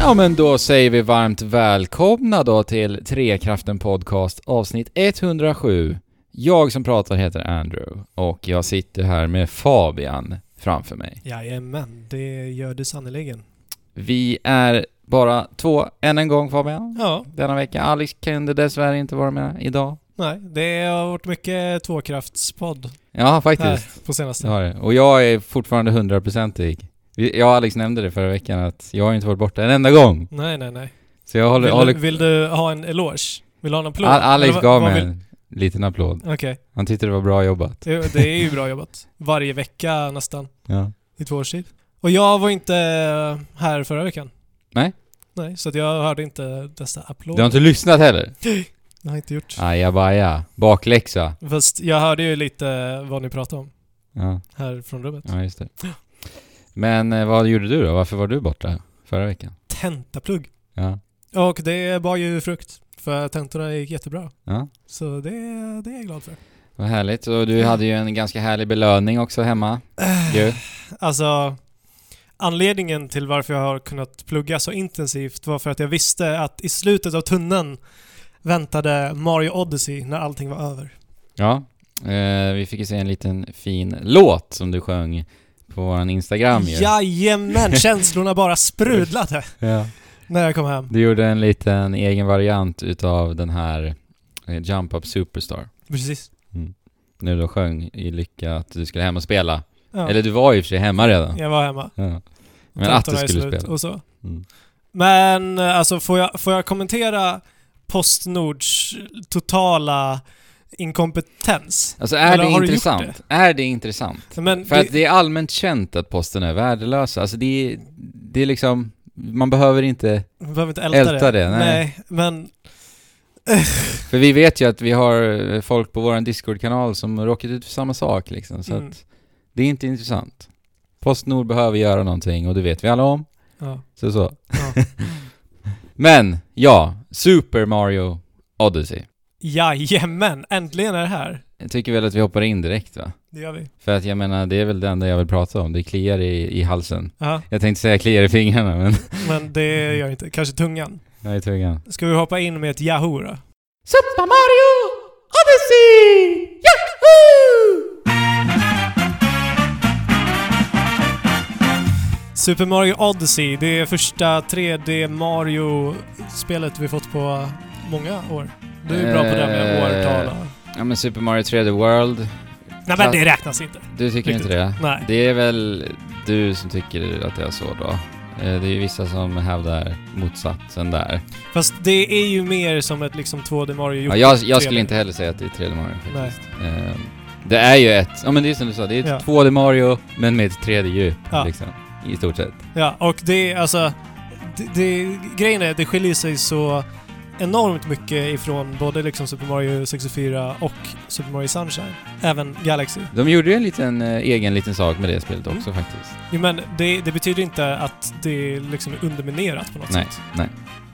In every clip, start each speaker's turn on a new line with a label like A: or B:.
A: Ja men då säger vi varmt välkomna då till Trekraften Podcast avsnitt 107. Jag som pratar heter Andrew och jag sitter här med Fabian framför mig.
B: Jajamän, det gör du sannerligen.
A: Vi är bara två än en gång Fabian
B: Ja,
A: denna vecka. Alex kunde dessvärre inte vara med idag.
B: nej, det har varit mycket tvåkraftspodd
A: Ja faktiskt,
B: här på
A: det
B: senaste.
A: har det. Och jag är fortfarande hundraprocentig. Vi- Jag och Alex nämnde det förra veckan att jag har inte varit borta en enda gång.
B: Nej, nej, nej.
A: Så jag håller...
B: Vill,
A: håller
B: du, vill du ha en eloge? Vill du ha en applåd?
A: Al- Alex
B: Eller vad-
A: gav
B: vad
A: mig
B: vill-
A: en liten applåd.
B: Okej,
A: Han tyckte det var bra jobbat.
B: det, det är ju bra jobbat. Varje vecka nästan,
A: Ja.
B: i två års tid. Och jag var inte eh, här förra veckan.
A: Nej.
B: Nej, så att jag hörde inte dessa
A: Du har
B: applåder.
A: inte lyssnat heller?
B: Det har jag inte gjort.
A: Ajabaja. Bakläxa.
B: Fast jag hörde ju lite vad ni pratade om
A: Ja,
B: här från rummet.
A: ja just det. Men eh, vad gjorde du då? Varför var du borta förra veckan?
B: Tentaplugg.
A: Ja.
B: Och det bar ju frukt. För tentorna gick jättebra.
A: ja.
B: Så det, det är jag glad för.
A: Vad härligt. Och du hade ju en ganska härlig belöning också hemma. Ju.
B: Alltså, anledningen till varför jag har kunnat plugga så intensivt var för att jag visste att i slutet av tunneln väntade Mario Odyssey när allting var över.
A: Ja. Eh, vi fick ju se en liten fin låt som du sjöng på våran Instagram ju.
B: Jajamän! Känslorna bara sprudlade
A: ja.
B: när jag kom hem.
A: Du gjorde en liten egen variant utav den här eh, Jump Up Superstar.
B: Precis.
A: När du då sjöng i lycka att du skulle hem och spela.
B: Ja.
A: Eller du var ju i och för sig hemma redan.
B: Jag var hemma.
A: Ja. Men att du
B: Tentorna är
A: skulle
B: slut
A: spela.
B: Och så.
A: Mm.
B: Men eh, alltså får jag, får jag kommentera Postnords totala inkompetens?
A: Alltså är
B: Eller
A: det
B: har du gjort
A: intressant? Är det intressant?
B: Men
A: För
B: det-
A: att det är allmänt känt att posten är värdelös. Alltså det är, det är liksom, man behöver inte,
B: Vi behöver inte älta,
A: Älta
B: det.
A: det, nej.
B: men...
A: för vi vet ju att vi har eh, folk på vår Discord-kanal som råkat ut för samma sak liksom, så
B: Mm.
A: att det är inte intressant. Postnord behöver göra någonting och det vet vi alla om,
B: Ja.
A: så så.
B: Ja.
A: Men, ja, Super Mario Odyssey.
B: Jajamän, äntligen är det här.
A: Jag tycker väl att vi hoppar in direkt va?
B: Det gör vi.
A: För att jag menar, det är väl det enda jag vill prata om, det kliar i, i halsen.
B: Ja,
A: Jag tänkte säga kliar i fingrarna, men...
B: men det gör inte. Kanske tungan.
A: Jag är tungan.
B: Ska vi hoppa in med ett Yahoo då?
A: Super Mario Odyssey! Yahoo!
B: Super Mario Odyssey, det är första 3D Mario-spelet vi fått på många år. Du är bra på det här med
A: Eh,
B: årtal och...
A: Ja men Super Mario 3D World,
B: Nej men det räknas inte.
A: du tycker
B: Riktigt.
A: inte det?
B: Nej.
A: Det är väl du som tycker att det är så då? Eh, Det är ju vissa som hävdar motsatsen där.
B: Fast det är ju mer som ett liksom 2D Mario gjort
A: Ja, jag,
B: i
A: jag
B: 3D.
A: skulle inte heller säga att det är 3D Mario faktiskt. Eh, Det är ju ett, ja men det är som du sa, det är ett 2D Mario men med ett 3D djup
B: Ja.
A: liksom. I stort sett.
B: Ja, och det är alltså... Det, det, grejen är, det skiljer sig så enormt mycket ifrån både liksom Super Mario 64 och Super Mario Sunshine. Även Galaxy.
A: De gjorde ju en liten, eh, egen liten sak med det spelet också faktiskt.
B: Jo, men det, det betyder inte att det liksom är underminerat på något
A: Nej,
B: sätt.
A: nej.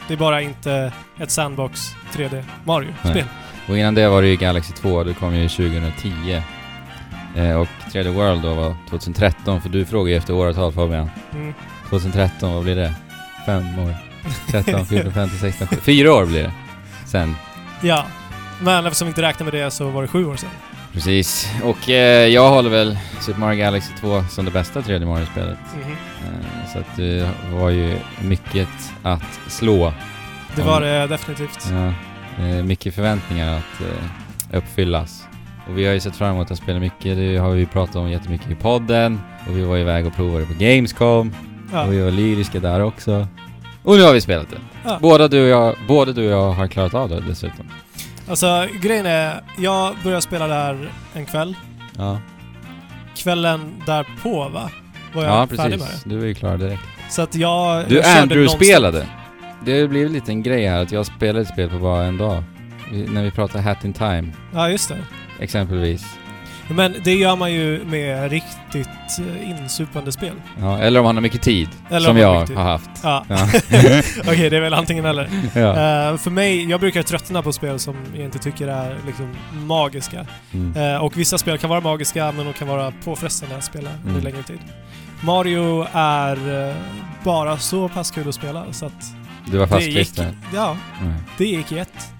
B: Det är bara inte ett Sandbox 3D Mario-spel.
A: Nej. Och innan det var det ju Galaxy 2, det kom ju 2010. Eh, och 3D World då var 2013, för du frågar ju efter åratal Fabian.
B: Mm.
A: 2013, vad blir det? Fem år? 13, 14, 15, 16, 17. Fyra år blir det. Sen.
B: Ja. Men eftersom vi inte räknar med det så var det sju år sedan.
A: Precis. Och eh, jag håller väl Super Mario Galaxy 2 som det bästa 3D Mario-spelet.
B: Mhm.
A: Eh, så att det var ju mycket att slå.
B: Det
A: Ja.
B: var det definitivt.
A: Ja, eh, mycket förväntningar att eh, uppfyllas. Och vi har ju sett fram emot att spela mycket, det har vi ju pratat om jättemycket i podden. Och vi var iväg och provade på Gamescom,
B: Ja.
A: och vi var lyriska där också. Och nu har vi spelat det.
B: Ja.
A: Båda, du och jag, både du och jag har klarat av det dessutom.
B: Alltså, grejen är, jag började spela där en kväll.
A: Ja,
B: kvällen därpå va? Var jag
A: ja
B: färdig med
A: precis.
B: det.
A: Du är ju klar direkt.
B: Så att jag...
A: Du,
B: jag körde nonstop.
A: Andrew-spelade. Det blev lite en grej här att jag spelade ett spel på bara en dag. Vi, när vi pratade Hat in Time,
B: Ja, just det.
A: exempelvis.
B: Men det gör man ju med riktigt eh, insupande spel.
A: Ja, eller om han har mycket tid.
B: Eller
A: som
B: om han har
A: jag
B: mycket
A: har haft.
B: Ja.
A: Ja.
B: Okej, det är väl antingen eller.
A: Ja.
B: Eh, för mig, jag brukar tröttna på spel som jag inte tycker är liksom magiska.
A: Mm.
B: Eh, och vissa spel kan vara magiska, men de kan vara påfrestande att spela under
A: Mm.
B: längre tid. Mario är eh, bara så pass kul att spela så att
A: Du var
B: det gick...
A: fastklistrat.
B: Ja,
A: Mm.
B: det gick i ett.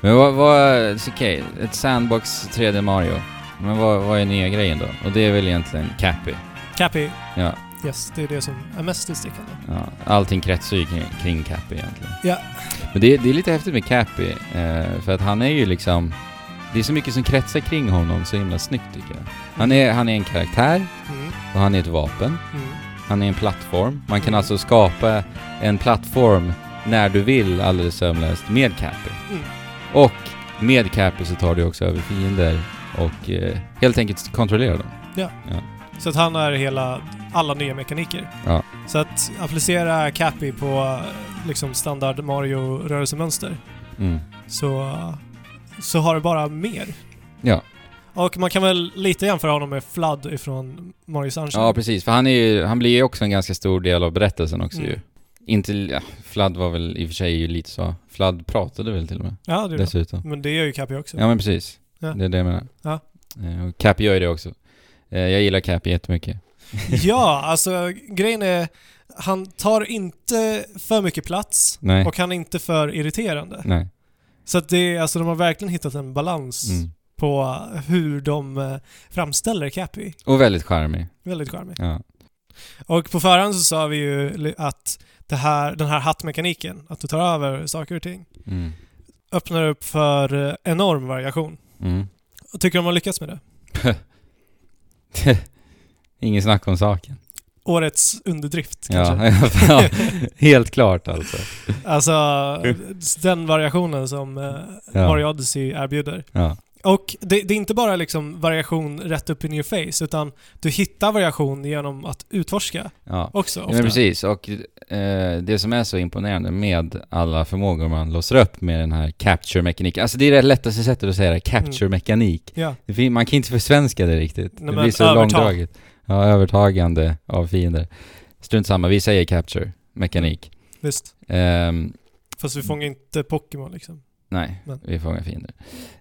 A: Men vad, vad så okej, ett Sandbox 3D Mario. Men vad, vad är nya grejen då? Och det är väl egentligen Cappy.
B: Cappy.
A: Ja.
B: Yes, det är det som är mest utstickande.
A: Ja, allting kretsar ju kring, kring Cappy egentligen.
B: Ja.
A: Men det, det är lite häftigt med Cappy, eh, för att han är ju liksom... Det är så mycket som kretsar kring honom så himla snyggt tycker jag. Han är, han är en karaktär,
B: Mm.
A: och han är ett vapen,
B: Mm.
A: han är en plattform. Man kan alltså skapa en plattform när du vill alldeles sömlöst med Cappy.
B: Mm.
A: Och med Cappy så tar du också över fiender och eh, helt enkelt kontrollerar dem.
B: Så att han är hela, alla nya mekaniker.
A: Ja.
B: Så att applicera Cappy på eh, liksom standard Mario-rörelsemönster
A: Mm.
B: så, så har du bara mer.
A: Ja.
B: Och man kan väl lite jämföra honom med Flood ifrån Mario Sunshine.
A: Ja, precis. För han, är ju, han blir ju också en ganska stor del av berättelsen också
B: Mm.
A: ju. Inte, ja, Fladd var väl i och för sig ju lite så. Fladd pratade väl till och med
B: ja det är det.
A: dessutom.
B: Men det gör ju Cappy också.
A: Ja men precis.
B: Ja.
A: Det är det jag menar.
B: Ja.
A: Eh, Och Cap gör ju det också. Eh, Jag gillar Cap jättemycket.
B: ja, alltså grejen är, han tar inte för mycket plats
A: Nej.
B: och han är inte för irriterande.
A: Nej.
B: Så att det är, alltså de har verkligen hittat en balans
A: Mm.
B: på hur de eh, framställer Cappy.
A: Och väldigt charmig.
B: Väldigt charmig.
A: Ja.
B: Och på förhand så sa vi ju li- att det här, den här hattmekaniken, att du tar över saker och ting,
A: Mm.
B: öppnar upp för eh, enorm variation.
A: Mm.
B: Och tycker de har lyckats med det.
A: Ingen snack om saken.
B: Årets underdrift kanske.
A: Ja. Ja, Helt klart alltså.
B: Alltså den variationen som eh,
A: Ja.
B: Mario Odyssey erbjuder.
A: Ja.
B: Och det, det är inte bara liksom variation rätt upp in your face, utan du hittar variation genom att utforska
A: ja.
B: också.
A: Ja, men precis, och eh, det som är så imponerande med alla förmågor man låser upp med den här capture-mekaniken, alltså det är det lättaste sättet att säga det, capture-mekanik.
B: Ja.
A: Det fin- Man kan inte försvenska det riktigt,
B: Mm. Nej,
A: det
B: men
A: blir så
B: övertag.
A: långdraget. Ja, övertagande av fiender. Strunt samma, vi säger capture-mekanik.
B: Visst.
A: Ehm,
B: Fast vi fångar inte Pokémon liksom.
A: nej,
B: Men-
A: vi fångar fiender.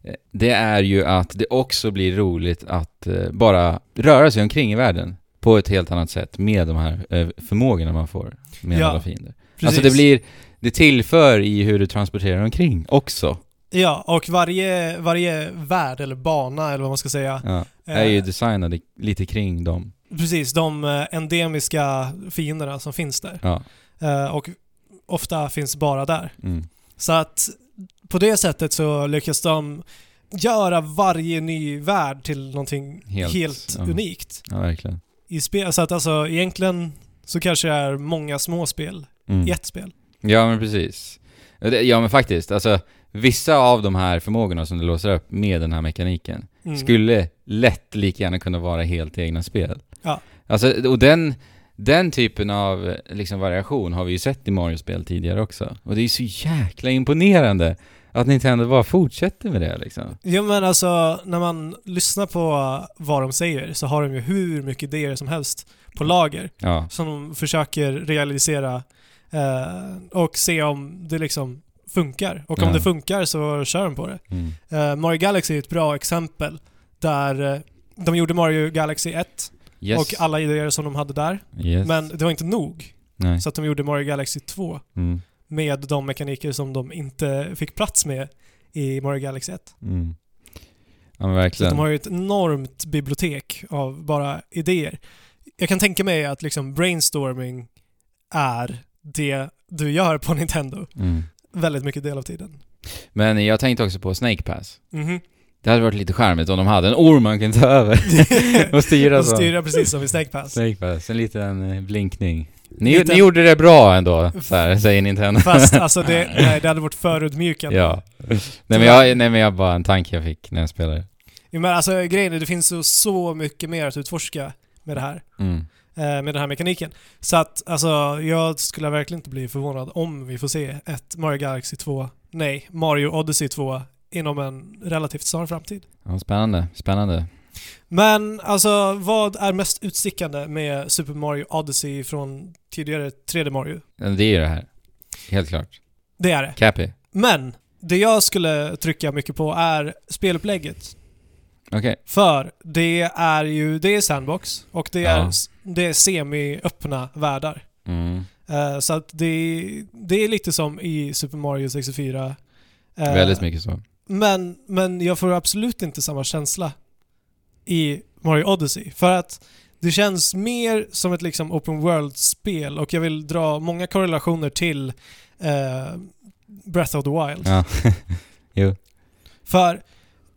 A: Eh, Det är ju att det också blir roligt att eh, bara röra sig omkring i världen på ett helt annat sätt med de här eh, förmågorna man får med
B: Ja.
A: alla fiender. Alltså det blir, det tillför i hur du transporterar omkring också.
B: Ja, och varje, varje värld eller bana eller vad man ska säga.
A: Ja. Är ju
B: eh,
A: designade lite kring dem.
B: Precis, de eh, endemiska fienderna som finns där.
A: Ja.
B: Eh, Och ofta finns bara där.
A: Mm.
B: Så att på det sättet så lyckas de göra varje ny värld till någonting
A: Helt,
B: helt,
A: ja.
B: unikt.
A: ja, verkligen.
B: I spel, så att alltså egentligen så kanske det är många små spel
A: Mm.
B: i ett spel.
A: Ja men precis. Ja, det- Ja men faktiskt, alltså vissa av de här förmågorna som du låser upp med den här mekaniken
B: Mm.
A: skulle lätt lika gärna kunna vara helt egna spel.
B: Ja.
A: Alltså, och den, den typen av eh, liksom, variation har vi ju sett i Mario-spel tidigare också. Och det är ju så jäkla imponerande att Nintendo bara fortsätter med det liksom.
B: Ja men alltså när man lyssnar på vad de säger så har de ju hur mycket idéer som helst på lager
A: Ja.
B: som de försöker realisera eh, och se om det liksom funkar. Och om
A: Ja.
B: det funkar så kör de på det.
A: Mm.
B: Eh, Mario Galaxy är ett bra exempel där eh, de gjorde Mario Galaxy 1
A: Yes.
B: och alla idéer som de hade där.
A: Yes.
B: Men det var inte nog.
A: Nej.
B: Så att de gjorde Mario Galaxy 2
A: Mm.
B: med de mekaniker som de inte fick plats med i Mario Galaxy 1.
A: Mm. Ja men
B: Så att
A: verkligen.
B: de har ju ett enormt bibliotek av bara idéer. Jag kan tänka mig att liksom brainstorming är det du gör på Nintendo
A: mm.
B: väldigt mycket del av tiden.
A: Men jag tänkte också på Snake Pass.
B: Mhm.
A: Det hade varit lite charmigt om de hade en orm man kunde ta över och styra
B: Och
A: så.
B: styra precis som i Snake Pass.
A: Snake Pass, en liten eh, blinkning. Ni,
B: Liten-
A: ni gjorde det bra ändå, så här, säger Nintendo.
B: Fast alltså det, nej, det hade varit förödmjukande.
A: ja. Nej men, jag, nej men jag bara en tanke jag fick när jag spelade.
B: Jo, men alltså grejen är, det finns så, så mycket mer att utforska med det här.
A: Mm.
B: eh, Med den här mekaniken. Så att alltså, jag skulle verkligen inte bli förvånad om vi får se ett Mario Galaxy 2, nej, Mario Odyssey 2 inom en relativt snar framtid.
A: Ja, spännande, spännande.
B: Men alltså, vad är mest utstickande med Super Mario Odyssey från tidigare 3D Mario?
A: Det är ju det här. Helt klart.
B: Det är det.
A: Cappy.
B: Men det jag skulle trycka mycket på är spelupplägget.
A: Okej.
B: För det är ju, det är sandbox och det är,
A: Ja.
B: det är semi-öppna världar.
A: Mm.
B: Eh, så att det, det är lite som i Super Mario 64. Eh,
A: Väldigt mycket så.
B: Men, men jag får absolut inte samma känsla i Mario Odyssey. För att det känns mer som ett liksom open world-spel och jag vill dra många korrelationer till eh, Breath of the Wild.
A: Ja. jo.
B: För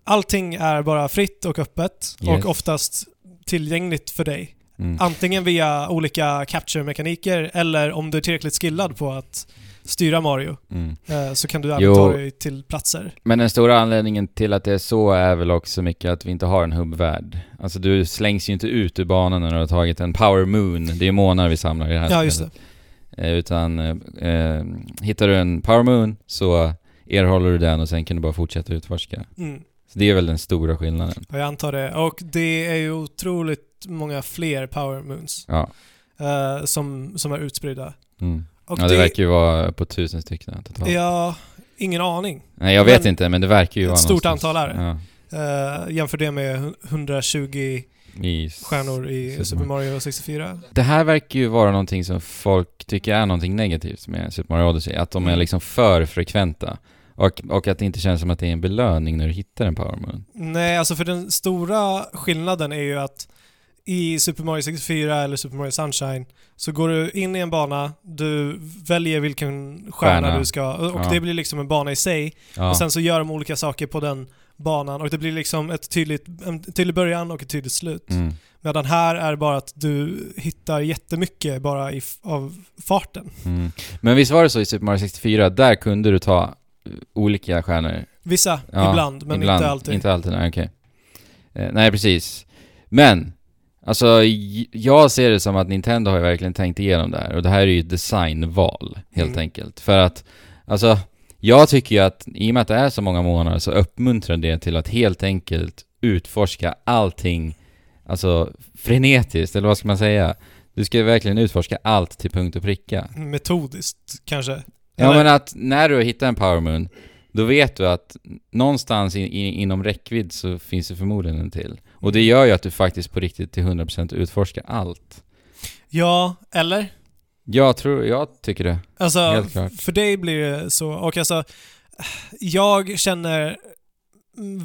B: allting är bara fritt och öppet
A: Yes.
B: och oftast tillgängligt för dig.
A: Mm.
B: Antingen via olika capture-mekaniker eller om du är tillräckligt skillad på att styra Mario
A: Mm.
B: eh, så kan du även
A: Jo.
B: ta dig till platser.
A: Men den stora anledningen till att det är så är väl också mycket att vi inte har en hubbvärld. Alltså du slängs ju inte ut ur banan när du har tagit en power moon. Det är ju månar vi samlar i det här
B: Ja, just det.
A: spelet. Eh, Utan eh, eh, hittar du en power moon så erhåller du den och sen kan du bara fortsätta utforska.
B: Mm.
A: Så det är väl den stora skillnaden.
B: Ja, jag antar det. Och det är ju otroligt många fler power moons
A: Ja.
B: eh, som, som är utspridda.
A: Mm.
B: Och
A: ja det, verkar ju vara på tusen stycken totalt.
B: Ja, ingen aning.
A: Nej jag vet
B: men-
A: inte men det verkar ju
B: Ett
A: vara
B: stort
A: någonstans.
B: antal är det. Eh, jämför det med hun- 120
A: Ja. I s-
B: stjärnor i
A: Super
B: Super Mario 64.
A: Det här verkar ju vara någonting som folk tycker är någonting negativt med Super Mario Odyssey, att de är
B: Mm.
A: liksom för frekventa. Och, och att det inte känns som att det är en belöning när du hittar en Power Moon.
B: Nej, alltså för den stora skillnaden är ju att i Super Mario 64 eller Super Mario Sunshine så går du in i en bana, du väljer vilken stjärna,
A: Stjärna.
B: du ska och
A: Ja.
B: det blir liksom en bana i sig
A: Ja,
B: och sen så gör de olika saker på den banan och det blir liksom ett tydligt, en tydlig början och ett tydligt slut.
A: mm.
B: Medan här är det bara att du hittar jättemycket bara i, f- av farten.
A: Mm. Men visst var det så i Super Mario 64, där kunde du ta eh, olika stjärnor?
B: Vissa,
A: Ja,
B: ibland, men
A: ibland,
B: inte alltid.
A: Inte alltid, nej okej. Eh, nej precis. Men, alltså j- jag ser det som att Nintendo har ju verkligen tänkt igenom det här och det här är ju ett designval helt
B: Mm.
A: enkelt. För att, alltså jag tycker ju att i och med att det är så många månader så uppmuntrar det till att helt enkelt utforska allting, alltså frenetiskt, eller vad ska man säga? Du ska ju verkligen utforska allt till punkt och pricka.
B: Metodiskt kanske.
A: Ja
B: Eller-
A: men att när du hittar en power moon, då vet du att någonstans i, i, inom räckvidd så finns det förmodligen en till. Och det gör ju att du faktiskt på riktigt till 100% utforskar allt.
B: Ja, eller?
A: Jag tror, jag tycker det.
B: Alltså,
A: Helt klart.
B: för dig blir det så. Och alltså, jag känner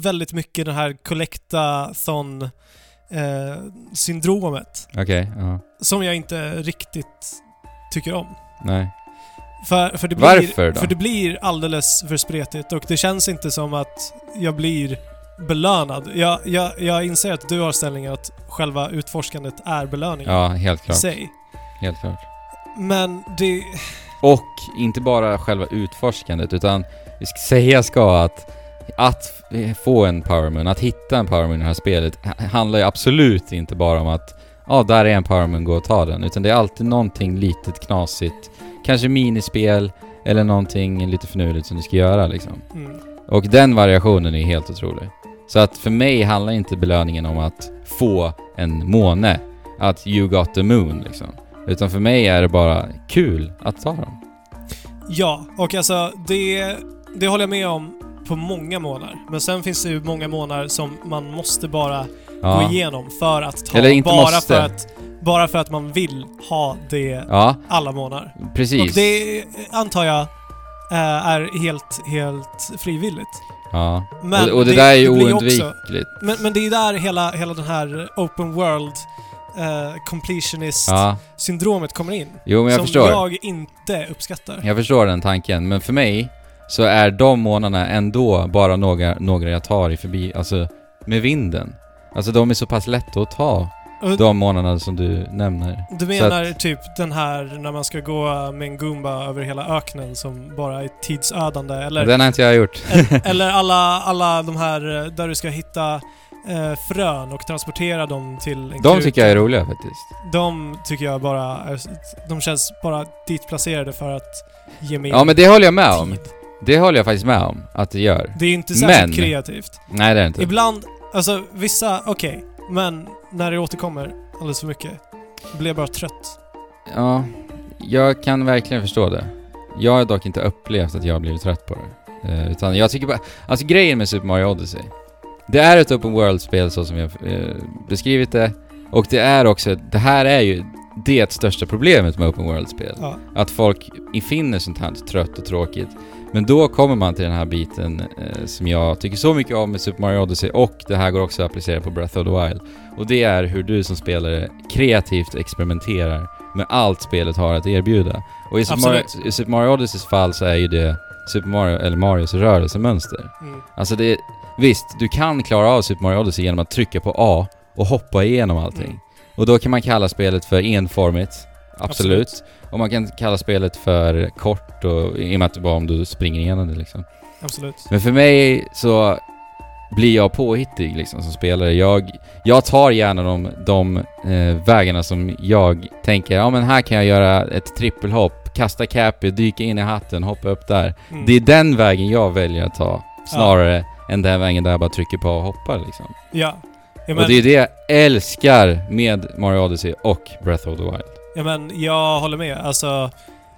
B: väldigt mycket den här collectathon-syndromet.
A: Okej, ja.
B: som jag inte riktigt tycker om.
A: Nej.
B: För, för, det blir,
A: Varför då?
B: för det blir alldeles för spretigt och det känns inte som att jag blir belönad. Jag, jag, jag inser att du har ställningen att själva utforskandet är belöningen
A: Ja, helt
B: i
A: klart.
B: sig.
A: Helt klart.
B: Men det...
A: Och inte bara själva utforskandet, utan vi ska säga ska att att f- få en power moon, att hitta en power moon i det här spelet h- handlar ju absolut inte bara om att ja, där är en power moon, gå och ta den. Utan det är alltid någonting litet knasigt, kanske minispel eller någonting lite finurligt som du ska göra liksom.
B: Mm.
A: Och den variationen är helt otrolig. Så att för mig handlar inte belöningen om att få en måne, att you got the moon liksom. Utan för mig är det bara kul att ta dem.
B: Ja, och alltså det, det håller jag med om på många månader. Men sen finns det ju många månader som man måste bara
A: Ja.
B: gå igenom för att ta.
A: Eller inte
B: bara,
A: måste.
B: För att, bara för att man vill ha det
A: Ja,
B: alla månader.
A: precis.
B: Och det antar jag eh, är helt, helt frivilligt.
A: Ja.
B: Men
A: och, och det,
B: det-
A: där är ju
B: det blir ju
A: oundvikligt.
B: Men, men det är ju där hela, hela den här open world eh, completionist-syndromet
A: Ja.
B: kommer in.
A: Jo, men jag
B: som
A: förstår.
B: jag inte uppskattar.
A: Jag förstår den tanken, men för mig så är de månaderna ändå bara några, några jag tar i förbi, alltså med vinden. Alltså de är så pass lätta att ta,
B: Och-
A: de månaderna som du nämner.
B: Du menar typ den här när man ska gå med en Goomba över hela öknen som bara är tidsödande? Eller,
A: Den har inte jag gjort.
B: eller alla, alla de här eh, där du ska hitta eh, frön och transportera dem till en
A: De
B: kruka.
A: tycker jag är roliga faktiskt.
B: De tycker jag bara... är- De känns bara ditplacerade för att ge mig
A: Ja men det håller jag med om.
B: tid.
A: Det håller jag faktiskt med om att det gör.
B: Det är inte särskilt
A: Men- typ.
B: kreativt.
A: Nej det är det inte.
B: Ibland Alltså vissa, okej. Men när det återkommer alldeles för mycket blir jag bara trött.
A: Ja, jag kan verkligen förstå det. Jag har dock inte upplevt att jag har blivit trött på det. Eh, utan jag tycker bara... Alltså grejen med Super Mario Odyssey. Det är ett open world-spel så som jag eh, beskrivit det. Och det är också... Det här är ju det största problemet med open world-spel.
B: Ja.
A: Att folk finner sånt här trött och tråkigt. Men då kommer man till den här biten eh, som jag tycker så mycket om med Super Mario Odyssey och det här går också att applicera på Breath of the Wild. Och det är hur du som spelare kreativt experimenterar med allt spelet har att erbjuda. Och i Super, Mario,
B: Absolut.
A: i Super Mario Odysseys fall så är ju det Super Mario, eller Marios rörelsemönster.
B: Mm.
A: Alltså det, visst, du kan klara av Super Mario Odyssey genom att trycka på A och hoppa igenom allting.
B: Mm.
A: Och då kan man kalla spelet för enformigt, absolut.
B: Absolut.
A: Och man kan kalla spelet för kort, och, i och med att det bara om du springer igenom det liksom.
B: Absolut.
A: Men för mig så blir jag påhittig liksom som spelare. Jag, jag tar gärna de, de eh, vägarna som jag tänker, ja men här kan jag göra ett trippelhopp, kasta cappy, dyka in i hatten, hoppa upp där.
B: Mm.
A: Det är den vägen jag väljer att ta, snarare än den vägen där jag bara trycker på och hoppar liksom.
B: Ja. Ja,
A: Och
B: men,
A: det är det jag älskar med Mario Odyssey och Breath of the Wild.
B: ja, men jag håller med. Alltså,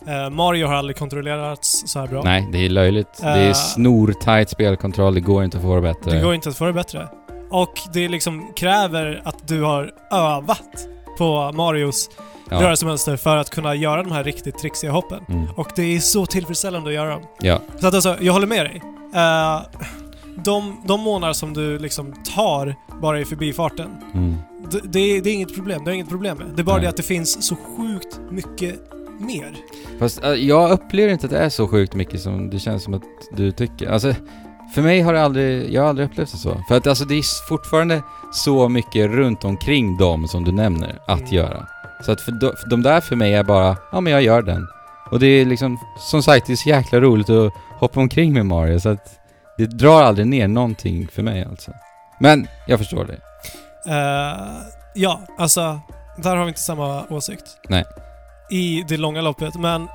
B: eh, Mario har aldrig kontrollerats så här bra.
A: Nej, det är löjligt. det
B: Eh.
A: är snortajt spelkontroll, det går inte att få det bättre.
B: Det går inte att få det bättre. Och det liksom kräver att du har övat på Marios
A: ja.
B: rörelsemönster för att kunna göra de här riktigt trixiga hoppen.
A: Mm.
B: Och det är så tillfredsställande att göra dem.
A: Ja.
B: Så att alltså, jag håller med dig. Eh, de, de månader som du liksom tar bara i förbifarten,
A: Mm.
B: d- det, är- det är inget problem. Det är inget problem med. Det är bara
A: Nej.
B: det att det finns så sjukt mycket mer.
A: Fast eh, jag upplever inte att det är så sjukt mycket som det känns som att du tycker. Alltså, för mig har det aldrig, jag har aldrig upplevt det så. För att alltså det är s- fortfarande så mycket runt omkring dem som du nämner att
B: Mm.
A: göra. Så att för de, för de där för mig är bara, ja men jag gör den. Och det är liksom, som sagt, det är så jäkla roligt att hoppa omkring med Mario så att det drar aldrig ner någonting för mig alltså. Men jag förstår det.
B: Eh, ja, alltså, där har vi inte samma åsikt.
A: Nej.
B: I det långa loppet, men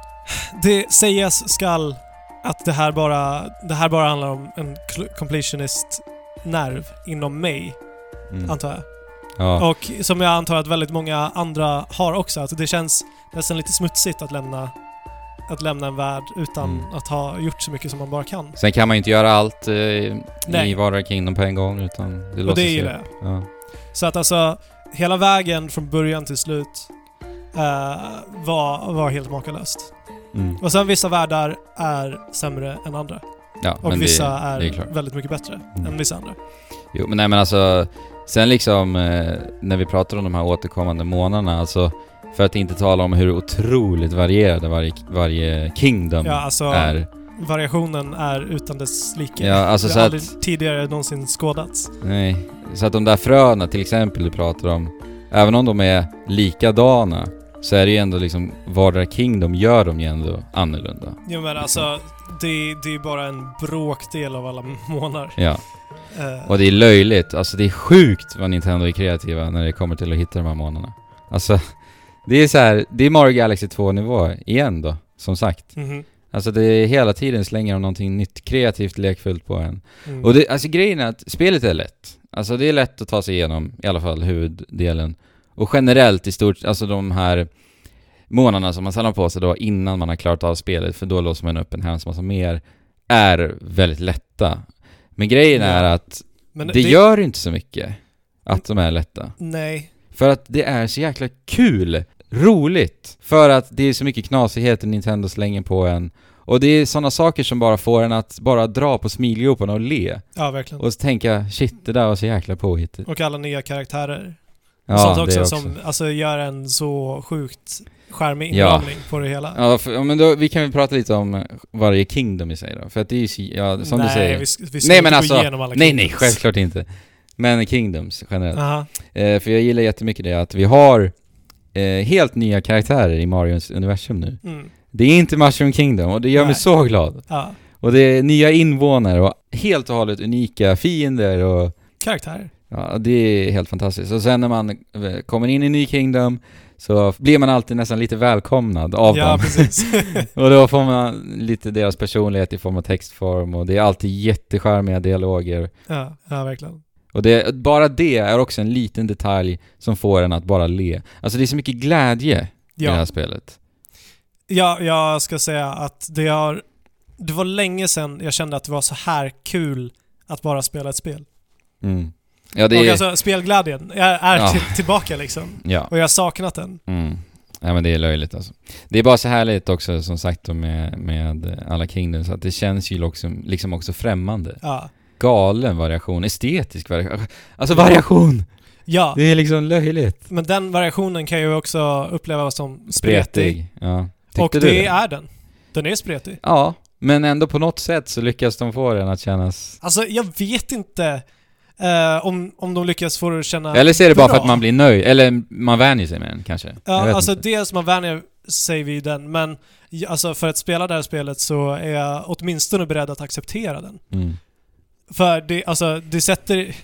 B: det sägas skall att det här bara, det här bara handlar om en cl- completionist-nerv inom mig,
A: Mm.
B: antar jag.
A: Ja.
B: Och som jag antar att väldigt många andra har också, att det känns nästan lite smutsigt att lämna, att lämna en värld utan
A: Mm.
B: att ha gjort så mycket som man bara kan.
A: Sen kan man ju inte göra allt eh, i
B: Nej.
A: Warrior Kingdom på en gång utan det
B: Och
A: låter
B: det gillar jag.
A: Ja.
B: Så att alltså, hela vägen från början till slut eh, var, var helt makalöst.
A: Mm.
B: Och sen vissa världar är sämre än andra.
A: Ja,
B: Och
A: men
B: vissa
A: det,
B: är,
A: det är klart.
B: väldigt mycket bättre
A: Mm.
B: än vissa andra.
A: Jo, men nej men alltså, sen liksom eh, när vi pratar om de här återkommande månaderna, alltså för att inte tala om hur otroligt varierade varje, varje kingdom
B: Ja, alltså
A: är.
B: variationen är utan dess like.
A: Ja, alltså
B: det
A: så
B: har
A: att,
B: aldrig tidigare någonsin skådats.
A: nej, så att de där fröna till exempel du pratar om, även om de är likadana så är det ju ändå liksom vardera kingdom gör de ju ändå annorlunda.
B: Jo men alltså, det, det är bara en bråkdel av alla månader.
A: Ja,
B: Eh,
A: och det är löjligt. Alltså det är sjukt vad Nintendo är kreativa när det kommer till att hitta de här månaderna. Alltså, det är så här, det är Mario Galaxy 2-nivå igen då, som sagt.
B: mhm,
A: Alltså det är hela tiden slänger de någonting nytt, kreativt, lekfullt på en.
B: mm.
A: Och det, alltså grejen är att spelet är lätt. Alltså det är lätt att ta sig igenom, i alla fall huvuddelen. Och generellt i stort, alltså de här månaderna som man sedan har på sig då innan man har klarat av spelet, för då låser man upp en hemsk massa mer, är väldigt lätta. Men grejen
B: Ja.
A: är att
B: men
A: det, gör inte så mycket att de är lätta.
B: Nej.
A: För att det är så jäkla kul, roligt, för att det är så mycket knasigheter Nintendo slänger på en. Och det är sådana saker som bara får en att bara dra på smilgroparna och le.
B: Ja, verkligen. Och,
A: Och tänka shit, det där var så jäkla påhittigt.
B: alla nya karaktärer.
A: Ja,
B: Sånt
A: det
B: också,
A: också.
B: som alltså, gör en så sjukt charmig
A: Ja.
B: inramning på det hela.
A: Ja, för, ja, men då, vi kan väl prata lite om varje kingdom i sig då, för att det är ju, så- ja, som
B: nej,
A: du säger.
B: vi, s- vi ska
A: Nej,
B: inte
A: men
B: gå
A: alltså-
B: igenom alla
A: nej, nej,
B: kingdoms.
A: självklart inte. Men kingdoms generellt.
B: Aha.
A: Eh, för jag gillar jättemycket det att vi har eh, helt nya karaktärer i Marios universum nu.
B: Mm.
A: Det är inte Mushroom Kingdom och det gör mig
B: Nej.
A: så glad.
B: Ja.
A: Och det är nya invånare och helt och hållet unika fiender och
B: Karaktärer.
A: ja, det är helt fantastiskt. Och sen när man eh, kommer in i Ny Kingdom så blir man alltid nästan lite välkomnad av
B: ja,
A: dem.
B: precis.
A: Och då får man lite deras personlighet i form av textform och det är alltid jättecharmiga dialoger.
B: ja, ja, verkligen.
A: Och det, bara det är också en liten detalj som får en att bara le. Alltså det är så mycket glädje i det här
B: Ja.
A: spelet.
B: ja, jag ska säga att det har... Det var länge sedan jag kände att det var så här kul att bara spela ett spel.
A: Mm. Ja, det
B: Och
A: är...
B: alltså spelglädjen är, är
A: Ja.
B: till, tillbaka liksom.
A: ja.
B: Och jag har saknat den.
A: Mm. Ja men det är löjligt alltså. Det är bara så härligt också som sagt då med, med alla Kingdoms att det känns ju liksom, liksom också främmande.
B: Ja.
A: Galen variation, estetisk variation. Alltså variation!
B: ja,
A: Det är liksom löjligt.
B: men den variationen kan jag ju också uppleva som spretig.
A: Spretig. Ja. Tyckte
B: Och det,
A: du
B: är den. Den är spretig.
A: Ja, men ändå på något sätt så lyckas de få den att kännas...
B: Alltså jag vet inte eh, om, om de lyckas få det att känna...
A: Eller så är det bara för
B: bra.
A: att man blir nöjd, eller man vänjer sig med den kanske. Jag
B: Ja,
A: vet
B: alltså
A: inte.
B: dels man vänjer sig vid den, men j- alltså för att spela det här spelet så är jag åtminstone beredd att acceptera den.
A: Mm.
B: För det, alltså, det sätter...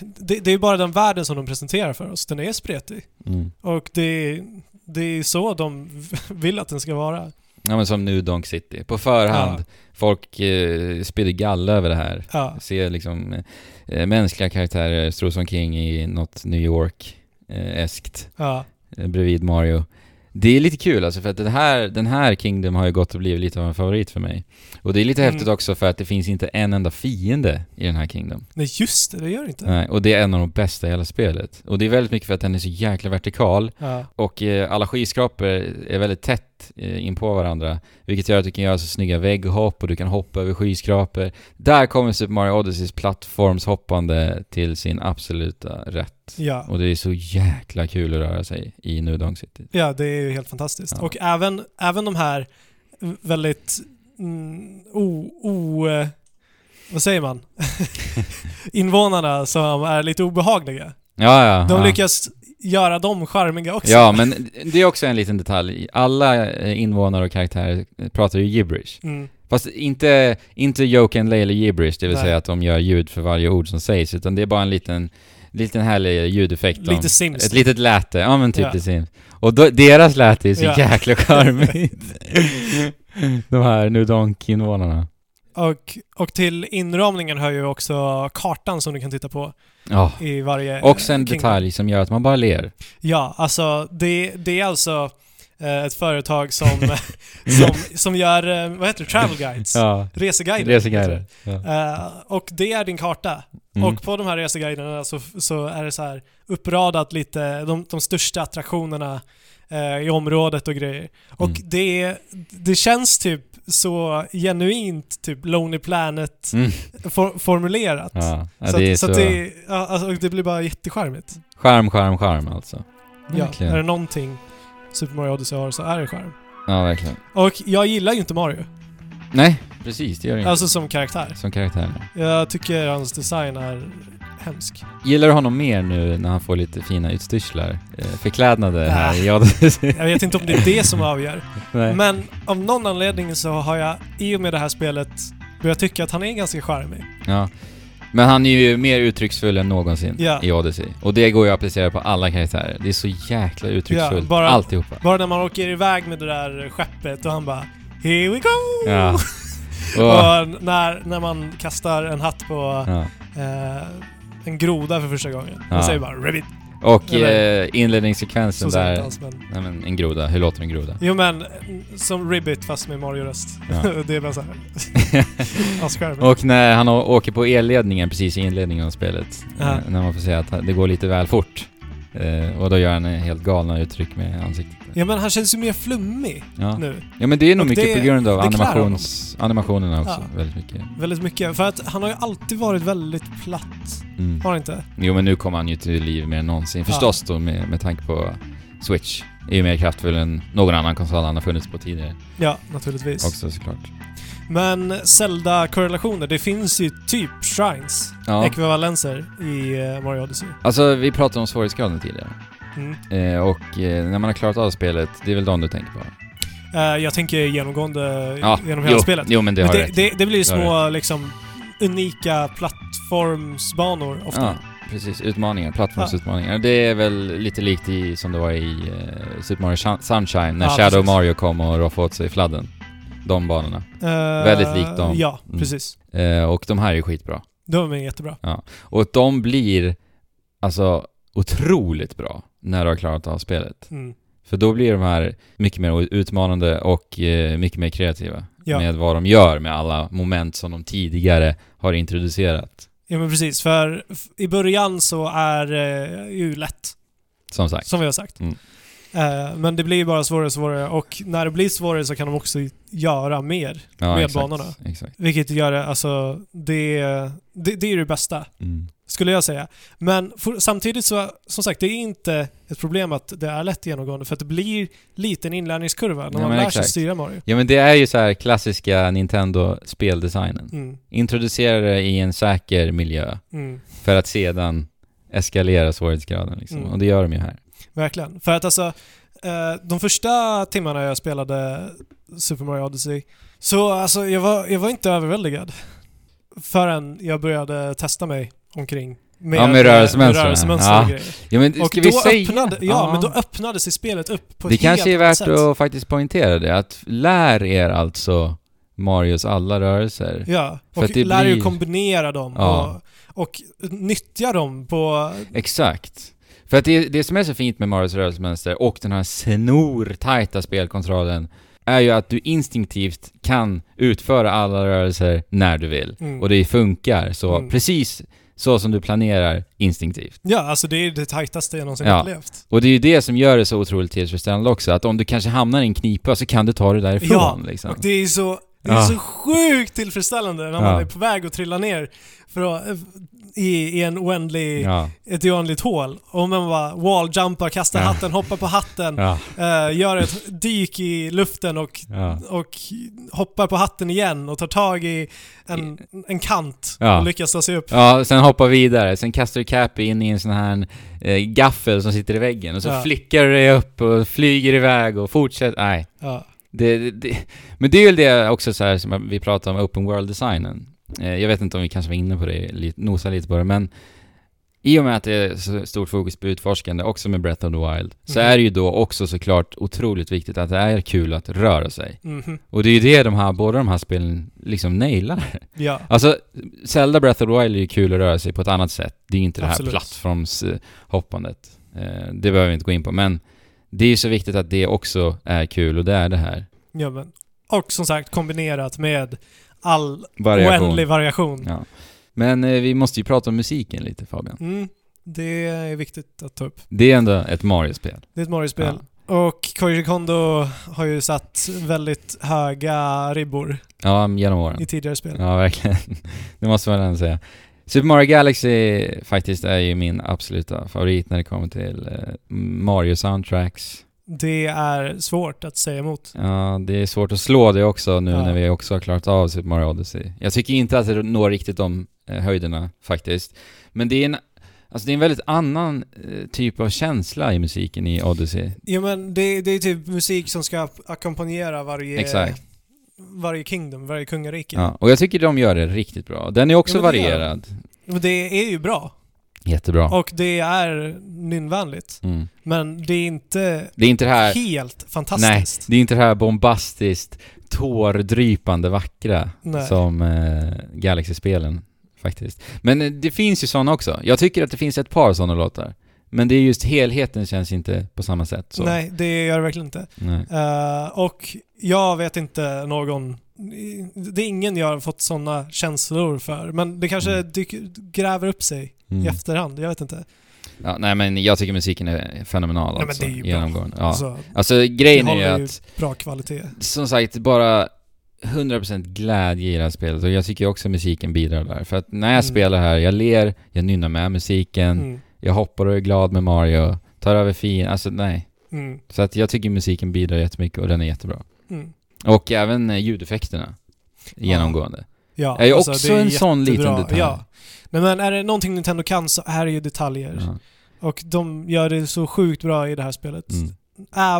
B: Det, det är bara den världen som de presenterar för oss. Den är spretig.
A: Mm.
B: Och det, det är så de vill att den ska vara.
A: Ja men som nu Donk City. På förhand,
B: Ja.
A: folk eh, spydde galla över det här.
B: Ja,
A: se liksom eh, mänskliga karaktärer stå som King i något New York-eskt
B: ja,
A: eh, bredvid Mario. Det är lite kul alltså för att den här, den här Kingdom har ju gått och blivit lite av en favorit för mig. Och det är lite
B: Mm.
A: häftigt också för att det finns inte en enda fiende i den här Kingdom.
B: nej just det, det gör det inte.
A: Nej, och det är en av de bästa i hela spelet. Och det är väldigt mycket för att den är så jäkla vertikal
B: Ja,
A: och eh, alla skyskrapor är väldigt tätt eh, in på varandra. Vilket gör att du kan göra så snygga vägghopp och du kan hoppa över skyskrapor. Där kommer Super Mario Odysseys plattformshoppande till sin absoluta rätt.
B: ja.
A: Och det är så jäkla kul att röra sig i New Donk City.
B: ja det är ju helt fantastiskt.
A: Ja.
B: Och även, även de här väldigt mm, o... o eh, vad säger man? Invånarna som är lite obehagliga.
A: Ja, ja.
B: De
A: ja.
B: lyckas göra dem charmiga också.
A: Ja, men det är också en liten detalj. Alla eh, invånare och karaktärer eh, pratar ju gibberish.
B: Mm.
A: Fast inte, inte Joke and Layla gibberish, det vill
B: Nej.
A: säga att de gör ljud för varje ord som sägs, utan det är bara en liten, liten härlig ljudeffekt. de-
B: Lite Sims.
A: Ett litet läte, ja men typ
B: Ja.
A: det Sims. Och då, deras läte är så
B: Ja.
A: jäkla charmigt. De här Nudonk-invånarna.
B: Och, och till inramningen hör ju också kartan som du kan titta på
A: Ja.
B: i varje... eh,
A: Också en
B: kingdom.
A: detalj som gör att man bara ler.
B: Ja, alltså det, det är alltså eh, ett företag som, som, som gör, eh, vad heter det, travel guides?
A: Ja.
B: Reseguider.
A: Reseguider. Ja.
B: Eh, och det är din karta.
A: Mm.
B: Och på de här reseguiderna så, så är det så här uppradat lite de, de största attraktionerna eh, i området och grejer. Och
A: Mm.
B: det, det känns typ så genuint typ Lonely Planet
A: Mm.
B: for, formulerat.
A: Ja. Ja,
B: så
A: det är
B: att, så
A: så...
B: att det, ja, alltså, och det blir bara jättecharmigt.
A: Charm, charm, charm alltså.
B: Ja,
A: Verkligen.
B: är det någonting Super Mario Odyssey har så är det charm.
A: Ja, verkligen.
B: Och jag gillar ju inte Mario,
A: Nej, precis. Det gör det inte.
B: alltså som karaktär.
A: Som karaktär.
B: Jag tycker hans design är hemsk.
A: Gillar du honom mer nu när han får lite fina utstyrslar? Eh, Förklädnader här i Odyssey?
B: Äh. Jag vet inte om det är det som avgör.
A: Nej.
B: Men av någon anledning så har jag i och med det här spelet börjat tycka att han är ganska charmig.
A: Ja. Men han är ju mer uttrycksfull än någonsin
B: Ja.
A: i Odyssey. Och det går ju att applicera på alla karaktärer. Det är så jäkla uttrycksfullt.
B: Ja, bara-
A: Alltihopa.
B: Bara när man åker iväg med det där skeppet och han bara “Here we go!”
A: Ja. Och,
B: Och när, när man kastar en hatt på
A: ja.
B: eh, en groda för första gången.
A: Ja.
B: Man säger bara “Ribbit!”
A: och
B: Eller-
A: eh, inledningssekvensen
B: Så säger jag inte
A: där...
B: alls
A: Nej
B: men...
A: men en groda. Hur låter en groda?
B: Jo men, mm, som Ribbit fast med Mario-röst.
A: Ja.
B: det är bara såhär... Ascharmigt.
A: Och när han å- åker på elledningen precis i inledningen av spelet.
B: Ja.
A: eh, När man får säga att han- det går lite väl fort. Eh, och då gör han helt galna uttryck med ansiktet.
B: Ja men han känns ju mer flummig
A: Ja.
B: nu.
A: ja men det är nog
B: Och
A: mycket
B: det-
A: på grund av
B: det klär
A: animations, animationerna också.
B: Ja.
A: Väldigt mycket.
B: Väldigt mycket. För att han har ju alltid varit väldigt platt.
A: Mm.
B: Har han inte?
A: Jo men nu kommer han ju till liv mer än någonsin. Förstås då med, med tanke på Switch. Är ju mer kraftfull än någon annan konsol han har funnits på tidigare.
B: Ja, naturligtvis.
A: Också såklart.
B: Men Zelda-korrelationer, det finns ju typ shrines,
A: Ja.
B: ekvivalenser i eh, Mario Odyssey.
A: Alltså vi pratade om svårighetsgraden tidigare.
B: Mm.
A: Eh, och eh, när man har klarat av spelet, det är väl de du tänker på?
B: Eh, jag tänker genomgående
A: Ja,
B: genom hela
A: jo,
B: spelet.
A: Jo men det
B: Men
A: har du
B: det,
A: rätt i.
B: det, det blir ju
A: Det har
B: små liksom unika plattformsbanor ofta.
A: Ja, precis. Utmaningar. Plattformsutmaningar. Det är väl lite likt i, som det var i eh, Super Mario Shun- Sunshine när
B: Ja,
A: Shadow
B: precis.
A: Mario kom och roffade åt sig fladden. De banorna.
B: Eh,
A: Väldigt likt dem.
B: Ja,
A: Mm.
B: precis.
A: Eh, och de här är skitbra.
B: De är jättebra.
A: Och de blir alltså otroligt bra när du har klarat av spelet.
B: Mm.
A: För då blir de här mycket mer utmanande och eh, mycket mer kreativa
B: Ja.
A: med vad de gör med alla moment som de tidigare har introducerat.
B: ja, men precis. För f- i början så är eh, ju lätt,
A: Som sagt.
B: som vi har sagt.
A: Mm.
B: Eh, men det blir ju bara svårare och svårare och när det blir svårare så kan de också göra mer.
A: Ja,
B: med
A: exakt,
B: banorna.
A: Exakt.
B: Vilket gör det, alltså, det, det, det är det bästa.
A: Mm.
B: skulle jag säga. Men for, samtidigt så, som sagt, det är inte ett problem att det är lätt genomgående för att det blir liten inlärningskurva när
A: Ja,
B: man
A: men
B: lär sig
A: exakt.
B: styra Mario.
A: Ja men det är ju så här klassiska Nintendo-speldesignen.
B: Mm,
A: Introducera det i en säker miljö
B: mm,
A: för att sedan eskalera svårighetsgraden liksom.
B: Mm.
A: Och det gör de ju här.
B: verkligen. För att alltså, eh, de första timmarna jag spelade Super Mario Odyssey, så alltså jag var, jag var inte överväldigad förrän jag började testa mig omkring.
A: Ja, med rörelsemönster.
B: med rörelsemönster
A: Ja.
B: och grejer.
A: Ja men ska
B: Och
A: vi
B: då
A: säga...
B: öppnade, ja,
A: Ja.
B: men då öppnade sig spelet upp på
A: Det
B: ett
A: kanske
B: helt
A: är värt
B: annat sätt.
A: att faktiskt poängtera det, att lär er alltså Marios alla rörelser.
B: Ja,
A: För
B: och
A: att det
B: lär er
A: blir-
B: kombinera dem
A: Ja.
B: och, och nyttja dem på...
A: Exakt. För att det, det som är så fint med Marios rörelsemönster och den här snortajta spelkontrollen är ju att du instinktivt kan utföra alla rörelser när du vill.
B: Mm.
A: Och det funkar så,
B: Mm.
A: precis så som du planerar instinktivt.
B: Ja, alltså det är det tajtaste jag någonsin
A: Ja.
B: upplevt.
A: Och det är ju det som gör det så otroligt tillfredsställande också, att om du kanske hamnar i en knipa så kan du ta dig därifrån
B: Ja,
A: liksom.
B: Och det är så, det är
A: Ja.
B: så sjukt tillfredsställande när
A: Ja.
B: man är på väg att trilla ner för i, i en oändlig,
A: Ja,
B: ett oändligt hål. Och man bara walljumpar, kastar
A: Ja.
B: hatten, hoppar på hatten,
A: ja,
B: eh, gör ett dyk i luften och,
A: ja.
B: och hoppar på hatten igen och tar tag i en, en kant
A: Ja.
B: och lyckas ta sig upp.
A: Ja, sen hoppa vidare. Sen kastar du Cappy in i en sån här eh, gaffel som sitter i väggen och så
B: Ja.
A: flickar du dig upp och flyger iväg och fortsätter. Nej.
B: Ja.
A: Det, det, det. Men det är väl det också så här som vi pratar om open world-designen. Eh, jag vet inte om vi kanske var inne på det, lite, nosa lite på det, men i och med att det är så stort fokus på utforskande, också med Breath of the Wild, så
B: Mhm.
A: är det ju då också såklart otroligt viktigt att det är kul att röra sig.
B: Mhm.
A: Och det är ju det de här, båda de här spelen liksom nailar.
B: ja.
A: Alltså, Zelda Breath of the Wild är ju kul att röra sig på ett annat sätt. Det är ju inte det här
B: Absolut.
A: plattformshoppandet. Eh, Det behöver vi inte gå in på, men det är ju så viktigt att det också är kul och det är det här.
B: Ja, men. Och som sagt kombinerat med all
A: Variation.
B: oändlig variation.
A: Ja. Men eh, vi måste ju prata om musiken lite Fabian.
B: Mm, det är viktigt att ta upp.
A: Det är ändå ett Mario-spel.
B: Det är ett Mario-spel. Och Koji Kondo har ju satt väldigt höga ribbor
A: Ja, genom åren.
B: i tidigare spel.
A: Ja, verkligen. Det måste man ändå säga. Super Mario Galaxy faktiskt är ju min absoluta favorit när det kommer till eh, Mario-soundtracks.
B: Det är svårt att säga emot.
A: Ja, det är svårt att slå det också nu
B: Ja.
A: när vi också har klarat av Super Mario Odyssey. Jag tycker inte att det når riktigt de eh, höjderna faktiskt. Men det är en, alltså det är en väldigt annan eh, typ av känsla i musiken i Odyssey.
B: Ja, men det, det är typ musik som ska ackompanjera varje,
A: Exakt.
B: varje kingdom, varje kungarike.
A: Ja, och jag tycker de gör det riktigt bra. Den är också
B: Ja, men det gör de.
A: varierad.
B: Och det är ju bra.
A: Jättebra.
B: Och det är nynvänligt.
A: Mm.
B: Men det är inte
A: Det är inte det här...
B: helt
A: Nej,
B: fantastiskt.
A: det är inte det här bombastiskt, tårdrypande vackra
B: Nej.
A: som eh, Galaxy-spelen faktiskt. Men eh, det finns ju sådana också. Jag tycker att det finns ett par sådana låtar. Men det är just helheten känns inte på samma sätt. Så.
B: Nej, det gör det verkligen inte.
A: Nej.
B: Eh, och jag vet inte någon, det är ingen jag har fått sådana känslor för. Men det kanske
A: Mm.
B: dyker, gräver upp sig i
A: Mm.
B: efterhand, jag vet inte.
A: Ja, nej men jag tycker musiken är fenomenal
B: men
A: alltså,
B: det är ju bra.
A: genomgående. Ja. Alltså,
B: Alltså, det
A: grejen är ju
B: håller ju
A: att,
B: bra kvalitet.
A: som sagt, bara 100% glädje i det här spelet. Och jag tycker också musiken bidrar där. För att när jag
B: Mm.
A: spelar här, jag ler, jag nynnar med musiken,
B: Mm.
A: jag hoppar och är glad med Mario, tar över fin, alltså nej.
B: Mm.
A: Så att jag tycker musiken bidrar jättemycket och den är jättebra.
B: Mm.
A: Och även eh, ljudeffekterna. Genomgående.
B: Ja,
A: är ju
B: alltså,
A: också
B: det är
A: en sån liten
B: jättebra.
A: detalj.
B: Ja. Nej, men är det någonting Nintendo kan så är det ju detaljer.
A: Ja.
B: Och de gör det så sjukt bra i det här spelet.
A: Mm.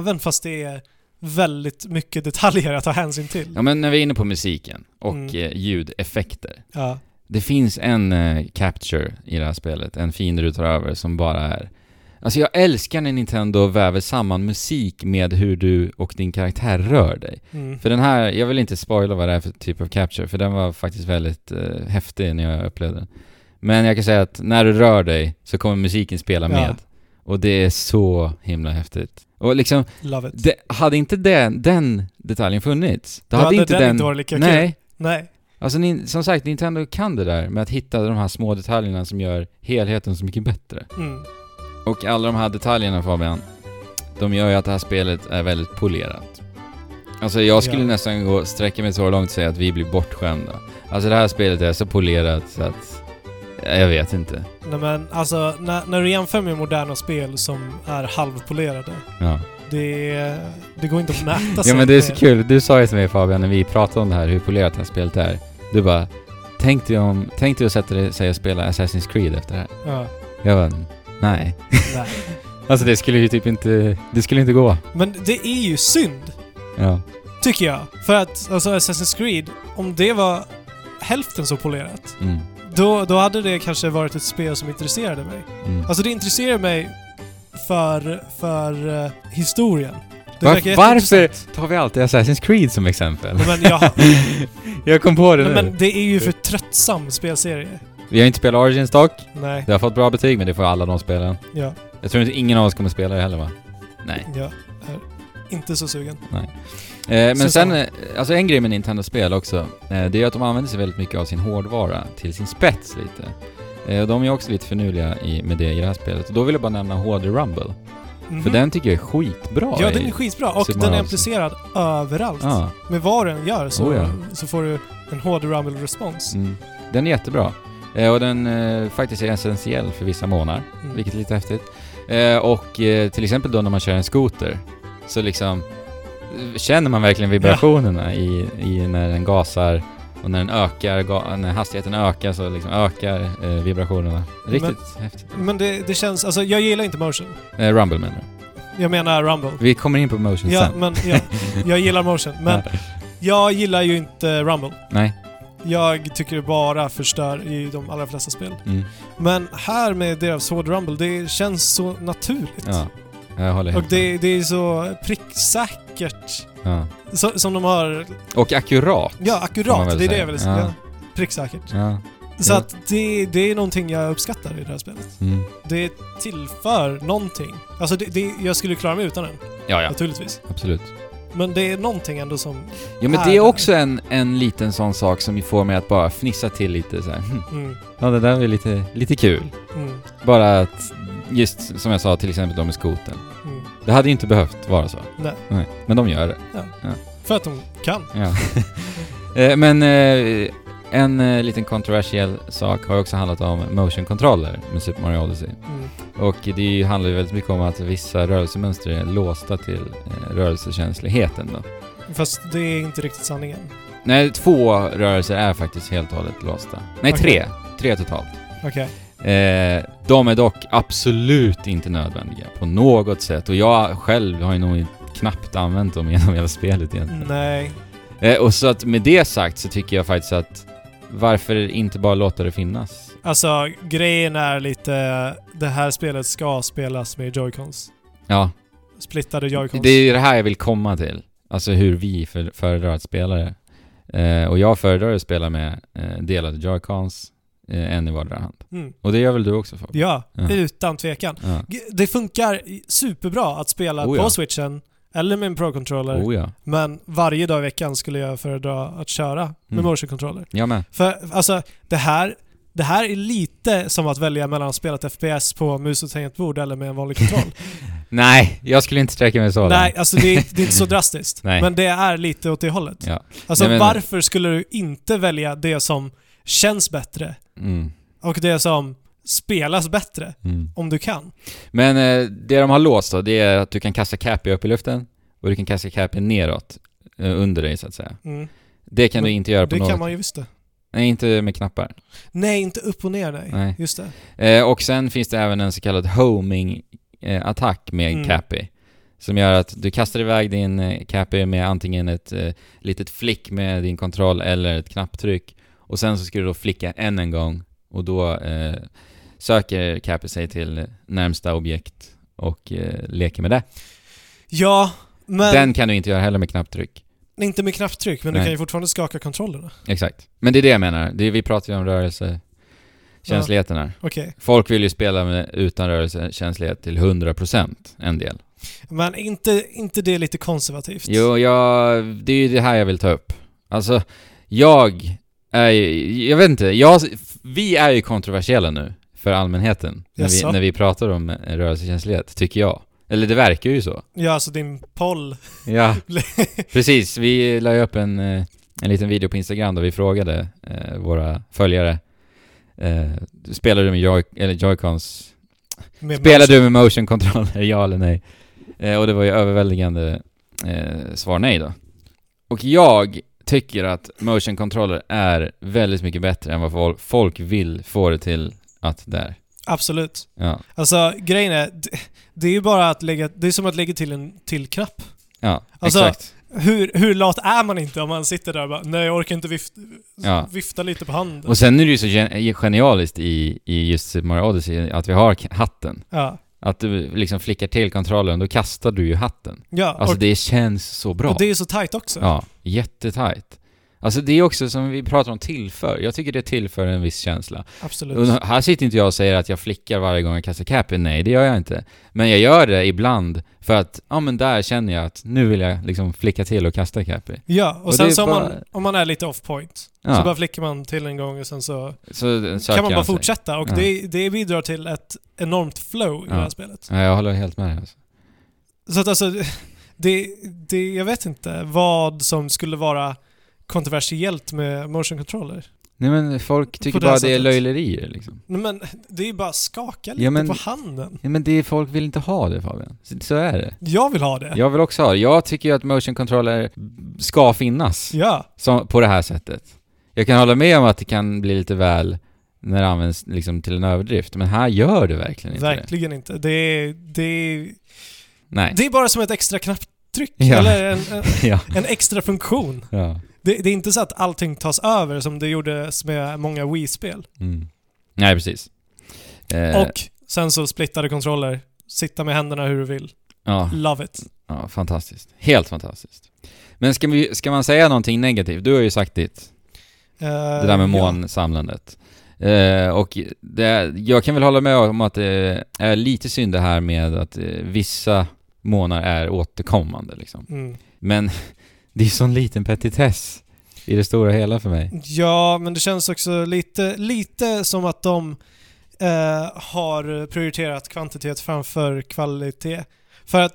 B: Även fast det är väldigt mycket detaljer att ta hänsyn till.
A: ja, men när vi är inne på musiken och
B: Mm.
A: eh, ljudeffekter.
B: Ja.
A: Det finns en eh, capture i det här spelet, en fiende du tar över, som bara är... Alltså jag älskar när Nintendo väver samman musik med hur du och din karaktär rör dig.
B: Mm.
A: För den här, jag vill inte spoila vad det är för typ av capture, för den var faktiskt väldigt eh, häftig när jag upplevde den. Men jag kan säga att när du rör dig så kommer musiken spela
B: Ja.
A: med. Och det är så himla häftigt. Och liksom,
B: Love it.
A: det, hade inte den, den detaljen funnits, då
B: Då
A: hade,
B: hade
A: inte
B: den
A: den...
B: inte varit lika
A: nej,
B: Nej.
A: Alltså ni, som sagt, Nintendo kan det där med att hitta de här små detaljerna som gör helheten så mycket bättre.
B: Mm.
A: Och alla de här detaljerna Fabian, de gör ju att det här spelet är väldigt polerat. Alltså jag skulle
B: Ja.
A: nästan gå, sträcka mig så långt och säga att vi blir bortskämda. Alltså det här spelet är så polerat så att... Jag vet inte.
B: Nej men alltså, när, när du jämför med moderna spel som är halvpolerade,
A: Ja.
B: det, det går inte att mäta sig
A: ja men det är
B: med-
A: så kul, du sa ju till mig Fabian när vi pratade om det här, hur polerat det här spelet är. Du bara, tänk dig om, tänk dig att sätta dig sig och spela Assassin's Creed efter det här.
B: Ja,
A: Jag bara, nej.
B: nej.
A: Alltså det skulle ju typ inte, det skulle inte gå.
B: Men det är ju synd,
A: Ja.
B: tycker jag. För att alltså Assassin's Creed, om det var hälften så polerat,
A: Mm.
B: då, då hade det kanske varit ett spel som intresserade mig.
A: Mm.
B: Alltså det intresserar mig för, för eh, historien. Det
A: Var-
B: verkar
A: varför-
B: jätteintressant.
A: Tar vi alltid Assassin's Creed som exempel?
B: Nej, Men, jag,
A: Jag kom på det
B: nej,
A: nu.
B: men det är ju för tröttsam spelserie.
A: Vi har inte spelat Origins dock.
B: Nej,
A: Det har fått bra betyg, men det får alla de spelen.
B: ja,
A: Jag tror inte ingen av oss kommer spela det heller va? Nej.
B: jag är inte så sugen.
A: Eh, men
B: Sen
A: sen,
B: så-
A: eh, alltså en grej med Nintendo-spel också, eh, det är att de använder sig väldigt mycket av sin hårdvara till sin spets lite. Eh, och de är också lite finurliga i, med det i det här spelet. Och då vill jag bara nämna HD Rumble.
B: Mhm.
A: För den tycker jag är skitbra
B: Ja,
A: i-
B: den är skitbra och
A: Super
B: den är
A: Mario.
B: implicerad överallt.
A: Ja.
B: Med vad den gör så,
A: Oh, ja.
B: så får du en hård rumble-respons.
A: Mm. Den är jättebra. Eh, och den eh, faktiskt är essentiell för vissa månader,
B: Mm.
A: vilket är lite häftigt. Eh, och eh, till exempel då när man kör en skoter, så liksom eh, känner man verkligen vibrationerna i, i när den gasar och när den ökar, ga- när hastigheten ökar så liksom ökar eh, vibrationerna. Riktigt häftigt.
B: Men det, det känns, alltså jag gillar inte motion.
A: Eh, Rumble menar du?
B: Jag menar rumble.
A: Vi kommer in på motion
B: Ja,
A: sen.
B: men ja, jag gillar motion. Men jag gillar ju inte rumble.
A: Nej.
B: Jag tycker det bara förstör i de allra flesta spel.
A: Mm.
B: Men här med deras hård rumble, det känns så naturligt.
A: Ja, jag håller
B: Och
A: helt med.
B: det, det är så pricksäkert.
A: ja.
B: Så, som de har...
A: Och akkurat.
B: Ja,
A: Kan man väl
B: akkurat. Det är det jag
A: säga.
B: vill
A: Ja.
B: säga. Ja. Pricksäkert.
A: Ja.
B: Så
A: Ja.
B: att det, det är någonting jag uppskattar i det här spelet.
A: Mm.
B: Det tillför någonting. Alltså, det, det, jag skulle klara mig utan den,
A: ja, ja,
B: naturligtvis.
A: absolut.
B: Men det är någonting ändå som...
A: Ja men
B: är
A: det är
B: där.
A: också en, en liten sån sak som ju får mig att bara fnissa till lite så här. "Hm,
B: Mm,
A: Ja det där är lite, lite kul.
B: mm,
A: Bara att, just som jag sa till exempel de med skoten.
B: mm.
A: Det hade ju inte behövt vara så.
B: Nej.
A: Men de gör det.
B: För att de kan.
A: Ja. Eh, men eh, en eh, liten kontroversiell sak har ju också handlat om motion-controller med Super Mario Odyssey.
B: Mm,
A: Och det ju- handlar ju väldigt mycket om att vissa rörelsemönster är låsta till eh, rörelsekänsligheten då.
B: fast det är inte riktigt sanningen.
A: Nej, två rörelser är faktiskt helt och hållet låsta. Nej,
B: Okej.
A: tre. Tre totalt.
B: Okej.
A: Eh, de är dock absolut inte nödvändiga på något sätt och jag själv har ju nog knappt använt dem genom hela spelet egentligen.
B: Nej.
A: Eh, och så att med det sagt så tycker jag faktiskt att varför inte bara låta det finnas?
B: Alltså, grejen är lite... Det här spelet ska spelas med joycons.
A: Ja,
B: Splittade joycons.
A: det är ju det här jag vill komma till. Alltså hur vi för, föredrar att spela det. Eh, och jag föredrar att spela med eh, delade joycons, eh, en i vardera hand.
B: Mm.
A: Och det gör väl du också Fabian?
B: Ja,
A: Ja.
B: utan tvekan.
A: Ja.
B: G- Det funkar superbra att spela
A: Oh ja.
B: på switchen eller med en pro-controller.
A: Oh ja.
B: Men varje dag i veckan skulle jag föredra att köra med
A: Mm.
B: motion-controller.
A: Jag med.
B: För alltså, det här, det här är lite som att välja mellan att spela ett FPS på mus och tangentbord eller med en vanlig kontroll.
A: Nej, jag skulle inte sträcka mig så långt.
B: Nej, alltså det är, det är inte så drastiskt.
A: Nej.
B: Men det är lite åt det hållet.
A: Ja.
B: Alltså
A: Nej, men-
B: varför skulle du inte välja det som känns bättre
A: Mm.
B: och det som spelas bättre
A: Mm.
B: om du kan?
A: Men eh, det de har låst då, det är att du kan kasta Cappy upp i luften och du kan kasta Cappy neråt eh, under dig så att säga.
B: Mm.
A: Det kan
B: Men
A: du inte göra på
B: Det
A: något...
B: kan man ju visst det.
A: Nej, inte med knappar.
B: Nej, inte upp och ner nej.
A: Nej.
B: Just det.
A: Eh, och sen finns det även en så kallad homing-attack med
B: Mm.
A: Cappy. Som gör att du kastar iväg din eh, Cappy med antingen ett eh, litet flick med din kontroll eller ett knapptryck. Och sen så ska du då flicka än en gång och då eh, söker Cappy sig till närmsta objekt och eh, leker med det.
B: Ja, men
A: Den kan du inte göra heller med knapptryck.
B: inte med knapptryck, men du
A: Nej.
B: kan ju fortfarande skaka kontrollerna.
A: Exakt. Men det är det jag menar. Det, är- vi pratar ju om rörelsekänsligheten här.
B: Okej.
A: Folk vill ju spela med, utan rörelsekänslighet till 100% en del.
B: Men inte, inte det lite konservativt?
A: Jo, jag, det är ju det här jag vill ta upp. Alltså, jag är ju- jag vet inte, jag, vi är ju kontroversiella nu för allmänheten när vi,
B: Jaså?
A: när vi pratar om eh, rörelsekänslighet, tycker jag. Eller det verkar ju så.
B: Ja, alltså din poll.
A: Ja, precis. Vi la ju upp en, eh, en liten video på Instagram där vi frågade eh, våra följare eh, Spelar du med joy, eller joycons
B: Med
A: Spelar du med motion controller, ja eller nej? Eh, och det var ju överväldigande eh, svar nej då. Och jag tycker att motion controller är väldigt mycket bättre än vad fol- folk vill få det till att det är.
B: Absolut.
A: Ja,
B: Alltså grejen är, det, det är ju bara att lägga, det är som att lägga till en till knapp.
A: ja
B: Alltså,
A: exakt.
B: Hur, hur lat är man inte om man sitter där och bara nej jag orkar inte vift,
A: Ja.
B: vifta lite på handen.
A: Och sen är det ju så gen- genialiskt i, i just Super Mario Odyssey att vi har k- hatten.
B: ja.
A: Att du liksom flickar till kontrollen, då kastar du ju hatten.
B: ja.
A: Alltså
B: och,
A: det känns så bra.
B: och det är så tajt också.
A: Ja, jättetajt. Alltså det är också som vi pratar om tillför. Jag tycker det tillför en viss känsla.
B: Absolut.
A: Och här sitter inte jag och säger att jag flickar varje gång jag kastar capen. Nej, det gör jag inte. Men jag gör det ibland för att, ja men där känner jag att nu vill jag liksom flicka till och kasta capen.
B: Ja, och,
A: Och det
B: sen
A: är
B: så om,
A: bara-
B: man, om man är lite off point så bara
A: Ja,
B: flickar man till en gång och sen så
A: så, söker
B: kan man bara
A: han sig.
B: fortsätta och
A: Ja.
B: det, det bidrar till ett enormt flow i
A: Ja.
B: det här spelet.
A: Ja, jag håller helt med dig alltså.
B: Så att alltså, det, det, jag vet inte vad som skulle vara kontroversiellt med motion controller.
A: Nej men folk tycker
B: det
A: bara
B: här
A: det är
B: sättet.
A: löjlerier liksom.
B: Nej, Men det är ju bara att skaka lite
A: Ja, men-
B: på handen.
A: Nej men det är, folk vill inte ha det Fabian. Så, så är det.
B: Jag vill ha det.
A: Jag vill också ha det. Jag tycker ju att motion controller ska finnas.
B: Ja,
A: som, på det här sättet. Jag kan hålla med om att det kan bli lite väl när det används liksom till en överdrift, men här gör det verkligen inte det.
B: verkligen inte. Det är, det, är,
A: Nej.
B: det är bara som ett extra knapptryck
A: Ja.
B: eller en, en,
A: ja.
B: en extra funktion.
A: ja.
B: Det, det är inte så att allting tas över som det gjordes med många Wii-spel.
A: Mm. Nej, precis. Eh,
B: Och sen så splittade kontroller, sitta med händerna hur du vill.
A: ja,
B: Love it.
A: ja, fantastiskt. Helt fantastiskt. Men ska, vi, ska man säga någonting negativt? Du har ju sagt ditt, det där med
B: Eh,
A: månsamlandet. Eh, och det, jag kan väl hålla med om att det är lite synd det här med att eh, vissa månar är återkommande liksom.
B: Ja. Mm.
A: Men det är sån liten petitess i det stora hela för mig.
B: Ja, men det känns också lite, lite som att de eh, har prioriterat kvantitet framför kvalitet. För att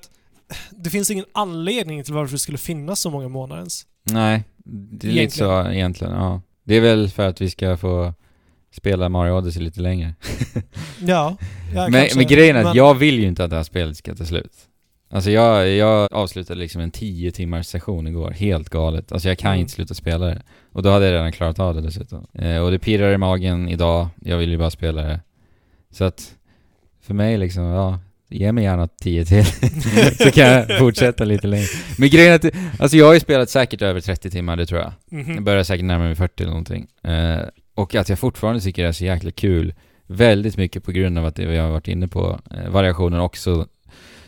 B: det finns ingen anledning till varför det skulle finnas så många månader ens.
A: Nej, det är lite så egentligen. Ja. Det är väl för att vi ska få spela Mario Odyssey lite längre.
B: Ja, ja
A: men,
B: kanske.
A: men grejen är att
B: Men-
A: jag vill ju inte att det här spelet ska ta slut. Alltså jag, jag avslutade liksom en 10 timmars session igår, helt galet. Alltså jag kan
B: Mm.
A: inte sluta spela det. Och då hade jag redan klarat av det dessutom. Eh, och det pirrar i magen idag, jag vill ju bara spela det. Så att, för mig liksom, ja, ge mig gärna 10 till. så kan jag fortsätta lite längre. Men grejen är att, alltså jag har ju spelat säkert över 30 timmar, det tror jag. Jag
B: Mhm.
A: börjar säkert närma mig 40 eller någonting. Eh, och att jag fortfarande tycker det är så jäkla kul. Väldigt mycket på grund av att det vi har varit inne på, eh, variationen också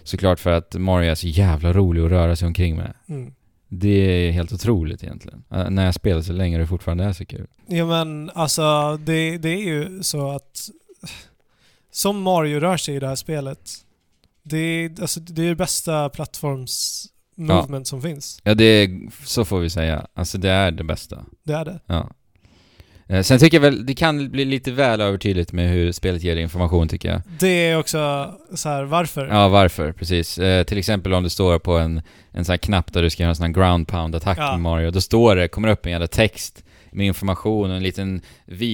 A: såklart för att Mario är så jävla rolig att röra sig omkring med.
B: Mm.
A: Det är helt otroligt egentligen. Eh, när jag spelar så länge och det fortfarande är så kul.
B: Ja men alltså det, det är ju så att som Mario rör sig i det här spelet, det är, alltså, det är det bästa plattforms-movement som finns.
A: Ja, det är, så får vi säga. Alltså det är det bästa.
B: Det är det.
A: Ja. Eh, sen tycker jag väl, det kan bli lite väl övertydligt med hur spelet ger information tycker jag.
B: Det är också så här, varför?
A: Ja, varför? Precis. Eh, till exempel om det står på en, en sån här knapp där du ska göra en sån här ground pound-attack
B: Ja.
A: med Mario, då står det, kommer det upp en jävla text med information och en liten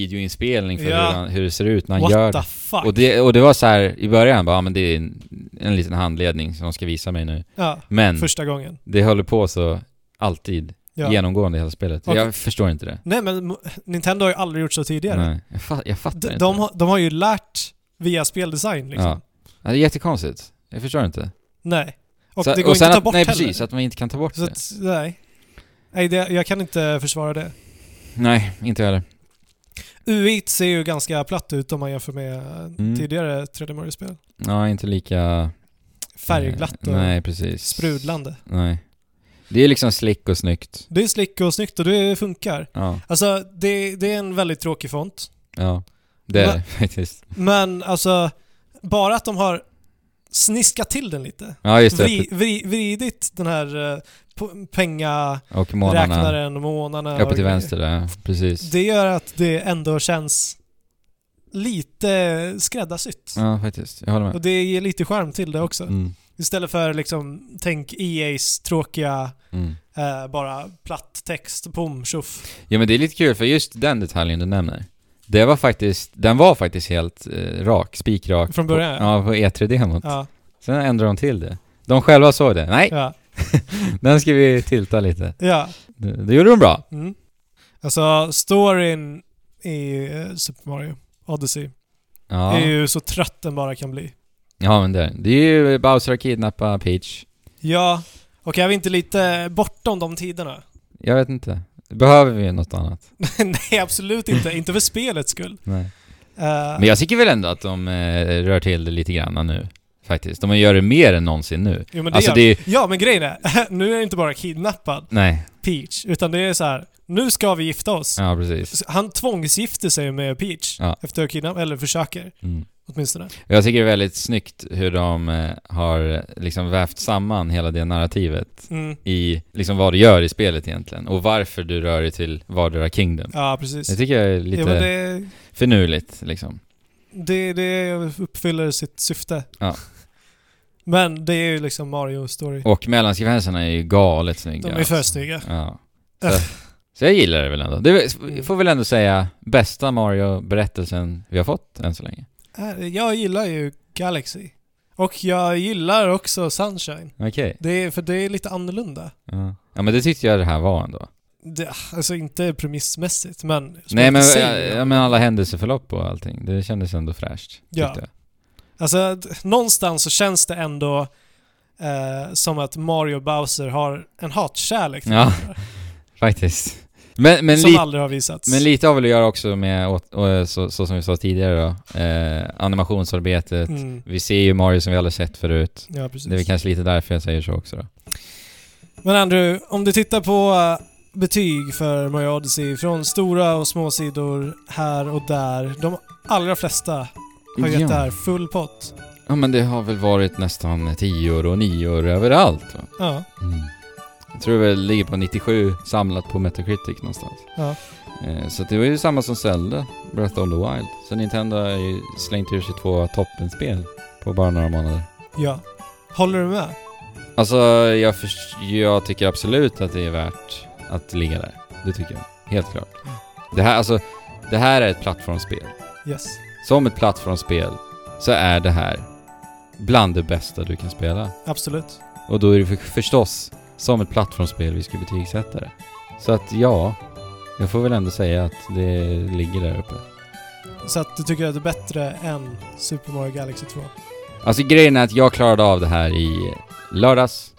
A: videoinspelning för
B: Ja.
A: hur, han, hur det ser ut när han
B: What
A: gör
B: the
A: det.
B: fuck?
A: Och det. Och det var så här i början, bara, ja, men det är en, en liten handledning som de ska visa mig nu.
B: ja,
A: Men
B: första gången.
A: det håller på så alltid,
B: Ja.
A: genomgående i hela spelet.
B: Okej.
A: Jag förstår inte det.
B: Nej men mo- Nintendo har ju aldrig gjort så tidigare.
A: Nej, jag, fa- jag fattar
B: De,
A: inte.
B: de, har, de har ju lärt via speldesign liksom.
A: ja. Ja, Det är jättekonstigt. Jag förstår inte.
B: Nej. Och
A: Så-
B: det går inte
A: sen
B: att ta
A: att-
B: bort
A: Nej,
B: heller.
A: precis. Att man inte kan ta bort
B: Så
A: det.
B: att, nej. Nej, det, jag kan inte försvara det.
A: Nej, inte jag heller.
B: UIT ser ju ganska platt ut om man jämför med eh,
A: Mm.
B: tidigare 3D Mario-spel.
A: Ja, inte lika... eh,
B: Färgglatt och
A: Nej, precis.
B: sprudlande.
A: Nej. Det är liksom slick och snyggt.
B: Det är slick och snyggt och det funkar.
A: Ja,
B: Alltså, det, det är en väldigt tråkig font.
A: ja. Det är
B: Va-
A: det faktiskt.
B: Men alltså, bara att de har sniskat till den lite.
A: Ja, just det.
B: Vri, vri, vridit den här eh, po- pengaräknaren
A: och månarna
B: och månarna. och
A: uppe till
B: grejer.
A: vänster där. Precis.
B: Det gör att det ändå känns lite skräddarsytt.
A: Ja, faktiskt. Jag håller med.
B: Och det ger lite charm till det också.
A: Mm.
B: Istället för liksom, tänk EA's tråkiga,
A: Mm.
B: eh, bara platt text, bom, tjoff.
A: Ja men det är lite kul för just den detaljen du nämner Det var faktiskt, den var faktiskt helt eh, rak, spikrak
B: Från början,
A: på, ja på E3-demot
B: Ja,
A: Sen ändrade de till det De själva såg det, nej
B: ja,
A: den ska vi tilta lite
B: ja.
A: Det, det gjorde de bra
B: Mm. Alltså, storyn i eh, Super Mario Odyssey
A: Ja,
B: är ju så trött den bara kan bli.
A: ja men det, det är ju Bowser har kidnappat Peach
B: Ja, och är vi inte lite bortom de tiderna?
A: Jag vet inte, behöver vi något annat?
B: Nej, absolut inte. inte för spelets skull.
A: Nej
B: Eh,
A: Men jag tycker väl ändå att de eh, rör till det lite grann nu Faktiskt, de gör det mer än någonsin nu
B: jo, men det
A: Alltså
B: gör...
A: det är
B: Ja, men grejen är, nu är det inte bara kidnappad
A: nej,
B: Peach, utan det är så här. nu ska vi gifta oss.
A: ja precis
B: Han tvångsgifter sig med Peach
A: Ja.
B: efter kidnapp eller försöker
A: mm.
B: åtminstone.
A: Jag tycker det är väldigt snyggt hur de eh, har liksom vävt samman hela det narrativet
B: Mm.
A: i liksom vad du gör i spelet egentligen och varför du rör dig till vardera Kingdom.
B: Ja, precis.
A: Det tycker jag är lite
B: ja, men det,
A: finurligt liksom.
B: det, det uppfyller sitt syfte.
A: Ja. Oh
B: Men det är ju liksom Mario story.
A: Och mellansekvenserna är ju galet snygga.
B: De är för snygga.
A: Ja. Äh. Så, så jag gillar det väl ändå. Det är- får väl ändå säga bästa Mario-berättelsen vi har fått än så länge.
B: Äh, Jag gillar ju Galaxy. Och jag gillar också Sunshine.
A: Okej.
B: Det är, för det är lite annorlunda.
A: Ja. ja men det tyckte jag det här var ändå.
B: Det, alltså inte premissmässigt, men...
A: Nej
B: spelet
A: men,
B: i sig
A: ja,
B: är
A: ja, men alla händelseförlopp och allting. Det kändes ändå fräscht.
B: Ja.
A: tyckte jag.
B: Alltså, d- någonstans så känns det ändå eh, som att Mario Bowser har en hatkärlek till
A: Ja,
B: varandra,
A: Faktiskt. Men, men
B: Som
A: lite
B: aldrig har visats.
A: Men lite har väl att göra också med, åt- och eh, så, så som vi sa tidigare då, eh, animationsarbetet.
B: mm.
A: Vi ser ju Mario som vi aldrig sett förut.
B: Ja, precis.
A: Det är väl kanske lite därför jag säger så också då.
B: Men Andrew, om du tittar på eh, betyg för Mario Odyssey från stora och små sidor här och där. De allra flesta har gett det här full pott.
A: ja, men det har väl varit nästan tior och nior överallt va?
B: Ja.
A: Jag tror väl det ligger på 97 samlat på Metacritic någonstans.
B: Ja.
A: Eh, så det var ju samma som Zelda, Breath of the Wild. Så Nintendo har ju slängt ur sig två toppenspel på bara några månader.
B: ja. Håller du med?
A: Alltså, jag, förs- jag tycker absolut att det är värt att ligga där. Det tycker jag. Helt klart. Det här, alltså, det här är ett plattformsspel.
B: Yes.
A: Som ett plattformsspel så är det här bland det bästa du kan spela.
B: Absolut.
A: Och då är det för- förstås som ett plattformsspel vi ska betygsätta det. Så att ja, jag får väl ändå säga att det ligger där uppe.
B: Så att du tycker att det är bättre än Super Mario Galaxy 2?
A: Alltså grejen är att jag klarade av det här i lördags.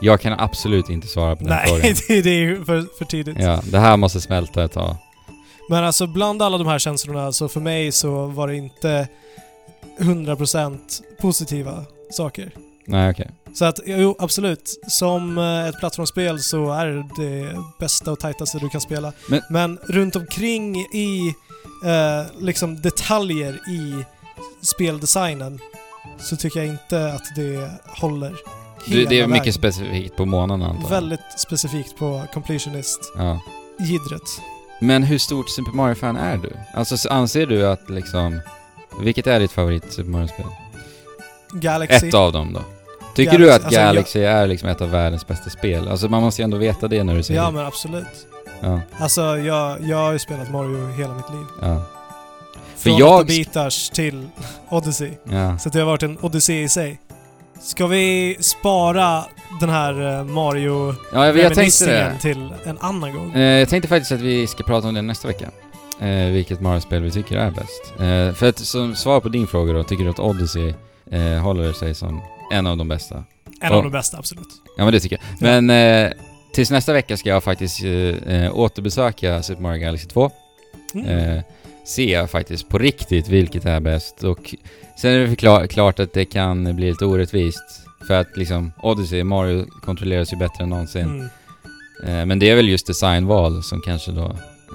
A: Jag kan absolut inte svara på den
B: Nej,
A: frågan.
B: det, det är ju för, för tidigt.
A: Ja, det här måste smälta ett tag.
B: Men alltså bland alla de här känslorna så för mig så var det inte 100% positiva saker.
A: Nej, okej.
B: Så att jo, absolut. Som eh, ett plattformsspel så är det det bästa och tajtaste du kan spela.
A: Men-
B: runt omkring i eh, liksom detaljer i speldesignen så tycker jag inte att det håller
A: Du,
B: hela
A: det är mycket
B: vägen.
A: specifikt på månaden antar jag.
B: Väldigt specifikt på completionist-gidret.
A: Ja. Men hur stort Super Mario-fan är du? Alltså s- anser du att liksom... Vilket är ditt favorit Super Mario-spel?
B: Galaxy.
A: Ett av dem då? Tycker
B: Galaxy.
A: du att
B: Alltså,
A: Galaxy är liksom ett av världens bästa spel? Alltså man måste ju ändå veta det när du säger
B: Ja
A: det.
B: men absolut.
A: Ja,
B: Alltså jag, jag har ju spelat Mario hela mitt liv.
A: ja,
B: Från
A: jag-
B: 8 bitars till Odyssey.
A: ja.
B: Så det har varit en odyssé i sig. Ska vi spara den här eh, mario
A: Ja, jag, jag tänkte
B: reminiscingen
A: det.
B: till en annan gång?
A: Eh, jag tänkte faktiskt att vi ska prata om det nästa vecka. Eh, vilket Mario-spel vi tycker är bäst. Eh, för att som svar på din fråga då, tycker du att Odyssey eh, håller sig som en av de bästa?
B: En
A: ja.
B: av de bästa, absolut.
A: Ja men det tycker jag. Men eh, tills nästa vecka ska jag faktiskt eh, eh, återbesöka Super Mario Galaxy 2.
B: Mm.
A: Eh, ser jag faktiskt på riktigt vilket är bäst. Och sen är det förkla- klart att det kan bli lite orättvist. För att liksom Odyssey, Mario kontrolleras ju bättre än någonsin.
B: Mm.
A: Eh, Men det är väl just designval som kanske då...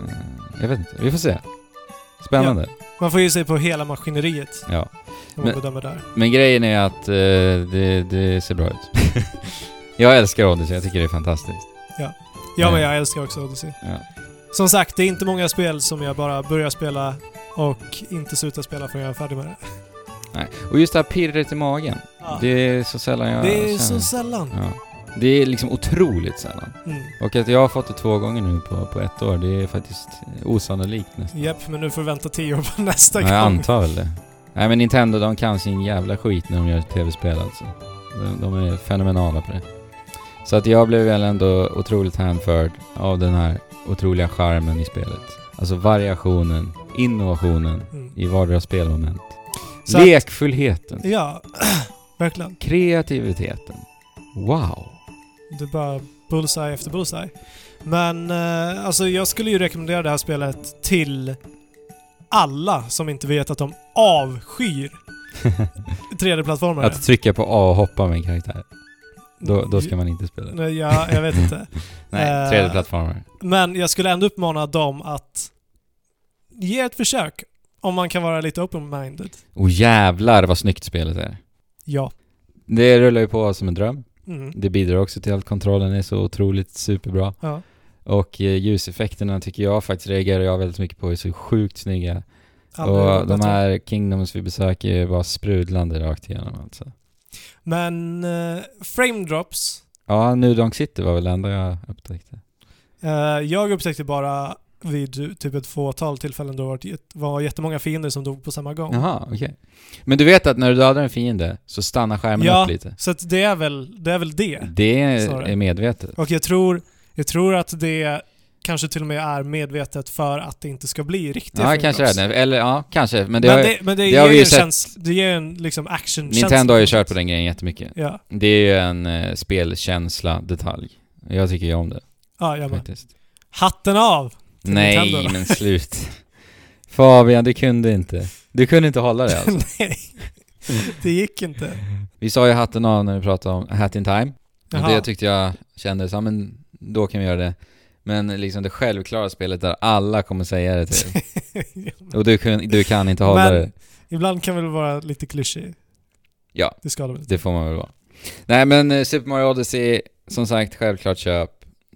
A: eh, Jag vet inte, vi får se. Spännande.
B: Man får ju se på hela maskineriet
A: Ja.
B: när man
A: Men-
B: bedömer där.
A: Men grejen är att eh, det, det ser bra ut. jag älskar Odyssey, jag tycker det är fantastiskt.
B: Ja, men
A: Eh.
B: jag älskar också Odyssey.
A: Ja.
B: Som sagt, det är inte många spel som jag bara börjar spela och inte slutar spela förrän jag är färdig med det.
A: Nej. Och just det här pirret i magen.
B: Ja.
A: Det är så sällan jag
B: Det är
A: känner.
B: så sällan.
A: ja. Det är liksom otroligt sällan.
B: Mm.
A: Och att jag har fått det två gånger nu på, på ett år, det är faktiskt osannolikt nästan.
B: Japp, men nu får vi vänta tio år på nästa
A: Ja, jag
B: gång.
A: antar väl det. Nej men Nintendo, de kan sin jävla skit när de gör tv-spel alltså. De, de är fenomenala på det. Så att jag blev väl ändå otroligt hänförd av den här otroliga charmen i spelet. Alltså variationen, innovationen
B: Mm.
A: i vardera spelmoment.
B: Så att-
A: Lekfullheten,
B: Ja, verkligen.
A: kreativiteten. Wow!
B: Det är bara bullseye efter bullseye. Men eh, alltså jag skulle ju rekommendera det här spelet till alla som inte vet att de avskyr 3D-plattformar.
A: Att trycka på A och hoppa med en karaktär, då, då ska man inte spela det.
B: Nej, ja, jag vet inte.
A: Nej,
B: Eh,
A: 3D-plattformar.
B: Men jag skulle ändå uppmana dem att ge ett försök. Om man kan vara lite open-minded.
A: Och jävlar vad snyggt spelet är.
B: Ja.
A: Det rullar ju på som en dröm.
B: Mm.
A: Det bidrar också till att kontrollen är så otroligt superbra.
B: ja.
A: Och eh, ljuseffekterna tycker jag faktiskt reagerar jag väldigt mycket på, är så sjukt snygga.
B: Aldrig
A: Och de
B: bättre.
A: här Kingdoms vi besöker är bara sprudlande rakt igenom alltså.
B: Men eh, frame drops.
A: Ja, New Donk City var väl det enda jag upptäckte.
B: Eh, jag upptäckte bara vid typ ett fåtal tillfällen då det var jätt- var jättemånga fiender som dog på samma gång.
A: Jaha, okej. Men du vet att när du dödar en fiende så stannar skärmen
B: Ja.
A: upp lite?
B: Så att det, är väl, det är väl det.
A: Det är,
B: Sorry.
A: är medvetet.
B: Och jag tror, jag tror att det kanske till och med är medvetet för att det inte ska bli riktiga
A: Ja,
B: frame
A: kanske
B: drops.
A: det är det. Eller ja, kanske. Men
B: Men
A: det
B: det,
A: har,
B: men det,
A: det
B: ger
A: har vi
B: ju
A: ju
B: en
A: sett.
B: käns- det ger en liksom action-känsla.
A: Nintendo har ju kört på den grejen jättemycket.
B: Ja,
A: Det är ju en eh, spelkänsla-detalj. Jag tycker ju om det
B: ja jag med.
A: faktiskt.
B: Hatten av! till Nintendo
A: Nej,
B: då.
A: men slut. Fabian, du kunde inte. Du kunde inte hålla det alltså.
B: Nej, det gick inte.
A: Vi sa ju hatten av när vi pratade om Hat in Time. Och
B: Jaha.
A: det tyckte jag kändes, ja men då kan vi göra det. Men liksom det självklara spelet där alla kommer säga det till. Och du, kun, du kan inte hålla
B: Men-
A: det.
B: Ibland kan väl vara lite klyschig.
A: Ja.
B: Det ska det väl inte.
A: Det får man väl vara. Nej men eh, Super Mario Odyssey, som sagt självklart köp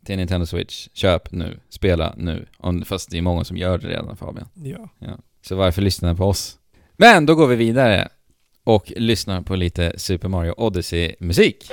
A: till Nintendo Switch. Köp nu, spela nu. Om, fast det är många som gör det redan Fabian.
B: Ja.
A: Så varför lyssna på oss? Men då går vi vidare och lyssnar på lite Super Mario Odyssey-musik.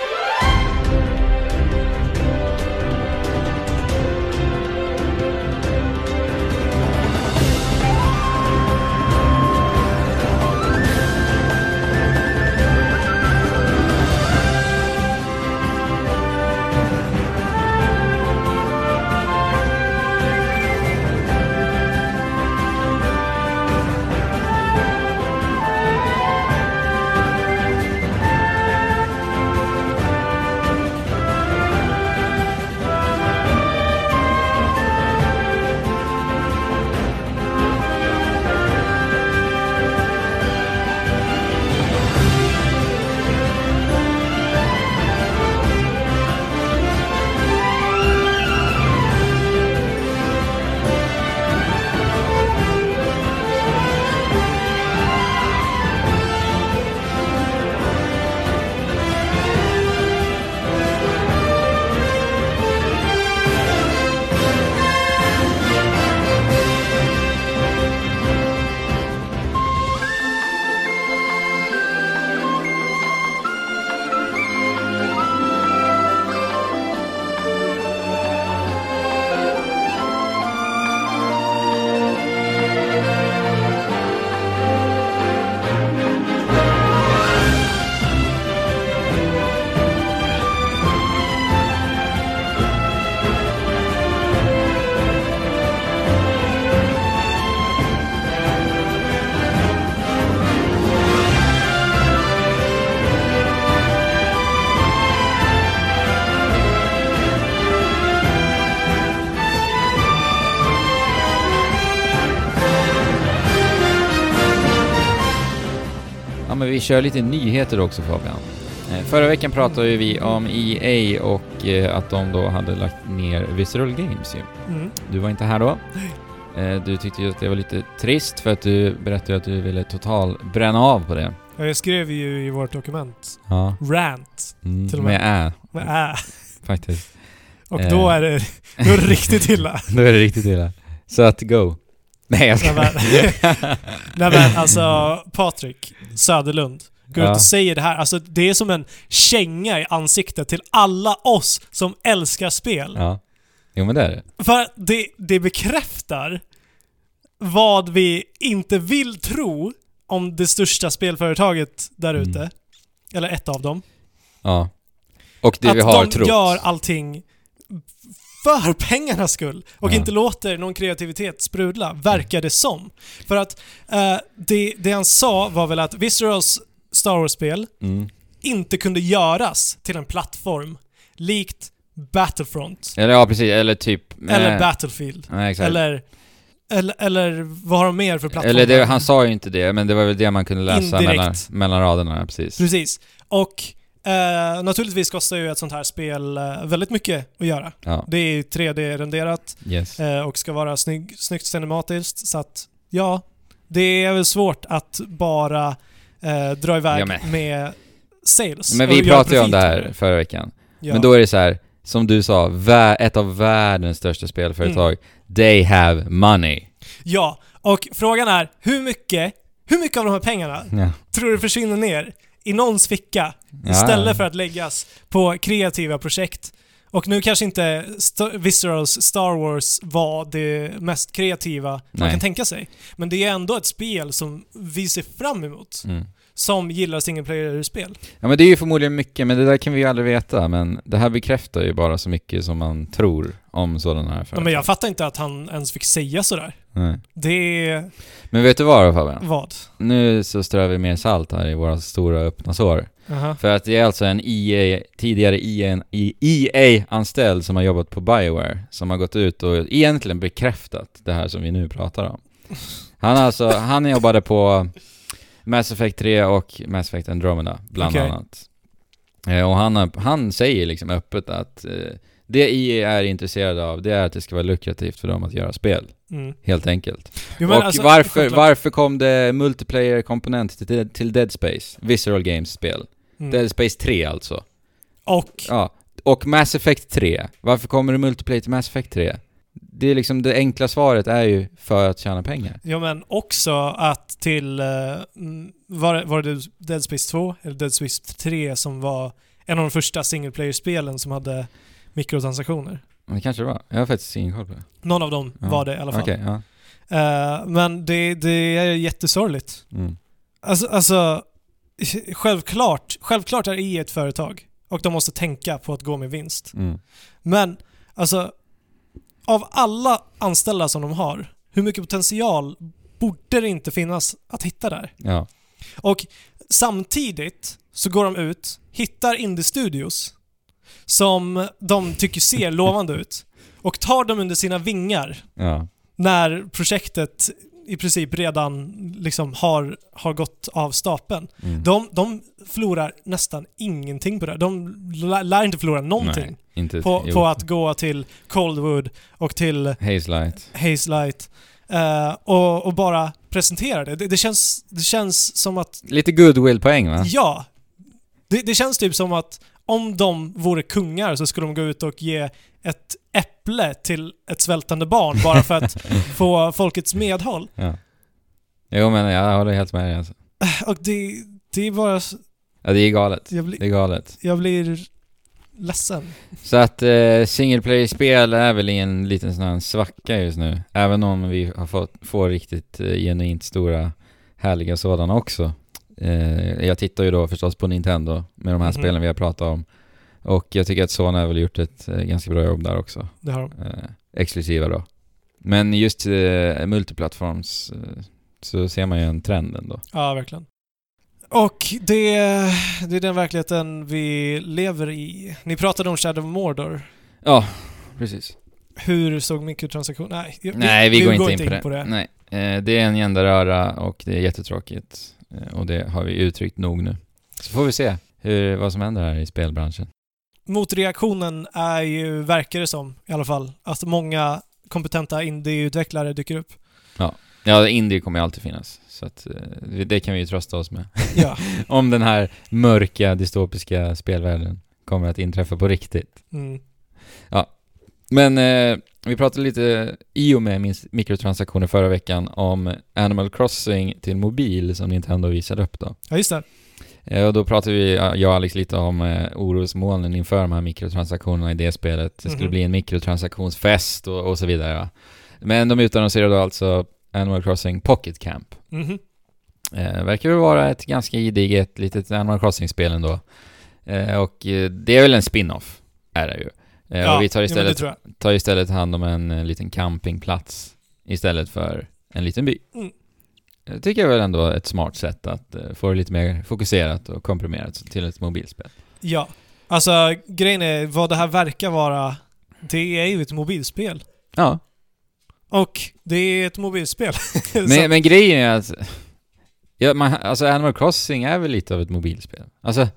A: men vi kör lite nyheter också Fabian. Eh, Förra veckan pratade ju vi om EA och eh, att de då hade lagt ner Visceral Games ju.
B: Mm.
A: Du var inte här då. Eh, Du tyckte ju att det var lite trist för att du berättade att du ville total bränna av på det.
B: Ja, jag skrev ju i vårt dokument
A: Ja,
B: rant.
A: mm,
B: Till och med.
A: med ä
B: Med ä.
A: faktiskt.
B: Och då
A: Eh.
B: är det, då är det riktigt illa.
A: Då är det riktigt illa. Så att go. Nej jag
B: Nej
A: ska...
B: men, nej, men alltså Patrik Söderlund går
A: Ja.
B: ut och säger det här. Alltså det är som en känga i ansiktet till alla oss som älskar spel.
A: Ja. Jo men det är det.
B: För att det, det bekräftar vad vi inte vill tro om det största spelföretaget där
A: Mm.
B: ute. Eller ett av dem.
A: Ja. Och det
B: att
A: vi har
B: de
A: trott.
B: gör allting för pengarnas skull och
A: Ja.
B: inte låter någon kreativitet sprudla, verkar det som. För att eh, det, det han sa var väl att Viscerals Star Wars-spel
A: Mm.
B: inte kunde göras till en plattform likt Battlefront
A: Eller ja precis, eller typ...
B: eller
A: eh,
B: Battlefield.
A: Nej, exakt.
B: Eller, eller, eller vad har de mer för plattformar?
A: Eller det, han sa ju inte det, men det var väl det man kunde läsa
B: Indirekt.
A: mellan, mellan raderna, precis.
B: Precis. Och eh, naturligtvis kostar ju ett sånt här spel eh, väldigt mycket att göra.
A: Ja,
B: Det är ju 3D-renderat
A: yes.
B: eh, och ska vara snygg, snyggt cinematiskt. Så att, ja, det är väl svårt att bara eh, dra iväg
A: Ja, men-
B: med sales.
A: Men
B: och
A: vi
B: göra
A: pratade ju om
B: profit.
A: det här förra veckan.
B: Ja.
A: Men då är det så här, som du sa, vä- ett av världens största spelföretag,
B: Mm.
A: they have money.
B: ja, och frågan är hur mycket, hur mycket av de här pengarna
A: Ja.
B: tror du försvinner ner i någons ficka
A: Ja.
B: istället för att läggas på kreativa projekt? Och nu kanske inte St- Viscerals Star Wars var det mest kreativa man
A: Nej.
B: kan tänka sig. Men det är ändå ett spel som vi ser fram emot,
A: Mm.
B: som gillar single player-spel.
A: Ja men det är ju förmodligen mycket, men det där kan vi ju aldrig veta. Men det här bekräftar ju bara så mycket som man tror om sådana här
B: Ja,
A: företag.
B: men jag fattar inte att han ens fick säga sådär.
A: Nej.
B: Det är
A: men vet du vad då Fabian?
B: vad?
A: Nu så strör vi mer salt här i våra stora öppna sår.
B: Aha.
A: För att det är alltså en EA, tidigare E EA EA-anställd E som har jobbat på Bioware som har gått ut och egentligen bekräftat det här som vi nu pratar om. Han alltså, han jobbade på Mass Effect 3 och Mass Effect Andromeda bland
B: Okej.
A: annat. Eh, Och han, har- han säger liksom öppet att eh, det EA är intresserade av det är att det ska vara lukrativt för dem att göra spel,
B: Mm.
A: helt enkelt
B: Jo, men
A: och
B: alltså,
A: varför,
B: självklart.
A: varför kom det multiplayer-komponent till, till Dead Space? Visceral Games spel.
B: Mm.
A: Dead Space 3 alltså.
B: Och
A: Ja. Och Mass Effect 3. Varför kommer det multiplayer till Mass Effect 3? Det är liksom det enkla svaret är ju för att tjäna pengar.
B: Ja men också att till, eh, mm, var, det- var det Dead Space 2 eller Dead Space 3 som var en av de första single player-spelen som hade mikrotransaktioner?
A: Men det kanske det var. Jag har faktiskt ingen koll på det.
B: Någon av dem
A: Ja,
B: var det i alla fall.
A: Okej, ja.
B: Eh, men det, det är jättesorgligt.
A: Mm.
B: Alltså, alltså självklart, självklart är EA ett företag och de måste tänka på att gå med vinst.
A: Mm.
B: Men alltså, av alla anställda som de har, hur mycket potential borde det inte finnas att hitta där?
A: Ja.
B: Och samtidigt så går de ut, hittar indie-studios som de tycker ser lovande ut och tar dem under sina vingar
A: Ja.
B: när projektet i princip redan liksom har, har gått av stapeln.
A: Mm.
B: De, de förlorar nästan ingenting på det. De lär, lär inte förlora någonting
A: Nej, inte...
B: på,
A: jo.
B: på att gå till Coldwood och till
A: Haze Light.
B: Haze Light eh, och, och bara presentera det. det. Det känns, det känns som att
A: Lite goodwill-poäng va?
B: Ja. Det, det känns typ som att om de vore kungar så skulle de gå ut och ge ett äpple till ett svältande barn bara för att få folkets medhåll.
A: Ja. Jo men jag håller helt med dig alltså.
B: Och det, det är bara... s-
A: Ja, det är galet.
B: Jag blir,
A: Det är galet.
B: jag blir ledsen.
A: Så att eh, single player-spel är väl i en liten sån här svacka just nu. Även om vi har fått, får riktigt eh, genuint stora, härliga sådana också. Eh, jag tittar ju då förstås på Nintendo med de här
B: Mhm.
A: spelen vi har pratat om. Och jag tycker att Sony har väl gjort ett eh, ganska bra jobb där också.
B: Det har de.
A: Eh, exklusiva då. Men just eh, multiplattforms eh, så ser man ju en trend ändå.
B: Ja, verkligen. Och det, det är den verkligheten vi lever i. Ni pratade om Shadow of Mordor.
A: Ja, precis.
B: Hur såg mikrotransaktioner... Nej, vi,
A: Nej, vi, går, inte in på det.
B: det.
A: Nej. Eh, det är en jämna röra och det är jättetråkigt. Eh, och det har vi uttryckt nog nu. Så får vi se hur, vad som händer här i spelbranschen.
B: Motreaktionen är ju, verkar det som i alla fall, att många kompetenta indieutvecklare dyker upp.
A: Ja, indie kommer ju alltid finnas. Så att, eh, det- det kan vi ju trösta oss med.
B: Ja.
A: Om den här mörka, dystopiska spelvärlden kommer att inträffa på riktigt.
B: Mm.
A: Men eh, vi pratade lite i och med min mikrotransaktioner förra veckan om Animal Crossing till mobil som Nintendo visade upp då.
B: Ja, just det.
A: Eh, och då pratade vi, ja, jag och Alex, lite om eh, orosmolnen inför de här mikrotransaktionerna i det spelet. Det skulle
B: Mhm.
A: bli en mikrotransaktionsfest och, och så vidare. Ja. Men de utannonserade då alltså Animal Crossing Pocket Camp.
B: Mhm.
A: Eh, verkar väl vara ett ganska gediget litet Animal Crossing-spel ändå. Eh, och eh, det är väl en spin-off, är det ju. Eh,
B: ja,
A: och vi tar
B: jo, men
A: istället
B: det tror jag.
A: tar istället hand om en eh, liten campingplats istället för en liten by.
B: Mm.
A: Det tycker jag väl ändå är ett smart sätt att eh, få det lite mer fokuserat och komprimerat till ett mobilspel.
B: Ja. Alltså, grejen är, vad det här verkar vara, det är ju ett mobilspel.
A: Ja,
B: Och det är ett mobilspel. Så-
A: men, men grejen är att ja, man, alltså Animal Crossing är väl lite av ett mobilspel? Alltså,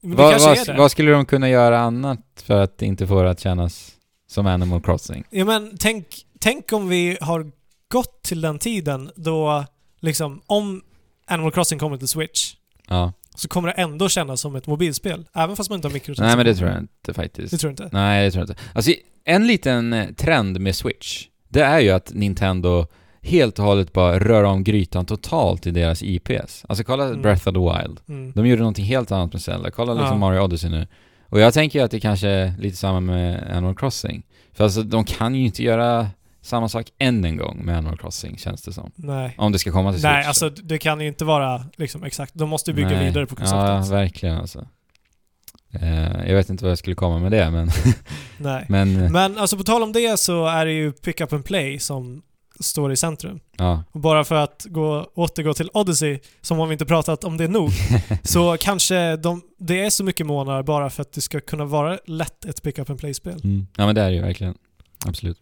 B: Men det
A: vad,
B: kanske
A: vad,
B: är det.
A: vad skulle de kunna göra annat för att inte få det att kännas som Animal Crossing?
B: Ja, men tänk, tänk om vi har gått till den tiden då, liksom, om Animal Crossing kommer till Switch
A: Ja.
B: så kommer det ändå kännas som ett mobilspel. Även fast man inte har
A: Nej,
B: mikrotransaktioner.
A: men det tror jag inte faktiskt.
B: Det tror jag inte.
A: Nej, det tror jag inte. Alltså, en liten eh, trend med Switch, det är ju att Nintendo helt och hållet bara rör om grytan totalt i deras IPs. Alltså kolla
B: Mm.
A: Breath of the Wild.
B: Mm.
A: De gjorde någonting helt annat med Zelda. Kolla liksom
B: Ja.
A: Mario Odyssey nu. Och jag tänker ju att det kanske är lite samma med Animal Crossing. För alltså, de kan ju inte göra samma sak än en gång med Animal Crossing, känns det som.
B: Nej.
A: Om det ska komma till Switch.
B: Nej, alltså det kan ju inte vara liksom exakt. De måste ju bygga
A: Nej.
B: vidare på
A: Ja,
B: konceptet.
A: verkligen alltså. Eh, jag vet inte vad jag skulle komma med det, men...
B: Nej.
A: men eh,
B: Men alltså på tal om det så är det ju pick up and play som står i centrum.
A: ja.
B: Och bara för att gå, återgå till Odyssey, som om vi inte pratat om det nog, så kanske de, det är så mycket månader bara för att det ska kunna vara lätt ett pick up and play-spel.
A: Mm. Ja men det är det ju verkligen. Absolut.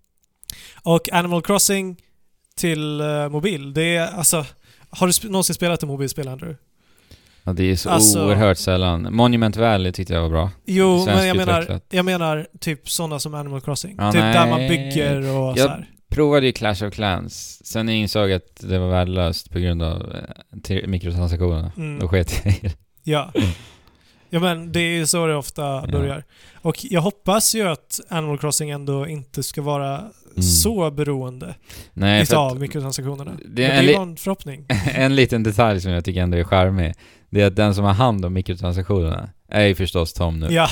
B: Och Animal Crossing till eh, mobil, det är alltså... Har du sp- någonsin spelat ett mobilspel, Andrew?
A: Ja, det är så
B: Alltså-
A: oerhört sällan. Monument Valley tyckte jag var bra.
B: Jo,
A: Svenskt
B: men jag menar,
A: utvecklat.
B: jag menar typ sådana som Animal Crossing.
A: Ja,
B: typ där man
A: nej.
B: bygger och så här.
A: Provade ju Clash of Clans, sen insåg jag att det var värdelöst på grund av eh, till- mikrotransaktionerna.
B: Mm.
A: Då sket jag i det.
B: Ja. ja, men det är ju så det ofta
A: Ja.
B: börjar. Och jag hoppas ju att Animal Crossing ändå inte ska vara så beroende
A: Mm. Nej, för att
B: utav mikrotransaktionerna.
A: det
B: Det
A: är
B: är
A: en
B: en,
A: li-
B: det var en förhoppning.
A: en liten detalj som jag tycker ändå är charmig, det är att den som har hand om mikrotransaktionerna är ju förstås Tom nu.
B: Ja.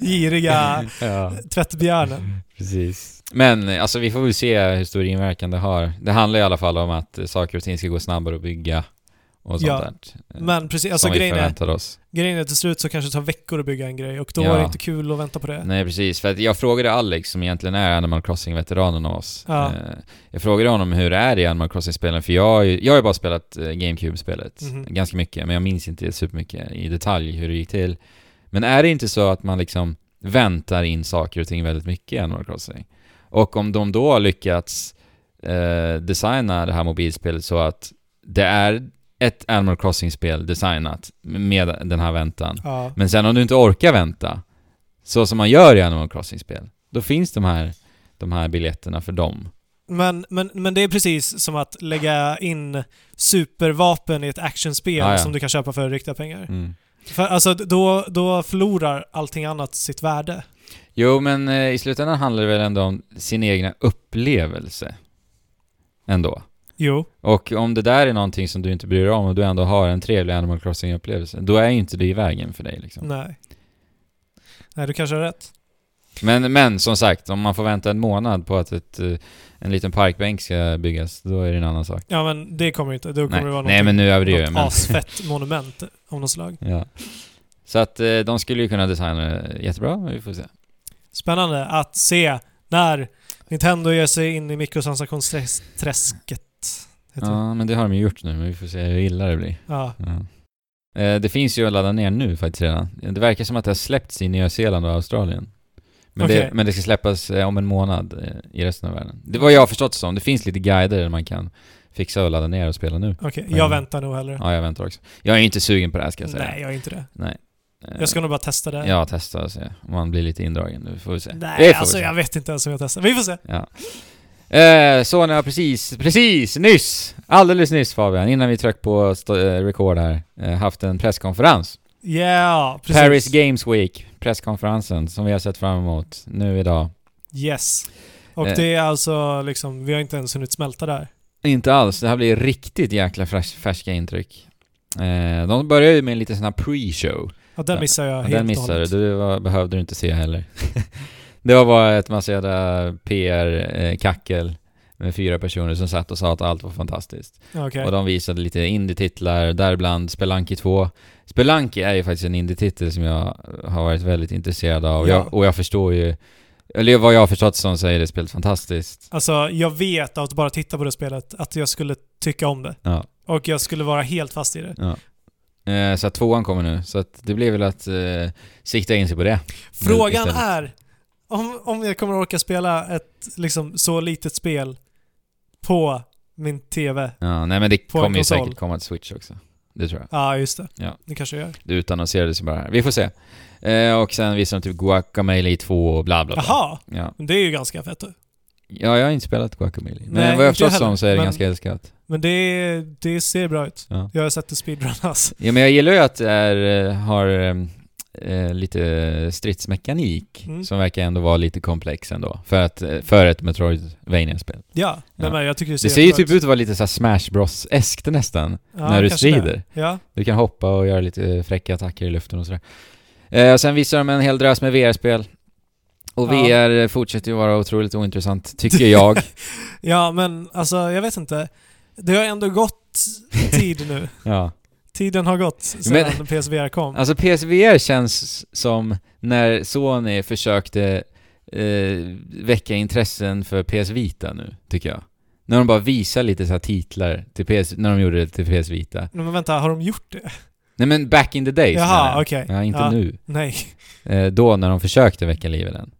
B: Giriga
A: ja,
B: tvättbjörnen.
A: precis. Men eh, alltså vi får väl se hur stor inverkan det har. Det handlar i alla fall om att eh, saker och ting ska gå snabbare att bygga och sånt
B: Ja.
A: där. Eh,
B: Men precis, alltså
A: som vi
B: grejen är,
A: förväntar oss.
B: grejen är till slut så kanske det tar veckor att bygga en grej och då
A: Ja.
B: är det inte kul att vänta på det.
A: Nej precis, för att jag frågade Alex som egentligen är Animal Crossing-veteranen av oss.
B: Ja.
A: Eh, Jag frågade honom hur det är i Animal Crossing-spelen, för jag, har ju- jag har ju bara spelat eh, GameCube-spelet
B: Mhm.
A: ganska mycket, men jag minns inte supermycket i detalj hur det gick till. Men är det inte så att man liksom väntar in saker och ting väldigt mycket i Animal Crossing? Och om de då har lyckats eh, designa det här mobilspelet så att det är ett Animal Crossing-spel designat med den här väntan,
B: Ja.
A: men sen om du inte orkar vänta, så som man gör i Animal Crossing-spel, då finns de här, de här biljetterna för dem.
B: Men, men, men det är precis som att lägga in supervapen i ett actionspel
A: Ja, ja.
B: som du kan köpa för riktiga pengar. För alltså då, då förlorar allting annat sitt värde.
A: Jo, men eh, i slutändan handlar det väl ändå om sin egna upplevelse. Ändå.
B: Jo.
A: Och om det där är någonting som du inte bryr dig om och du ändå har en trevlig Animal Crossing-upplevelse, då är ju inte det i vägen för dig liksom.
B: Nej. Nej, du kanske har rätt.
A: Men, men som sagt, om man får vänta en månad på att ett, eh, en liten parkbänk ska byggas, då är det en annan sak.
B: Ja men det kommer ju inte. Då kommer
A: Nej,
B: det vara
A: Nej men nu överdriver jag.
B: något
A: men-
B: asfett monument av något slag.
A: Ja. Så att eh, de skulle ju kunna designa det jättebra, men vi får se.
B: Spännande att se när Nintendo ger sig in i mikrotransaktionsträsket. Heter det.
A: Ja, men det har de ju gjort nu, men vi får se hur illa det blir.
B: ja.
A: Ja. Eh, det finns ju att ladda ner nu faktiskt redan. Det verkar som att det har släppts i Nya Zeeland och Australien. Men,
B: Okej.
A: det, men det ska släppas eh, om en månad eh, i resten av världen. Det var jag har förstått det som. Det finns lite guider där man kan fixa och ladda ner och spela nu.
B: Okej,
A: Men-
B: jag väntar nog hellre.
A: Ja, jag väntar också. Jag är inte sugen på det här ska jag säga.
B: Nej, jag är inte det.
A: Eh,
B: Jag ska nog bara testa det.
A: Ja, testa och se. Om man blir lite indragen. Det får vi se.
B: Nej,
A: det får
B: alltså
A: vi se.
B: jag vet inte ens om jag testar. Vi får se.
A: Ja. Eh, Sony har precis, precis nyss, alldeles nyss Fabian, innan vi tryckte på st- eh, record här, eh, haft en presskonferens.
B: Ja, yeah, precis.
A: Paris Games Week, presskonferensen som vi har sett fram emot nu idag.
B: Yes. Och
A: Eh.
B: det är alltså liksom, vi har inte ens hunnit smälta där.
A: Inte alls, det här blir riktigt jäkla färs- färska intryck. Eh, de börjar ju med en liten sån här pre-show.
B: Ja, den
A: Ja,
B: missar jag
A: Ja,
B: helt
A: Den
B: och
A: missade du,
B: hållet.
A: det var, behövde du inte se heller. det var bara ett massa jävla PR-kackel med fyra personer som satt och sa att allt var fantastiskt.
B: Okej.
A: Och de visade lite indie-titlar, däribland Spelanki 2. Spelanki är ju faktiskt en indie-titel som jag har varit väldigt intresserad av.
B: Ja.
A: Jag, och jag förstår ju... Eller vad jag har förstått som så är det spelet fantastiskt.
B: Alltså, jag vet av att bara titta på det spelet att jag skulle tycka om det.
A: Ja.
B: Och jag skulle vara helt fast i det.
A: Eh, så att tvåan kommer nu. Så att det blir väl att eh, sikta in sig på det.
B: Frågan
A: istället.
B: är om, om jag kommer orka spela ett liksom, så litet spel på min TV.
A: Ja, nej men det
B: På en
A: kommer ju
B: konsol.
A: säkert komma till Switch också. Det tror jag.
B: Ja, just det.
A: Ja.
B: Det kanske jag gör.
A: Det utannonserades ju bara här. Vi får se. Eh, och sen visade de typ Guacamelee 2 och bla bla bla.
B: Jaha!
A: Ja.
B: Men det är ju ganska fett. då.
A: ja, jag har inte spelat Guacamelee. Men
B: Nej,
A: vad jag
B: inte jag
A: förstått som
B: heller.
A: så är det
B: Men-
A: ganska älskat.
B: Men det, det ser bra ut.
A: Ja.
B: Jag har sett alltså. det speedrunas.
A: Ja, men jag gillar ju att det är, eh, har eh, eh, lite stridsmekanik
B: Mm.
A: som verkar ändå vara lite komplex ändå. För, att, eh, för ett Metroidvania-spel.
B: Ja,
A: Ja.
B: Nej, men jag tycker det ser
A: Det ser ju
B: jättebra
A: typ ut att vara lite så här Smash Bros-eskt nästan,
B: Ja,
A: när du
B: kanske det.
A: strider.
B: Ja,
A: Du kan hoppa och göra lite eh, fräcka attacker i luften och sådär. Eh, sen visar de en hel drös med VR-spel. Och
B: Ja.
A: VR fortsätter ju vara otroligt ointressant, tycker jag.
B: ja men alltså jag vet inte. Det har ändå gått tid nu.
A: ja.
B: Tiden har gått sedan PSVR kom.
A: Alltså PSVR känns som när Sony försökte eh, väcka intressen för PS Vita nu, tycker jag. När de bara visar lite så här titlar till PS, när de gjorde det till PS Vita.
B: Nej, Men vänta, har de gjort det?
A: Nej men back in the days. menar
B: Jaha,
A: jag.
B: okej.
A: Ja, inte
B: Ja.
A: nu.
B: Nej.
A: Eh, då när de försökte väcka liv i den.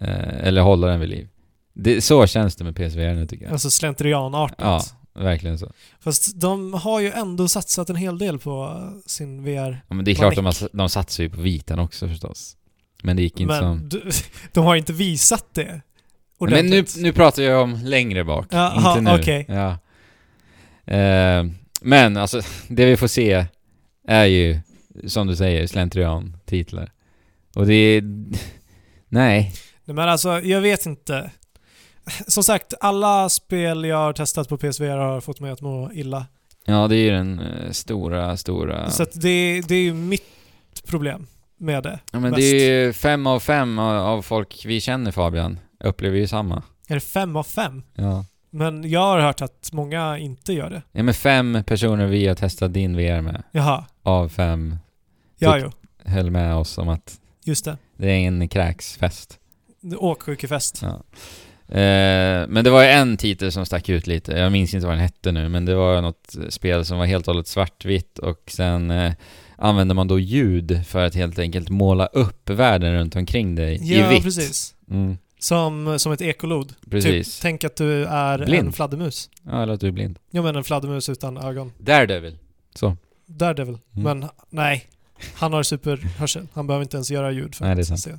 A: Eh, eller hålla den vid liv. Det, så känns det med PSVR nu tycker jag.
B: Alltså slentrianartat.
A: Ja, verkligen så.
B: Fast de har ju ändå satsat en hel del på eh, sin VR.
A: Ja, men det är klart de,
B: Manick.
A: har- de satsar ju på vitan också förstås. Men det gick inte som...
B: Men du, de har inte visat det
A: Men nu,
B: ordentligt.
A: nu pratar jag om längre bak,
B: Ja,
A: inte
B: aha,
A: nu.
B: okej.
A: Ja. Eh, men alltså, det vi får se är ju, som du säger, slentrian-titlar. Och det är... Nej.
B: Nej, Men alltså, jag vet inte. Som sagt, alla spel jag har testat på PSVR har fått mig att må illa.
A: Ja, det är ju den eh, stora, stora...
B: Så att det, det är ju mitt problem med det.
A: ja, men det är ju fem av fem av, av folk vi känner, Fabian, upplever ju samma.
B: Är det fem av fem?
A: Ja.
B: Men jag har hört att många inte gör det.
A: ja, men fem personer vi har testat din VR med,
B: Jaha.
A: av fem,
B: Ja,
A: Typ.
B: jo.
A: höll med oss om att
B: Just det.
A: det är en kräksfest.
B: Åksjukefest.
A: Ja. Eh, men det var ju en titel som stack ut lite. Jag minns inte vad den hette nu, men det var något spel som var helt och hållet svartvitt och sen eh, använde man då ljud för att helt enkelt måla upp världen runt omkring dig
B: Ja,
A: i vitt.
B: precis.
A: Mm,
B: Som, som ett ekolod.
A: precis.
B: Typ, tänk att du är en
A: Blind.
B: fladdermus.
A: ja, eller att du är blind.
B: Jag menar en fladdermus utan ögon.
A: Daredevil. Så.
B: Daredevil.
A: Mm.
B: Men nej, han har superhörsel. Han behöver inte ens göra ljud för
A: Nej, det är
B: att
A: sant.
B: se.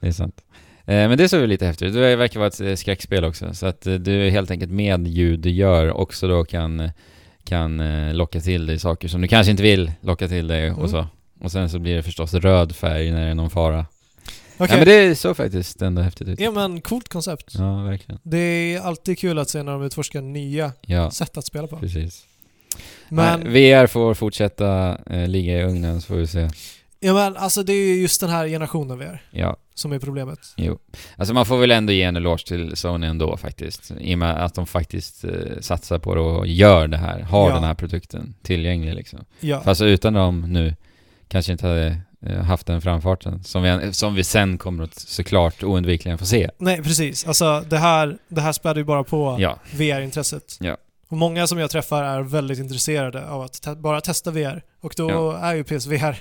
A: Det är sant. Eh, Men det såg ju lite häftigt ut. Det verkar vara ett eh, skräckspel också. Så att eh, du helt enkelt med ljud du gör också då kan, kan eh, locka till dig saker som du kanske inte vill locka till dig
B: Mm.
A: och så. Och sen så blir det förstås röd färg när det är någon fara.
B: Okej.
A: Ja, men det såg faktiskt ändå häftigt ut.
B: Ja men coolt koncept.
A: Ja, verkligen.
B: Det är alltid kul att se när de utforskar nya
A: Ja,
B: sätt att spela på.
A: precis.
B: Men,
A: Nej, VR får fortsätta eh, ligga i ugnen så får vi se.
B: ja, men alltså det är ju just den här generationen vi är
A: Ja,
B: som är problemet.
A: Alltså man får väl ändå ge en eloge till Sony ändå faktiskt. I och med att de faktiskt eh, satsar på det och gör det här. Har
B: Ja.
A: den här produkten tillgänglig liksom.
B: Ja,
A: Fast utan dem nu kanske inte hade eh, haft den framfarten. Som vi, som vi sen kommer att såklart oundvikligen få se.
B: nej precis. Alltså det här, det här späder ju bara på
A: Ja,
B: VR-intresset.
A: Ja.
B: Och många som jag träffar är väldigt intresserade av att te- bara testa VR. Och då
A: Ja.
B: är ju PSVR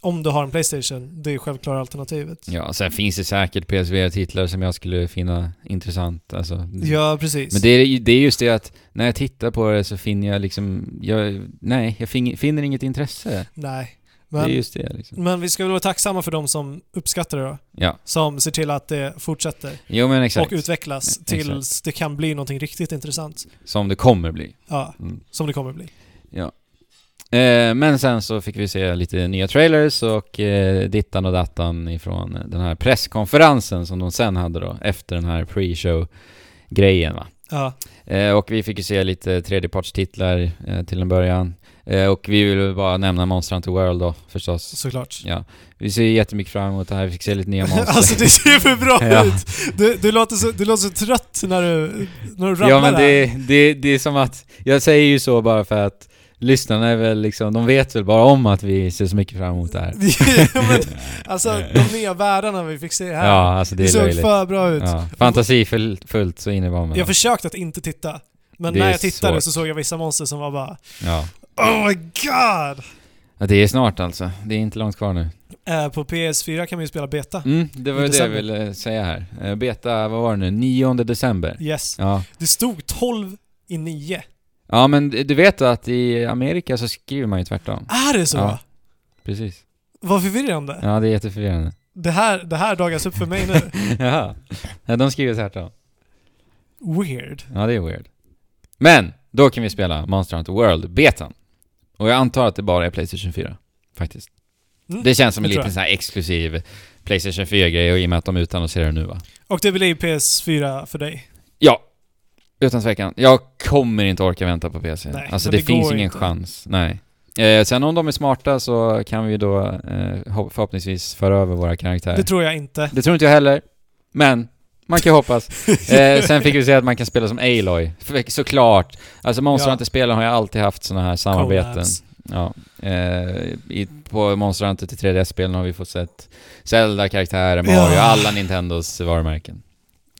B: om du har en Playstation, det är självklara alternativet.
A: Ja, sen finns det säkert PSVR-titlar som jag skulle finna intressant. Alltså,
B: Ja, precis.
A: Men det är, ju- det är just det att när jag tittar på det så finner jag liksom, jag, nej, jag fin, finner inget intresse.
B: Nej.
A: Det är
B: Men,
A: just det liksom.
B: men vi ska väl vara tacksamma för de som uppskattar det då.
A: Ja,
B: Som ser till att det fortsätter
A: jo men exakt.
B: och utvecklas
A: Exakt.
B: tills det kan bli någonting riktigt intressant.
A: Som det kommer bli.
B: Ja,
A: Mm.
B: som det kommer bli.
A: Eh, men sen så fick vi se lite nya trailers och eh, dittan och dattan ifrån den här presskonferensen som de sen hade då efter den här pre-show-grejen va.
B: Ja,
A: Eh, och vi fick ju se lite tredjepartstitlar eh, till en början. Eh, och vi vill väl bara nämna Monster Hunter World då förstås.
B: såklart.
A: Ja, vi ser ju jättemycket fram emot det här, vi fick se lite nya monster.
B: alltså det ser för bra
A: Ja.
B: ut! Du, du, låter så, du låter så trött när du, när du rabblar
A: ja men
B: här.
A: det, det, det är som att, jag säger ju så bara för att lyssnarna är väl liksom, de vet väl bara om att vi ser så mycket fram emot det här.
B: Ja, men, alltså de nya världarna vi fick se här.
A: Ja, alltså det
B: det
A: är
B: såg
A: löjligt.
B: för bra ut.
A: Ja, fantasifullt fullt så in i vad man
B: Jag försökte att inte titta. Men
A: Det
B: när
A: är
B: jag tittade
A: svårt.
B: så såg jag vissa monster som var bara
A: ja.
B: Oh my god!
A: ja, det är snart alltså. Det är inte långt kvar nu.
B: Eh, på PS4 kan man ju spela beta.
A: Mm, det var ju det jag
B: December.
A: ville säga här. Eh, Beta, vad var det nu? 9 december.
B: Yes.
A: Ja.
B: Det stod 12 i 9.
A: Ja men du vet att i Amerika så skriver man ju tvärtom.
B: Är det så?
A: Ja. Precis.
B: Vad förvirrande.
A: Ja det är jätteförvirrande.
B: Det, här, det här dagas upp för mig nu.
A: Jaha. Ja, de skriver tvärtom.
B: Weird.
A: Ja, det är weird. Men, då kan vi spela Monster Hunter World-betan. Och jag antar att det bara är Playstation 4, faktiskt.
B: Mm,
A: Det känns som en
B: det tror
A: liten
B: jag.
A: så här exklusiv Playstation 4-grej och i och med att de utannonserar det nu va?
B: Och det blir PS4 för dig.
A: Ja, utan tvekan. Jag kommer inte orka vänta på PC.
B: Nej,
A: alltså
B: men
A: det,
B: det
A: finns
B: går
A: ingen
B: inte.
A: chans. Nej. Eh, sen om de är smarta så kan vi ju då eh, hopp- förhoppningsvis föra över våra karaktärer.
B: Det tror jag inte.
A: Det tror inte jag heller, men man kan ju hoppas. Eh, sen fick vi se att man kan spela som Aloy. För- Såklart. Alltså Monster
B: Ja.
A: Hunter-spelen har ju alltid haft sådana här samarbeten.
B: Collabs.
A: Ja. Eh, i, på Monster Hunter till 3DS-spelen har vi fått sett Zelda-karaktärer, Mario,
B: Ja.
A: alla Nintendos varumärken.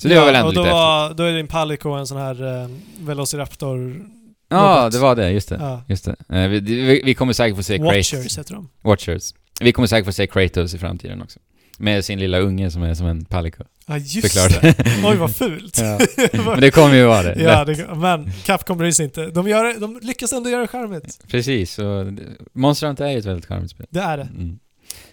A: Så det var väl ändå
B: och då
A: lite häftigt.
B: var, Då är din Palico en sån här eh, Velociraptor...
A: Ja,
B: något.
A: det var det. Just det.
B: Ja.
A: Just det. Eh, vi, vi, vi kommer säkert få se
B: Watchers
A: Kratos.
B: heter de.
A: Watchers. Vi kommer säkert få se Kratos i framtiden också. Med sin lilla unge som är som en palico.
B: Ja, just
A: Såklart.
B: det. Oj, vad fult.
A: Ja. Men det kommer ju vara det.
B: ja, det, men Capcom bryr sig inte. De, gör, de lyckas ändå göra det charmigt.
A: Precis, så det- Monster Hunter är ju ett väldigt charmigt spel.
B: Det är det.
A: Mm.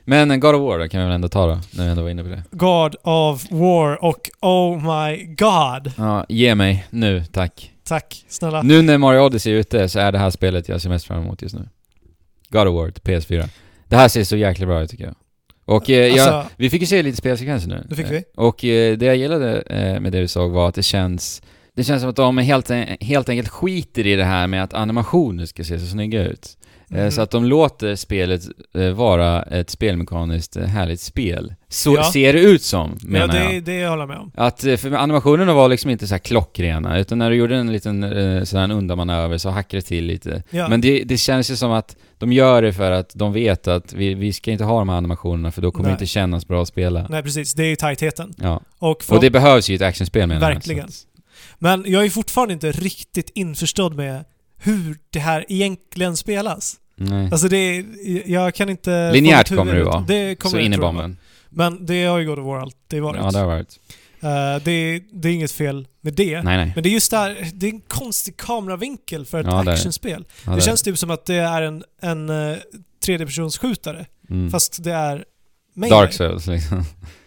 A: Men God of War då, kan vi väl ändå ta då, när vi ändå var inne på det.
B: God of War och Oh My God.
A: Ja, ge mig nu, tack.
B: Tack snälla.
A: Nu när Mario Odyssey är ute så är det här spelet jag ser mest fram emot just nu. God of War till PS4. Det här ser så jäkla bra ut tycker jag. Och eh, jag,
B: Alltså-
A: vi fick ju se lite spelsekvenser nu.
B: Det fick vi.
A: Eh, Och eh, det jag gillade eh, med det vi såg var att det känns det känns som att de helt, en- helt enkelt skiter i det här med att animationer ska se så snygga ut. Eh,
B: Mm.
A: Så att de låter spelet eh, vara ett spelmekaniskt eh, härligt spel. Så
B: Ja.
A: ser det ut som,
B: ja,
A: menar
B: det,
A: jag.
B: det håller jag med om.
A: Att, eh, för animationerna var liksom inte så här klockrena, utan när du gjorde en liten eh, sån här undanmanöver så hackade det till lite.
B: Ja.
A: Men det, det känns ju som att de gör det för att de vet att vi, vi ska inte ha de här animationerna för då kommer
B: Nej.
A: det inte kännas bra att spela.
B: Nej precis, det är ju tajtheten.
A: Ja.
B: Och
A: Och
B: från,
A: det behövs ju i ett actionspel menar jag.
B: Verkligen.
A: Så att-
B: Men jag är fortfarande inte riktigt införstådd med hur det här egentligen spelas.
A: Nej.
B: Alltså det är, jag kan inte... få
A: Linjärt
B: mitt huvud
A: kommer det
B: ut.
A: vara.
B: Det kommer
A: så
B: det,
A: in i
B: tror jag.
A: bomben.
B: Men det har ju God of War alltid varit.
A: Ja, det har varit.
B: Eh, det, det är inget fel med det.
A: Nej, nej.
B: Men det är just där, det är en konstig kameravinkel för ett
A: Ja, det är det.
B: actionspel.
A: Ja,
B: Det
A: är-
B: känns typ som att det är en, en eh, tredjepersonsskjutare,
A: mm.
B: fast det är... Melee.
A: Dark Souls liksom.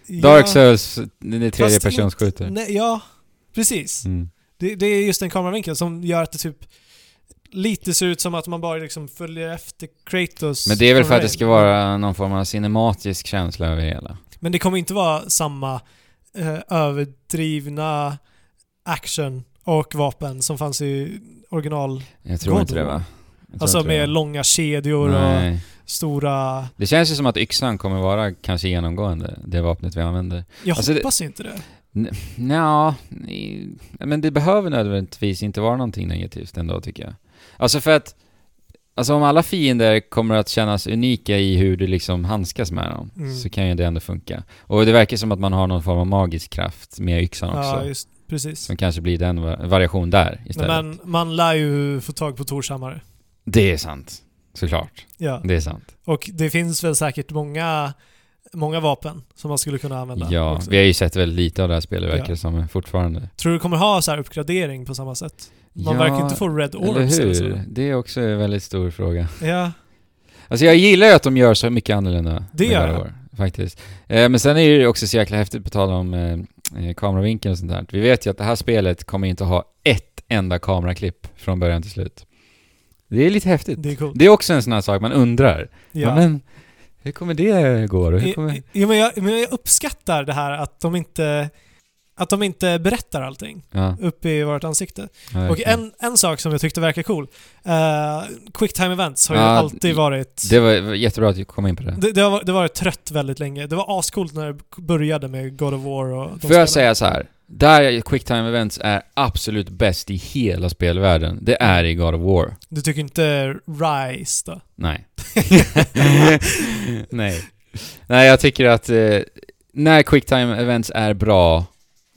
B: Ja,
A: Dark Souls, det är tredje
B: fast
A: persons
B: inte-
A: skjuter.
B: Nej, ja, precis.
A: Mm.
B: Det, det är just en kameravinkel som gör att det typ lite ser ut som att man bara liksom följer efter Kratos.
A: Men det är väl
B: från
A: för att det
B: rail.
A: ska vara någon form av cinematisk känsla över det hela.
B: Men det kommer inte vara samma eh, överdrivna action och vapen som fanns i original.
A: Jag tror
B: God
A: inte det
B: War.
A: va? Jag tror
B: Alltså
A: inte det.
B: med långa kedjor och
A: Nej.
B: stora...
A: Det känns ju som att yxan kommer vara kanske genomgående, det vapnet vi använder.
B: Jag
A: Alltså det-
B: hoppas inte det.
A: Nja, i- men det behöver nödvändigtvis inte vara någonting negativt ändå tycker jag. Alltså för att, alltså om alla fiender kommer att kännas unika i hur du liksom handskas med dem,
B: Mm.
A: så kan ju det ändå funka. Och det verkar som att man har någon form av magisk kraft med yxan också.
B: Ja, just precis.
A: Som kanske blir den va- variation där istället.
B: Men man lär ju få tag på Torshammare.
A: Det är sant. såklart.
B: Ja.
A: Det är sant.
B: Och det finns väl säkert många, många vapen som man skulle kunna använda.
A: Ja,
B: också.
A: vi har ju sett väldigt lite av det här spelet verkar
B: Ja.
A: det som fortfarande.
B: Tror du kommer ha så här uppgradering på samma sätt? Man
A: ja,
B: verkar inte få red orbs
A: eller hur?
B: så.
A: Det är också en väldigt stor fråga.
B: Ja,
A: Alltså jag gillar ju att de gör så mycket annorlunda.
B: Det
A: med
B: gör
A: God of
B: jag.
A: War, Faktiskt. Eh, men sen är det ju också så jäkla häftigt på tal om eh, eh, kameravinkeln och sånt där. Vi vet ju att det här spelet kommer inte ha ett enda kameraklipp från början till slut. Det är lite häftigt.
B: det är coolt.
A: Det är också en sån här sak man undrar. Ja.
B: Ja.
A: Men hur kommer det gå då? Hur
B: I-
A: kommer...
B: i- Jo, men, jag, men jag uppskattar det här att de inte, att de inte berättar allting
A: Ja,
B: upp i vårt ansikte.
A: ja,
B: Och
A: okej.
B: en, en sak som jag tyckte verkar cool, eh, quick time events har ju
A: Ja,
B: alltid varit...
A: Det var jättebra att du kom in på det.
B: Det, det, har, varit- det har varit trött väldigt länge. Det var ascoolt när det började med God of War och
A: Får
B: de
A: jag
B: spelen.
A: säga så här? Där quicktime events är absolut bäst i hela spelvärlden, det är i God of War.
B: Du tycker inte Rise då?
A: Nej. Nej. Nej, jag tycker att eh, när quicktime events är bra,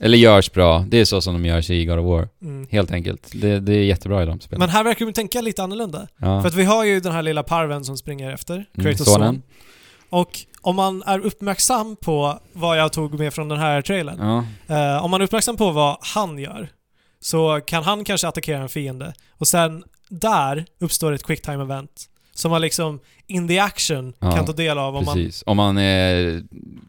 A: eller görs bra, det är så som de görs i God of War.
B: Mm.
A: Helt enkelt. Det, det är jättebra i de spelen.
B: Men här verkar de tänka lite annorlunda.
A: ja.
B: För att vi har ju den här lilla parven som springer efter,
A: Mm,
B: Kratos
A: sonen.
B: son. Och om man är uppmärksam på vad jag tog med från den här trailern,
A: Ja.
B: eh, om man är uppmärksam på vad han gör, så kan han kanske attackera en fiende. Och sen där uppstår ett quick time event som man liksom in the action
A: Ja,
B: kan ta del av om man
A: Precis. Om man, eh,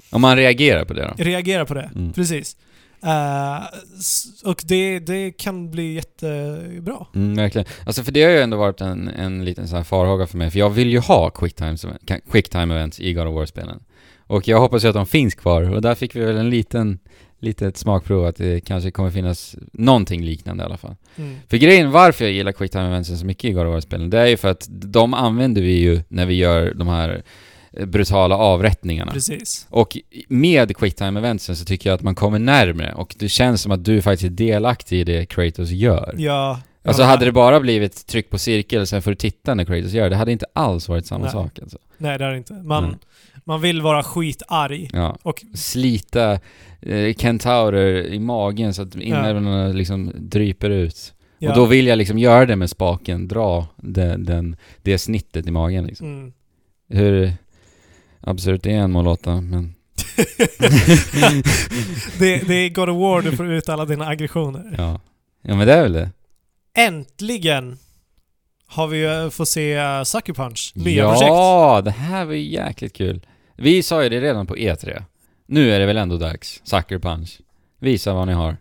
A: om man reagerar på det då.
B: reagerar på det.
A: Mm.
B: Precis. Eh, s- och det, det kan bli jättebra.
A: Mm, verkligen. Alltså för det har ju ändå varit en, en liten så här farhåga för mig, för jag vill ju ha quicktimes, quicktime events i God of War-spelen. Och jag hoppas ju att de finns kvar, och där fick vi väl en liten, litet smakprov att det kanske kommer finnas någonting liknande i alla fall.
B: Mm.
A: För grejen varför jag gillar quicktime eventsen så mycket i God of War-spelen, det är ju för att de använder vi ju när vi gör de här eh, brutala avrättningarna.
B: Precis.
A: Och med quicktime eventsen så tycker jag att man kommer närmre och det känns som att du faktiskt är delaktig i det Kratos gör.
B: Ja.
A: Alltså
B: ja,
A: hade det bara blivit tryck på cirkel sen får du titta när Kratos gör det, det hade inte alls varit samma
B: Nej.
A: sak alltså.
B: Nej, det är det inte. Man,
A: Nej.
B: man vill vara skitarg.
A: Ja.
B: Och
A: Slita eh, kentaurer i magen så att inälvorna liksom dryper ut.
B: ja,
A: Och då vill jag liksom göra det med spaken, dra den, den, det snittet i magen liksom.
B: mm.
A: Hur absurt det är en målåtta, men...
B: det, det är God of War du får ut alla dina aggressioner.
A: Ja. ja, men det är väl det.
B: Äntligen har vi eh, fått se eh, Sucker Punch. Nya projekt.
A: ja, det här var ju jäkligt kul. Vi sa ju det redan på E3. Nu är det väl ändå dags. Sucker punch. Visa vad ni har.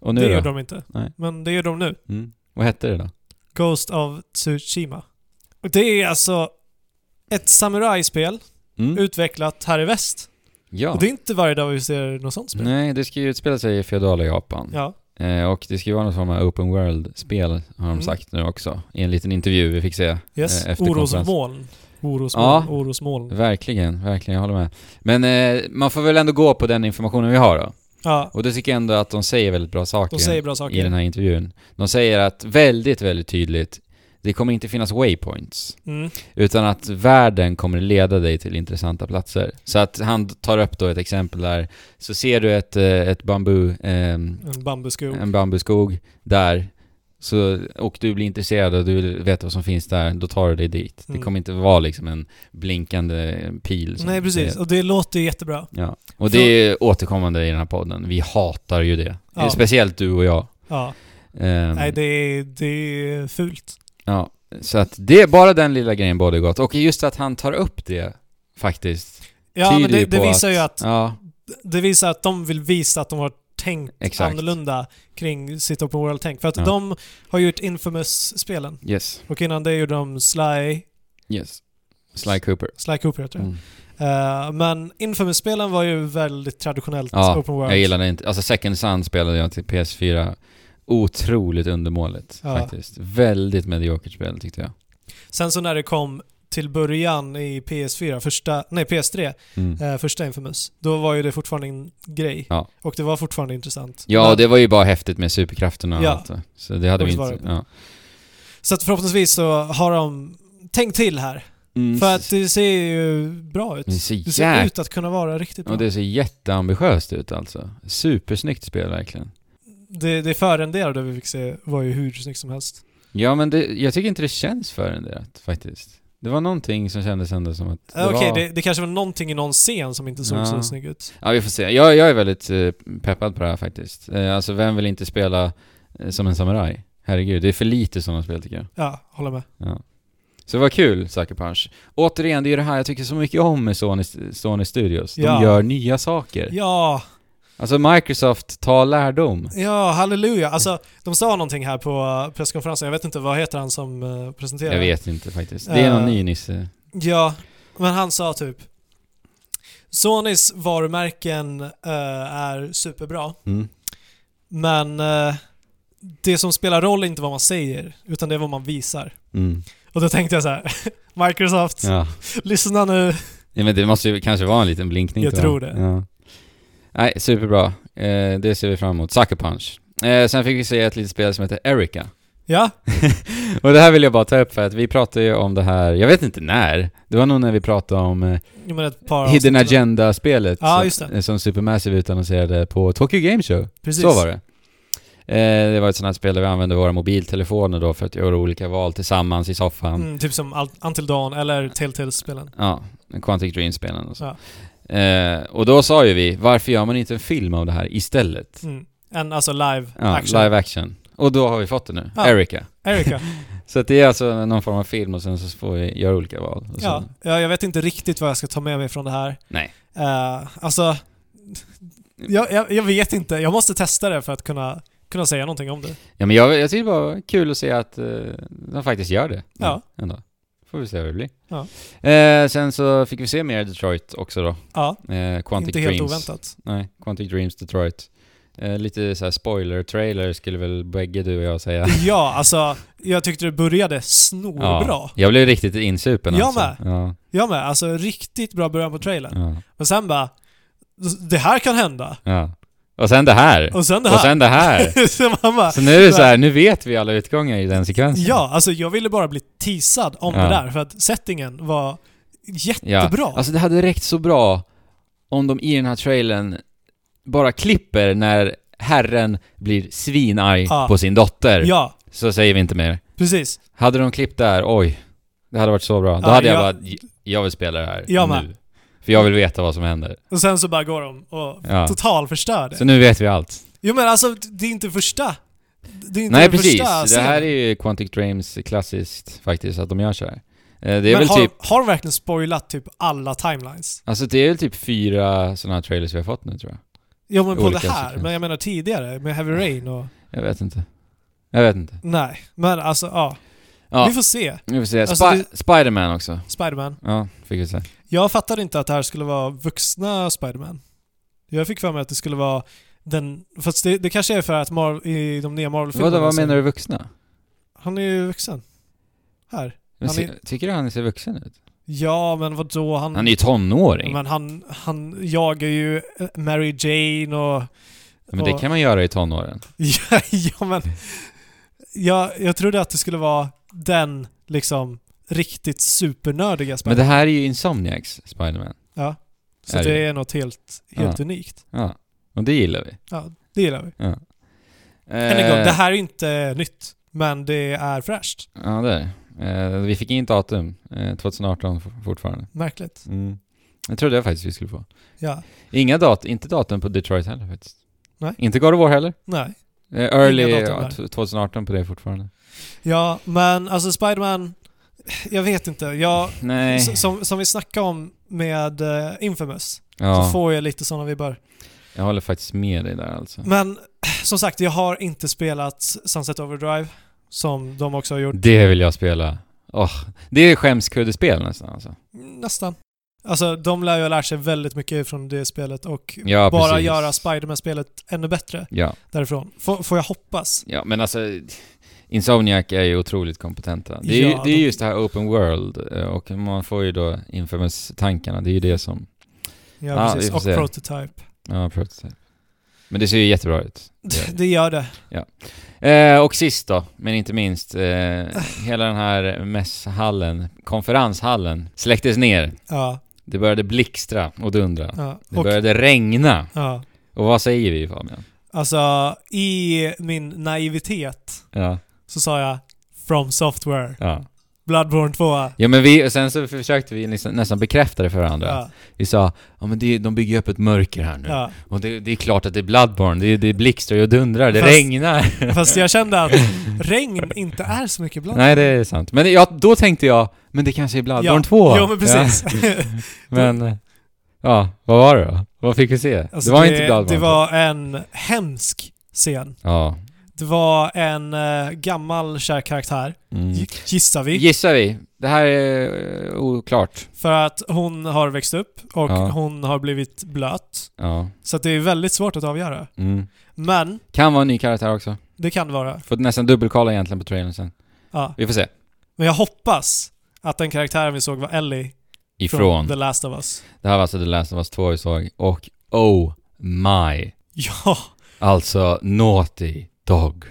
A: Och nu
B: Det
A: då?
B: gör de inte.
A: Nej.
B: Men det gör de nu.
A: Mm. Vad hette det då?
B: Ghost of Tsushima. Och det är alltså ett samurajspel
A: Mm.
B: utvecklat här i väst.
A: ja.
B: Och det är inte varje dag vi ser något sånt spel.
A: Nej, det ska ju utspela sig i feodala Japan.
B: Ja.
A: Eh, och det ska ju vara någon form av open world-spel, har de
B: Mm.
A: sagt nu också. I en liten intervju vi fick se.
B: Yes.
A: Eh, efter
B: Orosmoln. Orosmoln.
A: Ja. Eh,
B: Orosmoln.
A: Verkligen, verkligen, jag håller med. Men eh, man får väl ändå gå på den informationen vi har då.
B: Ja.
A: Och då tycker jag ändå att de säger väldigt bra saker.
B: De säger bra
A: i
B: saker.
A: den här intervjun. De säger att väldigt, väldigt tydligt, det kommer inte finnas waypoints,
B: Mm.
A: utan att världen kommer leda dig till intressanta platser. Så att han tar upp då ett exempel där, så ser du ett, eh, ett bambu, ehm,
B: En bambuskog.
A: en bambuskog där, så, och du blir intresserad och du vill veta vad som finns där, då tar du dig dit.
B: Mm.
A: Det kommer inte vara liksom en blinkande pil. som-
B: Nej, precis. Och det låter ju jättebra.
A: Ja. Och det är återkommande i den här podden. Vi hatar ju det.
B: Ja.
A: Speciellt du och jag.
B: Ja.
A: Ehm,
B: Nej, det är, det är fult.
A: Ja, så att det är bara den lilla grejen både gott. Och just att han tar upp det faktiskt.
B: Ja,
A: tyder
B: men det,
A: ju på
B: det visar ju att,
A: Ja,
B: det visar att de vill visa att de har tänkt
A: Exakt.
B: annorlunda kring sitt open world-tänk. För att
A: Ja.
B: de har gjort Infamous-spelen.
A: yes,
B: Och innan det gjorde de Sly...
A: yes. Sly Cooper.
B: Sly Cooper heter det.
A: Mm.
B: Eh, men Infamous-spelen var ju väldigt traditionellt
A: Ja,
B: open world.
A: Jag gillar det inte. Alltså Second Sun spelade jag till PS4. Otroligt undermåligt
B: Ja.
A: faktiskt. Väldigt mediokert spel tyckte jag.
B: Sen så när det kom till början i PS4, första, nej PS3,
A: Mm.
B: eh, första Infamous, då var ju det fortfarande en grej.
A: Ja.
B: Och det var fortfarande intressant.
A: Ja,
B: Men-
A: det var ju bara häftigt med superkrafterna och
B: Ja.
A: allt det. Så det hade
B: Och
A: vi
B: så var
A: inte...
B: det-
A: Ja.
B: Så att förhoppningsvis så har de tänkt till här.
A: Mm,
B: För att det ser ju bra ut.
A: det ser
B: Det ser
A: jäkligt...
B: ut att kunna vara riktigt bra.
A: Och
B: Det,
A: det ser jätteambitiöst ut alltså. Supersnyggt spel verkligen.
B: det, förrenderade vi fick se var ju hur snyggt som helst.
A: Ja, men det, jag tycker inte det känns förenderat faktiskt. Det var någonting som kändes ändå som att det
B: Eh, Okej,
A: var...
B: det, det kanske var någonting i någon scen som inte såg
A: Ja.
B: så snygg ut.
A: Ja, vi får se. Jag, jag är väldigt eh, peppad på det här faktiskt. Eh, alltså, vem vill inte spela eh, som en samuraj? Herregud, det är för lite sådana spel tycker jag.
B: Ja, håller med.
A: Så det var kul, Sucker Punch. Återigen, det är ju det här jag tycker så mycket om med Sony, Sony Studios. De
B: Ja.
A: gör nya saker.
B: Ja,
A: Alltså Microsoft, ta lärdom.
B: ja, halleluja. Alltså, de sa någonting här på eh, presskonferensen. Jag vet inte, vad heter han som eh, presenterade?
A: Jag vet inte faktiskt. Det är någon
B: Eh.
A: ny nisse.
B: Ja, men han sa typ Sonys varumärken eh, är superbra,
A: Mm.
B: men eh, det som spelar roll är inte vad man säger, utan det är vad man visar.
A: Mm.
B: Och då tänkte jag så här, Microsoft,
A: Ja.
B: lyssna nu.
A: ja, men det måste ju kanske vara en liten blinkning.
B: Jag
A: till
B: tror
A: dem.
B: det.
A: Ja. Nej, superbra. Eh, det ser vi fram emot. Sucker Punch. Eh, sen fick vi se ett litet spel som heter Erika.
B: Ja,
A: Och det här vill jag bara ta upp för att vi pratade ju om det här, jag vet inte när, det var nog när vi pratade om eh,
B: jo, men ett par
A: Hidden
B: avsnitt.
A: Agenda-spelet
B: Ja,
A: som-
B: just det.
A: eh, som Supermassive utannonserade på Tokyo Game Show.
B: Precis.
A: Så var det. Eh, det var ett sånt här spel där vi använde våra mobiltelefoner då för att göra olika val tillsammans i soffan.
B: Mm, typ som Al- Until Dawn eller Telltale-spelen.
A: Ja, Quantic Dream-spelen och så.
B: Ja.
A: Eh, och då sa ju vi, varför gör man inte en film av det här istället?
B: Mm. En, alltså live
A: Ja,
B: action.
A: live action. Och då har vi fått det nu,
B: Ja.
A: Erika.
B: Erika.
A: Så att det är alltså någon form av film och sen så får vi göra olika val. Och så.
B: ja, ja, jag vet inte riktigt vad jag ska ta med mig från det här.
A: Nej. Mm.
B: Eh, alltså, jag, jag, jag vet inte. Jag måste testa det för att kunna, kunna säga någonting om det.
A: Ja, men jag, jag tycker det var kul att se att eh, de faktiskt gör det.
B: Ja.
A: Ändå. Får vi se vad det blir.
B: Ja.
A: Eh, sen så fick vi se mer Detroit också då.
B: Ja,
A: Eh, Quantic
B: inte
A: Dreams.
B: helt oväntat.
A: Nej, Quantic Dreams Detroit. Eh, lite så här spoiler-trailer skulle väl bägge du och jag säga.
B: Ja, alltså, jag tyckte det började snorbra.
A: Ja, jag blev riktigt insupen
B: Jag
A: alltså.
B: med.
A: Ja,
B: Jag med. Alltså, riktigt bra början på trailern.
A: ja,
B: Men sen bara, det här kan hända.
A: ja. Och sen det här.
B: Och sen det
A: Och
B: här.
A: sen det här.
B: så man bara,
A: Så nu är det så här, nu vet vi alla utgångar i den sekvensen.
B: ja, alltså jag ville bara bli teasad om
A: Ja.
B: det där för att settingen var jättebra. Ja,
A: Alltså det hade räckt så bra om de i den här trailern bara klipper när herren blir svinarg
B: Ja.
A: på sin dotter. Så säger vi inte mer.
B: precis.
A: Hade de klippt där, oj. Det hade varit så bra. Då
B: Ja,
A: hade jag,
B: jag-
A: bara, "J- jag vill spela det här
B: Jag
A: nu. För jag vill veta vad som händer.
B: Och sen så bara går de och
A: Ja.
B: totalförstör det.
A: Så nu vet vi allt.
B: Jo men alltså, det är inte första. Det är inte
A: Nej
B: den
A: precis,
B: första
A: det här är
B: scenen.
A: ju Quantic Dreams klassiskt faktiskt, att de gör så här. Eh, Det är
B: men
A: väl
B: har,
A: typ,
B: har de verkligen spoilat typ alla timelines?
A: alltså det är väl typ fyra sådana här trailers vi har fått nu tror jag.
B: Jo men på
A: Olika
B: det här,
A: sekvenser.
B: men jag menar tidigare med Heavy Rain och...
A: Jag vet inte. Jag vet inte.
B: Nej, men alltså ja.
A: Ja.
B: Vi får se.
A: Nu får vi se.
B: Alltså,
A: Spi- Spiderman också.
B: Spiderman.
A: Ja, fick vi se.
B: Jag fattade inte att det här skulle vara vuxna Spiderman. Jag fick för mig att det skulle vara den... Fast det, det kanske är för att Marvel, i de nya Marvel-filmerna...
A: Vadå, vad
B: så-
A: menar du vuxna?
B: Han är ju vuxen. Här.
A: Men
B: Han
A: se, Tycker du han ser vuxen ut?
B: Ja, men vadå? Han,
A: Han är ju tonåring. Men,
B: Men han, han jagar ju eh, Mary Jane och...
A: det
B: och-
A: kan man göra i tonåren.
B: Ja, ja men... Jag, jag trodde att det skulle vara den liksom riktigt supernördiga
A: Men
B: Spiderman.
A: det här är ju Insomniacs Spiderman.
B: Ja. Så
A: Är
B: det
A: det.
B: är något helt, helt unikt.
A: Ja, och det gillar vi.
B: Ja, det gillar vi. Än en
A: Eh,
B: gång, det här är inte nytt, men det är fräscht.
A: Ja, det är det. eh, Vi fick in datum. Eh, 2018 for- fortfarande.
B: Märkligt.
A: Mm. Jag trodde jag faktiskt vi skulle få.
B: Ja.
A: Inga datum, inte datum på Detroit heller faktiskt.
B: Nej.
A: Inte God of War heller.
B: Nej.
A: Eh, Early
B: datum
A: ja,
B: där.
A: t- 2018 på det fortfarande.
B: Ja, men alltså Spiderman, jag vet inte. Jag,
A: Nej.
B: s- som, som vi snackade om med eh, Infamous, så
A: Ja,
B: får jag lite sådana vibbar.
A: jag håller faktiskt med dig där alltså.
B: Men som sagt, jag har inte spelat Sunset Overdrive, som de också har gjort.
A: Det vill jag spela. Åh, det är skämskuddespel nästan alltså.
B: Nästan. Alltså, de lär ju ha lärt sig väldigt mycket från det spelet och
A: Ja,
B: bara
A: precis.
B: göra Spiderman-spelet ännu bättre
A: Ja,
B: därifrån. Får, får jag hoppas?
A: ja men alltså Insomniac är ju otroligt kompetenta. Det är, ju,
B: Ja,
A: det är
B: de-
A: just det här open world eh, och man får ju då Infamous-tankarna. Det är ju det som...
B: Ja,
A: Ja, vi
B: precis.
A: får
B: Och
A: se.
B: Prototype.
A: Ja, prototype. Men det ser ju jättebra ut. Ja.
B: Det gör det.
A: Eh, och sist då, men inte minst, eh, hela den här mässhallen, konferenshallen, släcktes ner.
B: Ja,
A: Det började blixtra och dundra.
B: ja.
A: Det
B: Och,
A: började regna.
B: ja.
A: Och vad säger vi Fabian?
B: Alltså, i min naivitet
A: Ja,
B: så sa jag From Software.
A: ja.
B: Bloodborne 2.
A: Ja men vi, och sen så försökte vi liksom, nästan bekräfta det för varandra.
B: Ja,
A: Vi sa, ja men det, de bygger upp ett mörker här nu.
B: ja.
A: Och det, det är klart att det är Bloodborne, det, det blixtrar och dundrar, det
B: Fast-
A: regnar.
B: Fast jag kände att regn inte är så mycket Bloodborne.
A: Nej det är sant. Men jag, då tänkte jag, men det kanske är Bloodborne
B: ja.
A: 2.
B: Jo men precis.
A: Ja, men, eh, ja, vad var det då? Vad fick vi se?
B: Alltså,
A: det var inte Bloodborne
B: Det var en hemsk scen.
A: Ja.
B: Det var en eh, gammal kär karaktär,
A: Mm.
B: gi- gissar vi.
A: Gissar vi. Det här är eh, oklart.
B: För att hon har växt upp och
A: Ja.
B: hon har blivit blöt.
A: Ja.
B: Så att det är väldigt svårt att avgöra.
A: Mm.
B: Men
A: Kan vara en ny karaktär också.
B: det kan det vara.
A: Får nästan dubbelkolla egentligen på trailern sen.
B: Ja.
A: Vi får se.
B: Men jag hoppas att den karaktären vi såg var Ellie
A: Ifrån.
B: The Last of Us.
A: Det här var alltså The Last of Us 2 vi såg. Och oh my.
B: Ja,
A: Alltså Naughty Dog.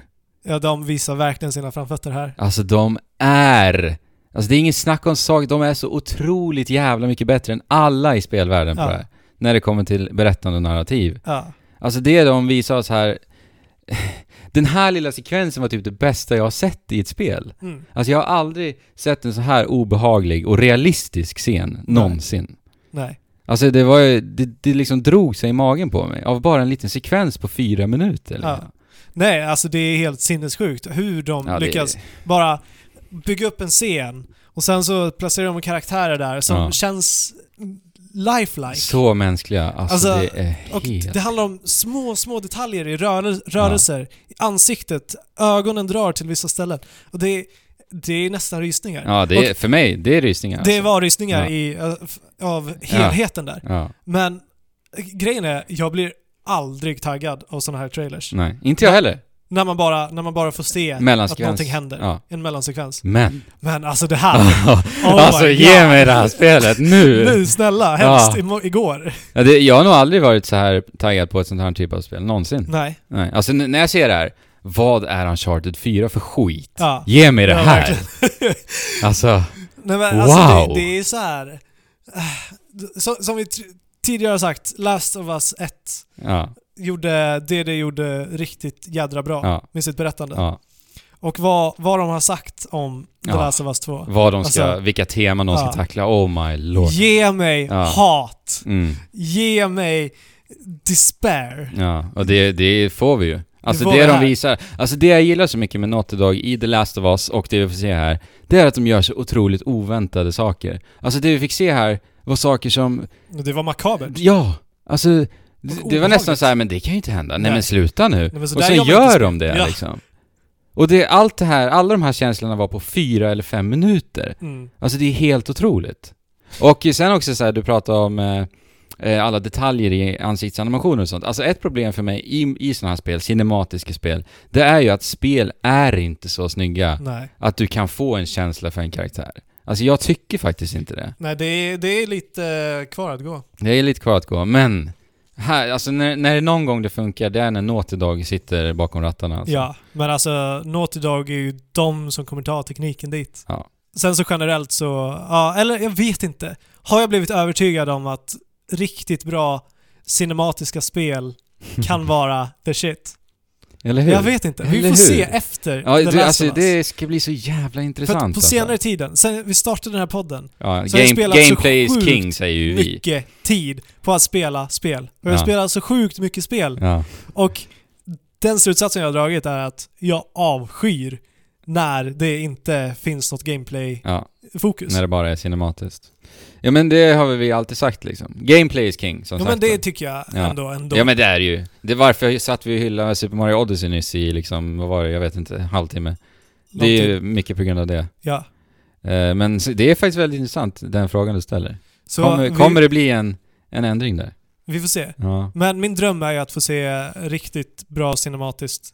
B: ja de visar verkligen sina framfötter här.
A: Alltså de är... Alltså det är ingen snack om sak, de är så otroligt jävla mycket bättre än alla i spelvärlden på
B: Ja.
A: det här. När det kommer till berättande och narrativ.
B: Ja.
A: Alltså det de visar oss här... Den här lilla sekvensen var typ det bästa jag har sett i ett spel.
B: Mm.
A: Alltså jag har aldrig sett en så här obehaglig och realistisk scen någonsin.
B: Nej.
A: Alltså det var ju, det, det liksom drog sig i magen på mig av bara en liten sekvens på fyra minuter.
B: Ja.
A: liksom.
B: Nej, alltså det är helt sinnessjukt hur de
A: Ja, det-
B: lyckas bara bygga upp en scen och sen så placerar de karaktärer där som
A: Ja.
B: känns lifelike.
A: Så mänskliga, alltså,
B: Alltså,
A: det är
B: och
A: helt...
B: det handlar om små, små detaljer i rörel- rörelser, i ansiktet, ögonen drar till vissa ställen. Och det är, det är nästan rysningar.
A: Ja, det är, för mig, det är rysningar. alltså.
B: Det var rysningar
A: Ja.
B: i, ö, f- av helheten där.
A: Ja,
B: Men eh, grejen är, jag blir aldrig taggad av sådana här trailers.
A: nej. Inte jag heller.
B: När, man bara, när man bara får se att
A: Mellansekvens.
B: någonting händer.
A: Ja.
B: En mellansekvens.
A: Men.
B: Men alltså det här, Oh my
A: alltså ge
B: God.
A: mig det här spelet nu!
B: nu snälla, helst imo- igår.
A: Ja, det, jag har nog aldrig varit så här taggad på ett sånt här typ av spel, någonsin.
B: Nej.
A: Nej. Alltså n- när jag ser det här, vad är Uncharted 4 för skit?
B: Ja.
A: Ge mig det
B: Ja,
A: här!
B: verkligen.
A: Alltså,
B: Nej men alltså
A: Wow.
B: det, det är så här. eh, Så, som vi tr- tidigare har sagt, Last of Us 1
A: ja,
B: gjorde det det gjorde riktigt jädra bra
A: Ja.
B: med sitt berättande.
A: ja.
B: Och vad, vad de har sagt om The
A: Ja.
B: Last of Us 2.
A: Vad de ska,
B: Alltså,
A: vilka teman de ska
B: ja.
A: tackla, oh my lord.
B: Ge mig
A: Ja.
B: hat.
A: Mm,
B: Ge mig despair.
A: ja, och det, det får vi ju. Alltså
B: får
A: det,
B: vi
A: de
B: här.
A: visar, alltså det jag gillar så mycket med Naughty Dog i The Last of Us och det vi får se här, det är att de gör så otroligt oväntade saker. Alltså det vi fick se här var saker som,
B: Det var makabert.
A: ja, alltså det, det var
B: obehagligt.
A: nästan så här, men det kan ju inte hända, nej,
B: Nej.
A: men sluta nu.
B: men så
A: och
B: Alltså, där
A: sen
B: gör man inte
A: gör de det
B: spel. Ja.
A: liksom. Och det, allt det här, alla de här känslorna var på fyra eller fem minuter.
B: Mm.
A: Alltså det är helt otroligt. Och sen också så här, du pratar om eh, eh, alla detaljer i ansiktsanimationer och sånt. Alltså ett problem för mig i, i sådana här spel, cinematiska spel, det är ju att spel är inte så snygga
B: Nej.
A: att du kan få en känsla för en karaktär. Alltså jag tycker faktiskt inte det.
B: Nej, det är, det är lite eh, kvar att gå.
A: Det är lite kvar att gå, men här, alltså när, när det är någon gång det funkar, det är när Naughty Dog sitter bakom rattarna. Alltså.
B: Ja, men alltså Naughty Dog är ju de som kommer ta tekniken dit.
A: Ja.
B: Sen så generellt så, ja, eller jag vet inte. Har jag blivit övertygad om att riktigt bra cinematiska spel kan vara the shit?
A: Eller hur?
B: Jag vet inte. Vi
A: Eller
B: får
A: hur?
B: se efter
A: Ja,
B: The Last
A: det,
B: of
A: alltså
B: Us.
A: det ska bli så jävla
B: För
A: intressant.
B: att på
A: alltså.
B: senare tiden, sen vi startade den här podden,
A: ja,
B: så har jag
A: game,
B: spelat så
A: Gameplay is
B: sjukt
A: king säger ju vi.
B: mycket tid på att spela spel. Och jag
A: Ja.
B: spelar så sjukt mycket spel.
A: Ja.
B: Och den slutsatsen jag har dragit är att jag avskyr när det inte finns något
A: Ja,
B: gameplay-fokus.
A: när det bara är cinematiskt. Ja men det har vi alltid sagt liksom. Gameplay is king, som
B: Ja
A: sagt.
B: men det typ
A: då.
B: tycker jag
A: Ja.
B: ändå. ändå.
A: Ja men det är det ju. Det är varför satt vi och hyllade Super Mario Odyssey nyss i liksom, vad var det, jag vet inte, halvtimme. Det är ju mycket på grund av det.
B: ja.
A: Eh, Men så- det är faktiskt väldigt intressant, den frågan du ställer.
B: Så
A: kommer,
B: vi,
A: kommer det bli en, en ändring där?
B: vi får se.
A: Ja.
B: Men min dröm är ju att få se riktigt bra cinematiskt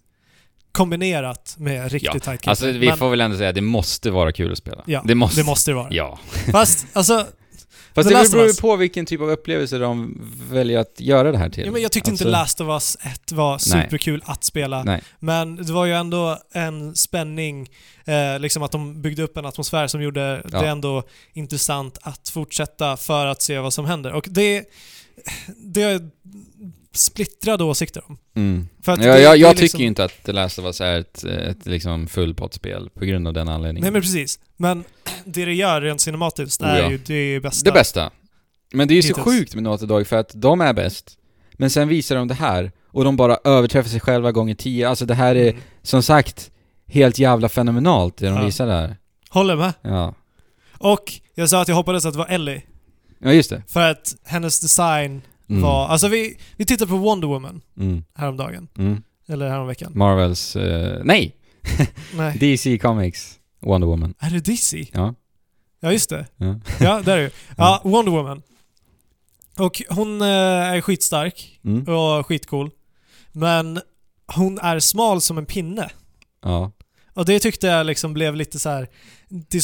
B: kombinerat med riktigt
A: Ja,
B: tight gameplay.
A: Alltså vi
B: Men
A: får väl ändå säga att det måste vara kul att spela.
B: Ja,
A: det måste.
B: det måste det vara.
A: Ja.
B: Fast alltså,
A: Fast
B: The
A: det
B: Last of
A: beror ju
B: Us.
A: på vilken typ av upplevelse de väljer att göra det här till.
B: ja, men jag tyckte
A: Alltså,
B: inte Last of Us 1 var superkul att spela.
A: Nej.
B: Men det var ju ändå en spänning, eh, liksom att de byggde upp en atmosfär som gjorde
A: Ja.
B: det ändå intressant att fortsätta för att se vad som händer. Och det, det splittrade åsikter om.
A: Mm.
B: För att
A: Ja,
B: det-
A: jag
B: det
A: jag
B: är liksom-
A: tycker ju inte att The Last of Us är ett, ett liksom fullpottspel på grund av den anledningen.
B: Nej men precis. Men det det gör rent cinematiskt är
A: Oh, ja.
B: ju det bästa.
A: det bästa. Men det är ju så
B: Hittills.
A: sjukt med Naughty Dog för att de är bäst, men sen visar de det här och de bara överträffar sig själva gånger tio. Alltså det här är
B: Mm.
A: som sagt helt jävla fenomenalt det de
B: Ja.
A: visar där.
B: Håller med.
A: Ja.
B: Och jag sa att jag hoppades att det var Ellie.
A: Ja just det.
B: För att hennes design
A: Mm.
B: var... Alltså vi, vi tittade på Wonder Woman
A: Mm.
B: häromdagen.
A: Mm.
B: Eller häromveckan.
A: Marvels... eh, nej!
B: Nej.
A: DC Comics Wonder Woman.
B: Är det DC?
A: Ja.
B: Ja, just det.
A: Ja.
B: Ja, där är det. Ja, Wonder Woman. Och hon eh, är skitstark
A: Mm.
B: och skitcool. Men hon är smal som en pinne.
A: Ja.
B: Och det tyckte jag liksom blev lite så här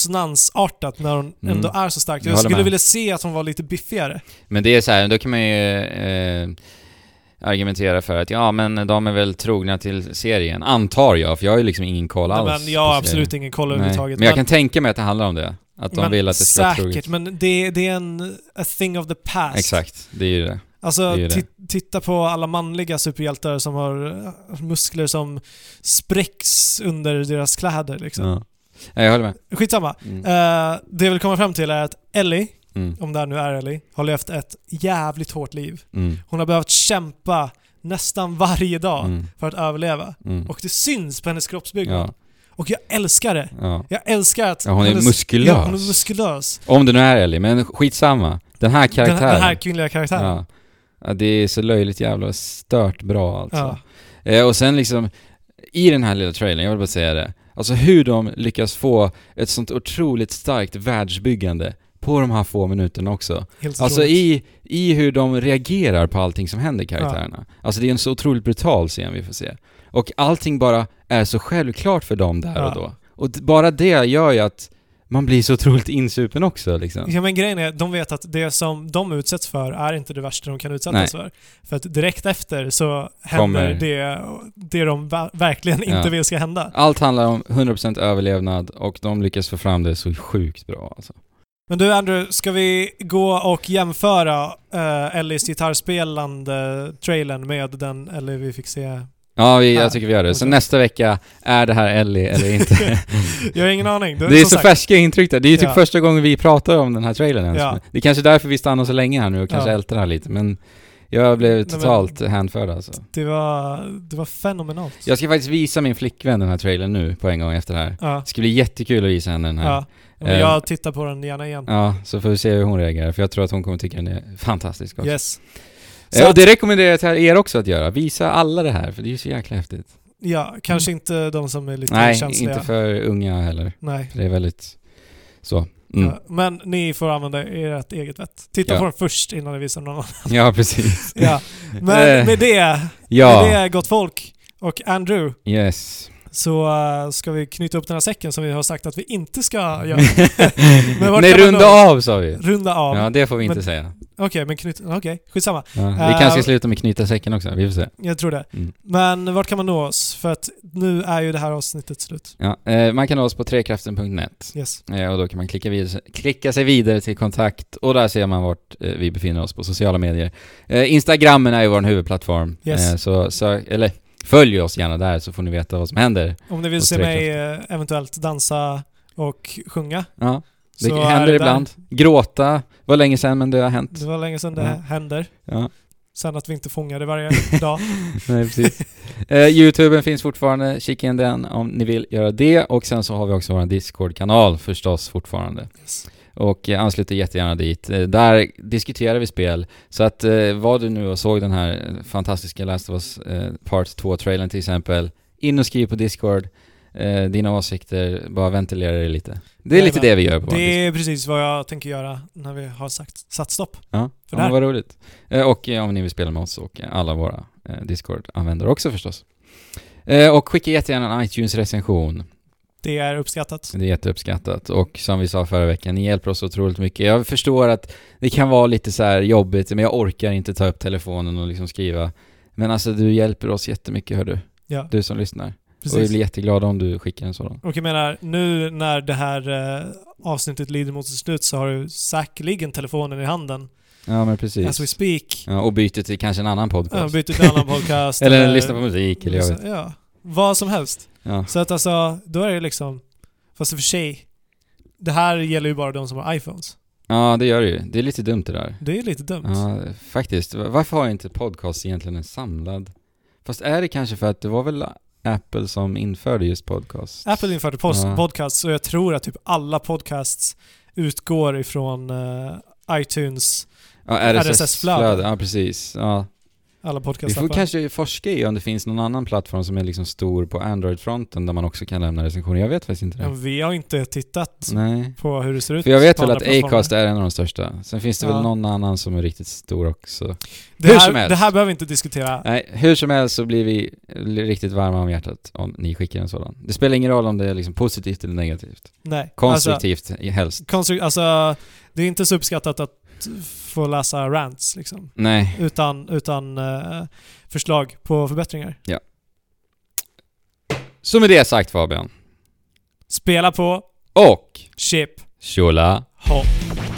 B: dissonansartat när hon
A: Mm.
B: ändå är så stark.
A: Jag
B: Jag,
A: håller
B: skulle
A: med.
B: vilja se att hon var lite biffigare.
A: Men det är så här, då kan man ju eh, argumentera för att ja, men de är väl trogna till serien, antar jag, för jag har ju liksom ingen koll
B: Nej,
A: alls.
B: men jag har
A: på serien.
B: absolut ingen koll
A: Nej.
B: överhuvudtaget.
A: Men jag kan tänka mig att det handlar om det. Att de
B: men
A: vill att det ska vara
B: Säkert,
A: troget.
B: men det, det är en a thing of the past.
A: Exakt, det är ju det.
B: Alltså,
A: Det är ju det.
B: ti- titta på alla manliga superhjältar som har eh, muskler som spräcks under deras kläder liksom.
A: Ja. Ja, jag håller med.
B: Skitsamma.
A: Mm.
B: Eh, det jag vill komma fram till är att Ellie,
A: Mm.
B: om det här nu är Ellie, har levt ett jävligt hårt liv.
A: Mm.
B: Hon har behövt kämpa nästan varje dag
A: Mm.
B: för att överleva.
A: Mm.
B: Och det syns på hennes kroppsbyggnad.
A: Ja,
B: Och jag älskar det.
A: ja.
B: Jag älskar att
A: Ja, hon är muskulös.
B: Ja, hon är muskulös.
A: Om det nu är Ellie, men skitsamma. Den här
B: Den,
A: karaktären.
B: den här kvinnliga karaktären.
A: ja. ja, det är så löjligt jävla stört bra alltså.
B: Ja.
A: Eh, och sen liksom, i den här lilla trailern, jag vill bara säga det. Alltså hur de lyckas få ett sånt otroligt starkt världsbyggande på de här få minuterna också.
B: Helt
A: Alltså
B: otroligt.
A: i, i hur de reagerar på allting som händer karaktärerna. Alltså det är en så otroligt brutal scen vi får se. Och allting bara är så självklart för dem där
B: Ja.
A: och då. Och d- bara det gör ju att man blir så otroligt insupen också liksom.
B: Ja men grejen är, de vet att det som de utsätts för är inte det värsta de kan utsättas för. För att direkt efter så händer
A: Kommer.
B: det, det de va- verkligen
A: Ja.
B: inte vill ska hända.
A: Allt handlar om 100% överlevnad och de lyckas få fram det så sjukt bra alltså.
B: Men du Andrew, ska vi gå och jämföra uh, Ellies gitarrspelande trailern med den Ellie vi fick se?
A: Ja, vi,
B: Ah,
A: jag tycker vi gör det. Så
B: okej.
A: nästa vecka, är det här Ellie eller inte?
B: Jag har ingen aning.
A: det är
B: som
A: så
B: sagt,
A: färska intryck där. Det är ju typ
B: Ja.
A: första gången vi pratar om den här trailern ens.
B: Ja.
A: Det är kanske är därför vi stannar så länge här nu och kanske
B: Ja.
A: ältar här lite, men jag blev
B: men-
A: totalt hänförd alltså.
B: Det var, det var fenomenalt.
A: Jag ska faktiskt visa min flickvän den här trailern nu på en gång efter det här.
B: Ja,
A: Det ska bli jättekul att visa henne den här.
B: ja. Men jag tittar på den gärna igen.
A: Eh. Ja, så får vi se hur hon reagerar, för jag tror att hon kommer tycka den är fantastisk också.
B: Yes.
A: Eh,
B: Så
A: och det rekommenderar jag till er också att göra. Visa alla det här, för det är ju så jäkla häftigt.
B: Ja, kanske inte de som är lite
A: Mm. Nej,
B: känsliga.
A: inte för unga heller.
B: Nej.
A: För det är väldigt så. Mm.
B: Ja, men ni får använda ert eget vett. Titta
A: Ja.
B: på den först innan ni visar någon annan.
A: Ja, precis.
B: Ja.
A: Eh,
B: Men med det, med
A: Ja,
B: det gott folk och Andrew,
A: yes.
B: så eh, ska vi knyta upp den här säcken som vi har sagt att vi inte ska göra. Men vart
A: Nej,
B: kan man
A: runda
B: då-
A: av sa vi.
B: Runda av.
A: Ja, det får vi inte
B: Men-
A: säga.
B: Okej, men knyt... Okej, skitsamma.
A: Ja, vi
B: Eh,
A: kanske ska sluta med knyta säcken också, vi får se.
B: Jag tror det.
A: Mm.
B: Men vart kan man nå oss? För att nu är ju det här avsnittet slut.
A: Ja, eh, man kan nå oss på trekraften.net
B: Yes.
A: eh, och då kan man klicka, vid, klicka sig vidare till kontakt och där ser man vart eh, vi befinner oss på sociala medier. Eh, Instagrammen är ju vår huvudplattform,
B: Yes.
A: eh, så, så eller följ oss gärna där så får ni veta vad som händer.
B: Om ni vill
A: Och
B: se mig eh, eventuellt dansa och sjunga.
A: Ja, det
B: så är
A: händer
B: där.
A: ibland. Gråta, var länge sedan men det har hänt.
B: Det var länge sedan det
A: Ja.
B: händer.
A: Ja.
B: Sen att vi inte fångar det varje dag.
A: Nej, precis. eh, Youtuben finns fortfarande, kika in den om ni vill göra det. Och sen så har vi också vår Discord-kanal förstås fortfarande.
B: Yes.
A: Och eh, anslut dig jättegärna dit. Eh, där diskuterar vi spel. Så att eh, var du nu och såg den här fantastiska Last of Us eh, Part 2-trailern till exempel, in och skriv på Discord. Eh, dina åsikter, bara ventilera det lite. Det är lite
B: Jajamän.
A: det vi gör på vår Discord.
B: Det är precis vad jag tänker göra när vi har sagt, satt stopp.
A: Ja,
B: för
A: ja
B: där.
A: men vad roligt. Eh, Och eh, om ni vill spela med oss och eh, alla våra eh, Discord-användare också förstås. Eh, Och skicka jättegärna en iTunes-recension.
B: Det är uppskattat.
A: Det är jätteuppskattat. Och som vi sa förra veckan, ni hjälper oss otroligt mycket. Jag förstår att det kan vara lite så här jobbigt, men jag orkar inte ta upp telefonen och liksom skriva. Men alltså du hjälper oss jättemycket hör du,
B: Ja,
A: du som lyssnar. Och vi
B: precis.
A: blir jätteglada om du skickar en sådan.
B: Och jag menar, nu när det här eh, avsnittet lider mot sitt slut så har du säkerligen telefonen i handen
A: Ja, men precis.
B: as we speak.
A: ja, och byter till kanske en annan
B: Ja,
A: podcast.
B: byter till en annan podcast.
A: eller lyssna på musik eller jag vet.
B: Ja, vad som helst.
A: Ja.
B: Så att alltså, då är det liksom... Fast i och för sig, det här gäller ju bara de som har iPhones.
A: ja, det gör det ju. Det är lite dumt det där.
B: Det är lite dumt.
A: Ja, faktiskt. Varför har inte podcast egentligen en samlad... Fast är det kanske för att det var väl Apple som införde just podcast?
B: Apple införde post-
A: Ja.
B: podcasts och jag tror att typ alla podcasts utgår ifrån eh, iTunes,
A: Ja,
B: RSS-flöde.
A: RSS-flöde. Ja, precis. Ja.
B: alla
A: Vi får
B: podcastappar.
A: kanske forska i om det finns någon annan plattform som är liksom stor på Android-fronten där man också kan lämna recensioner. Jag vet faktiskt inte
B: Ja,
A: det.
B: vi har inte tittat
A: Nej.
B: på hur det ser ut
A: För jag vet
B: på
A: väl
B: andra
A: att
B: plattformar.
A: Acast är en av de största. Sen finns det
B: Ja.
A: väl någon annan som är riktigt stor också.
B: det
A: hur
B: här,
A: som helst.
B: Det här behöver vi inte diskutera.
A: Nej, hur som helst så blir vi riktigt varma om hjärtat om ni skickar en sådan. Det spelar ingen roll om det är liksom positivt eller negativt.
B: Nej. Alltså,
A: Konstruktivt i- helst.
B: konstru- alltså, det är inte så uppskattat att få läsa rants liksom.
A: Nej.
B: Utan, utan eh, förslag på förbättringar.
A: Så med det sagt Fabian.
B: Spela på
A: Och
B: Chip
A: Shola.
B: Hopp.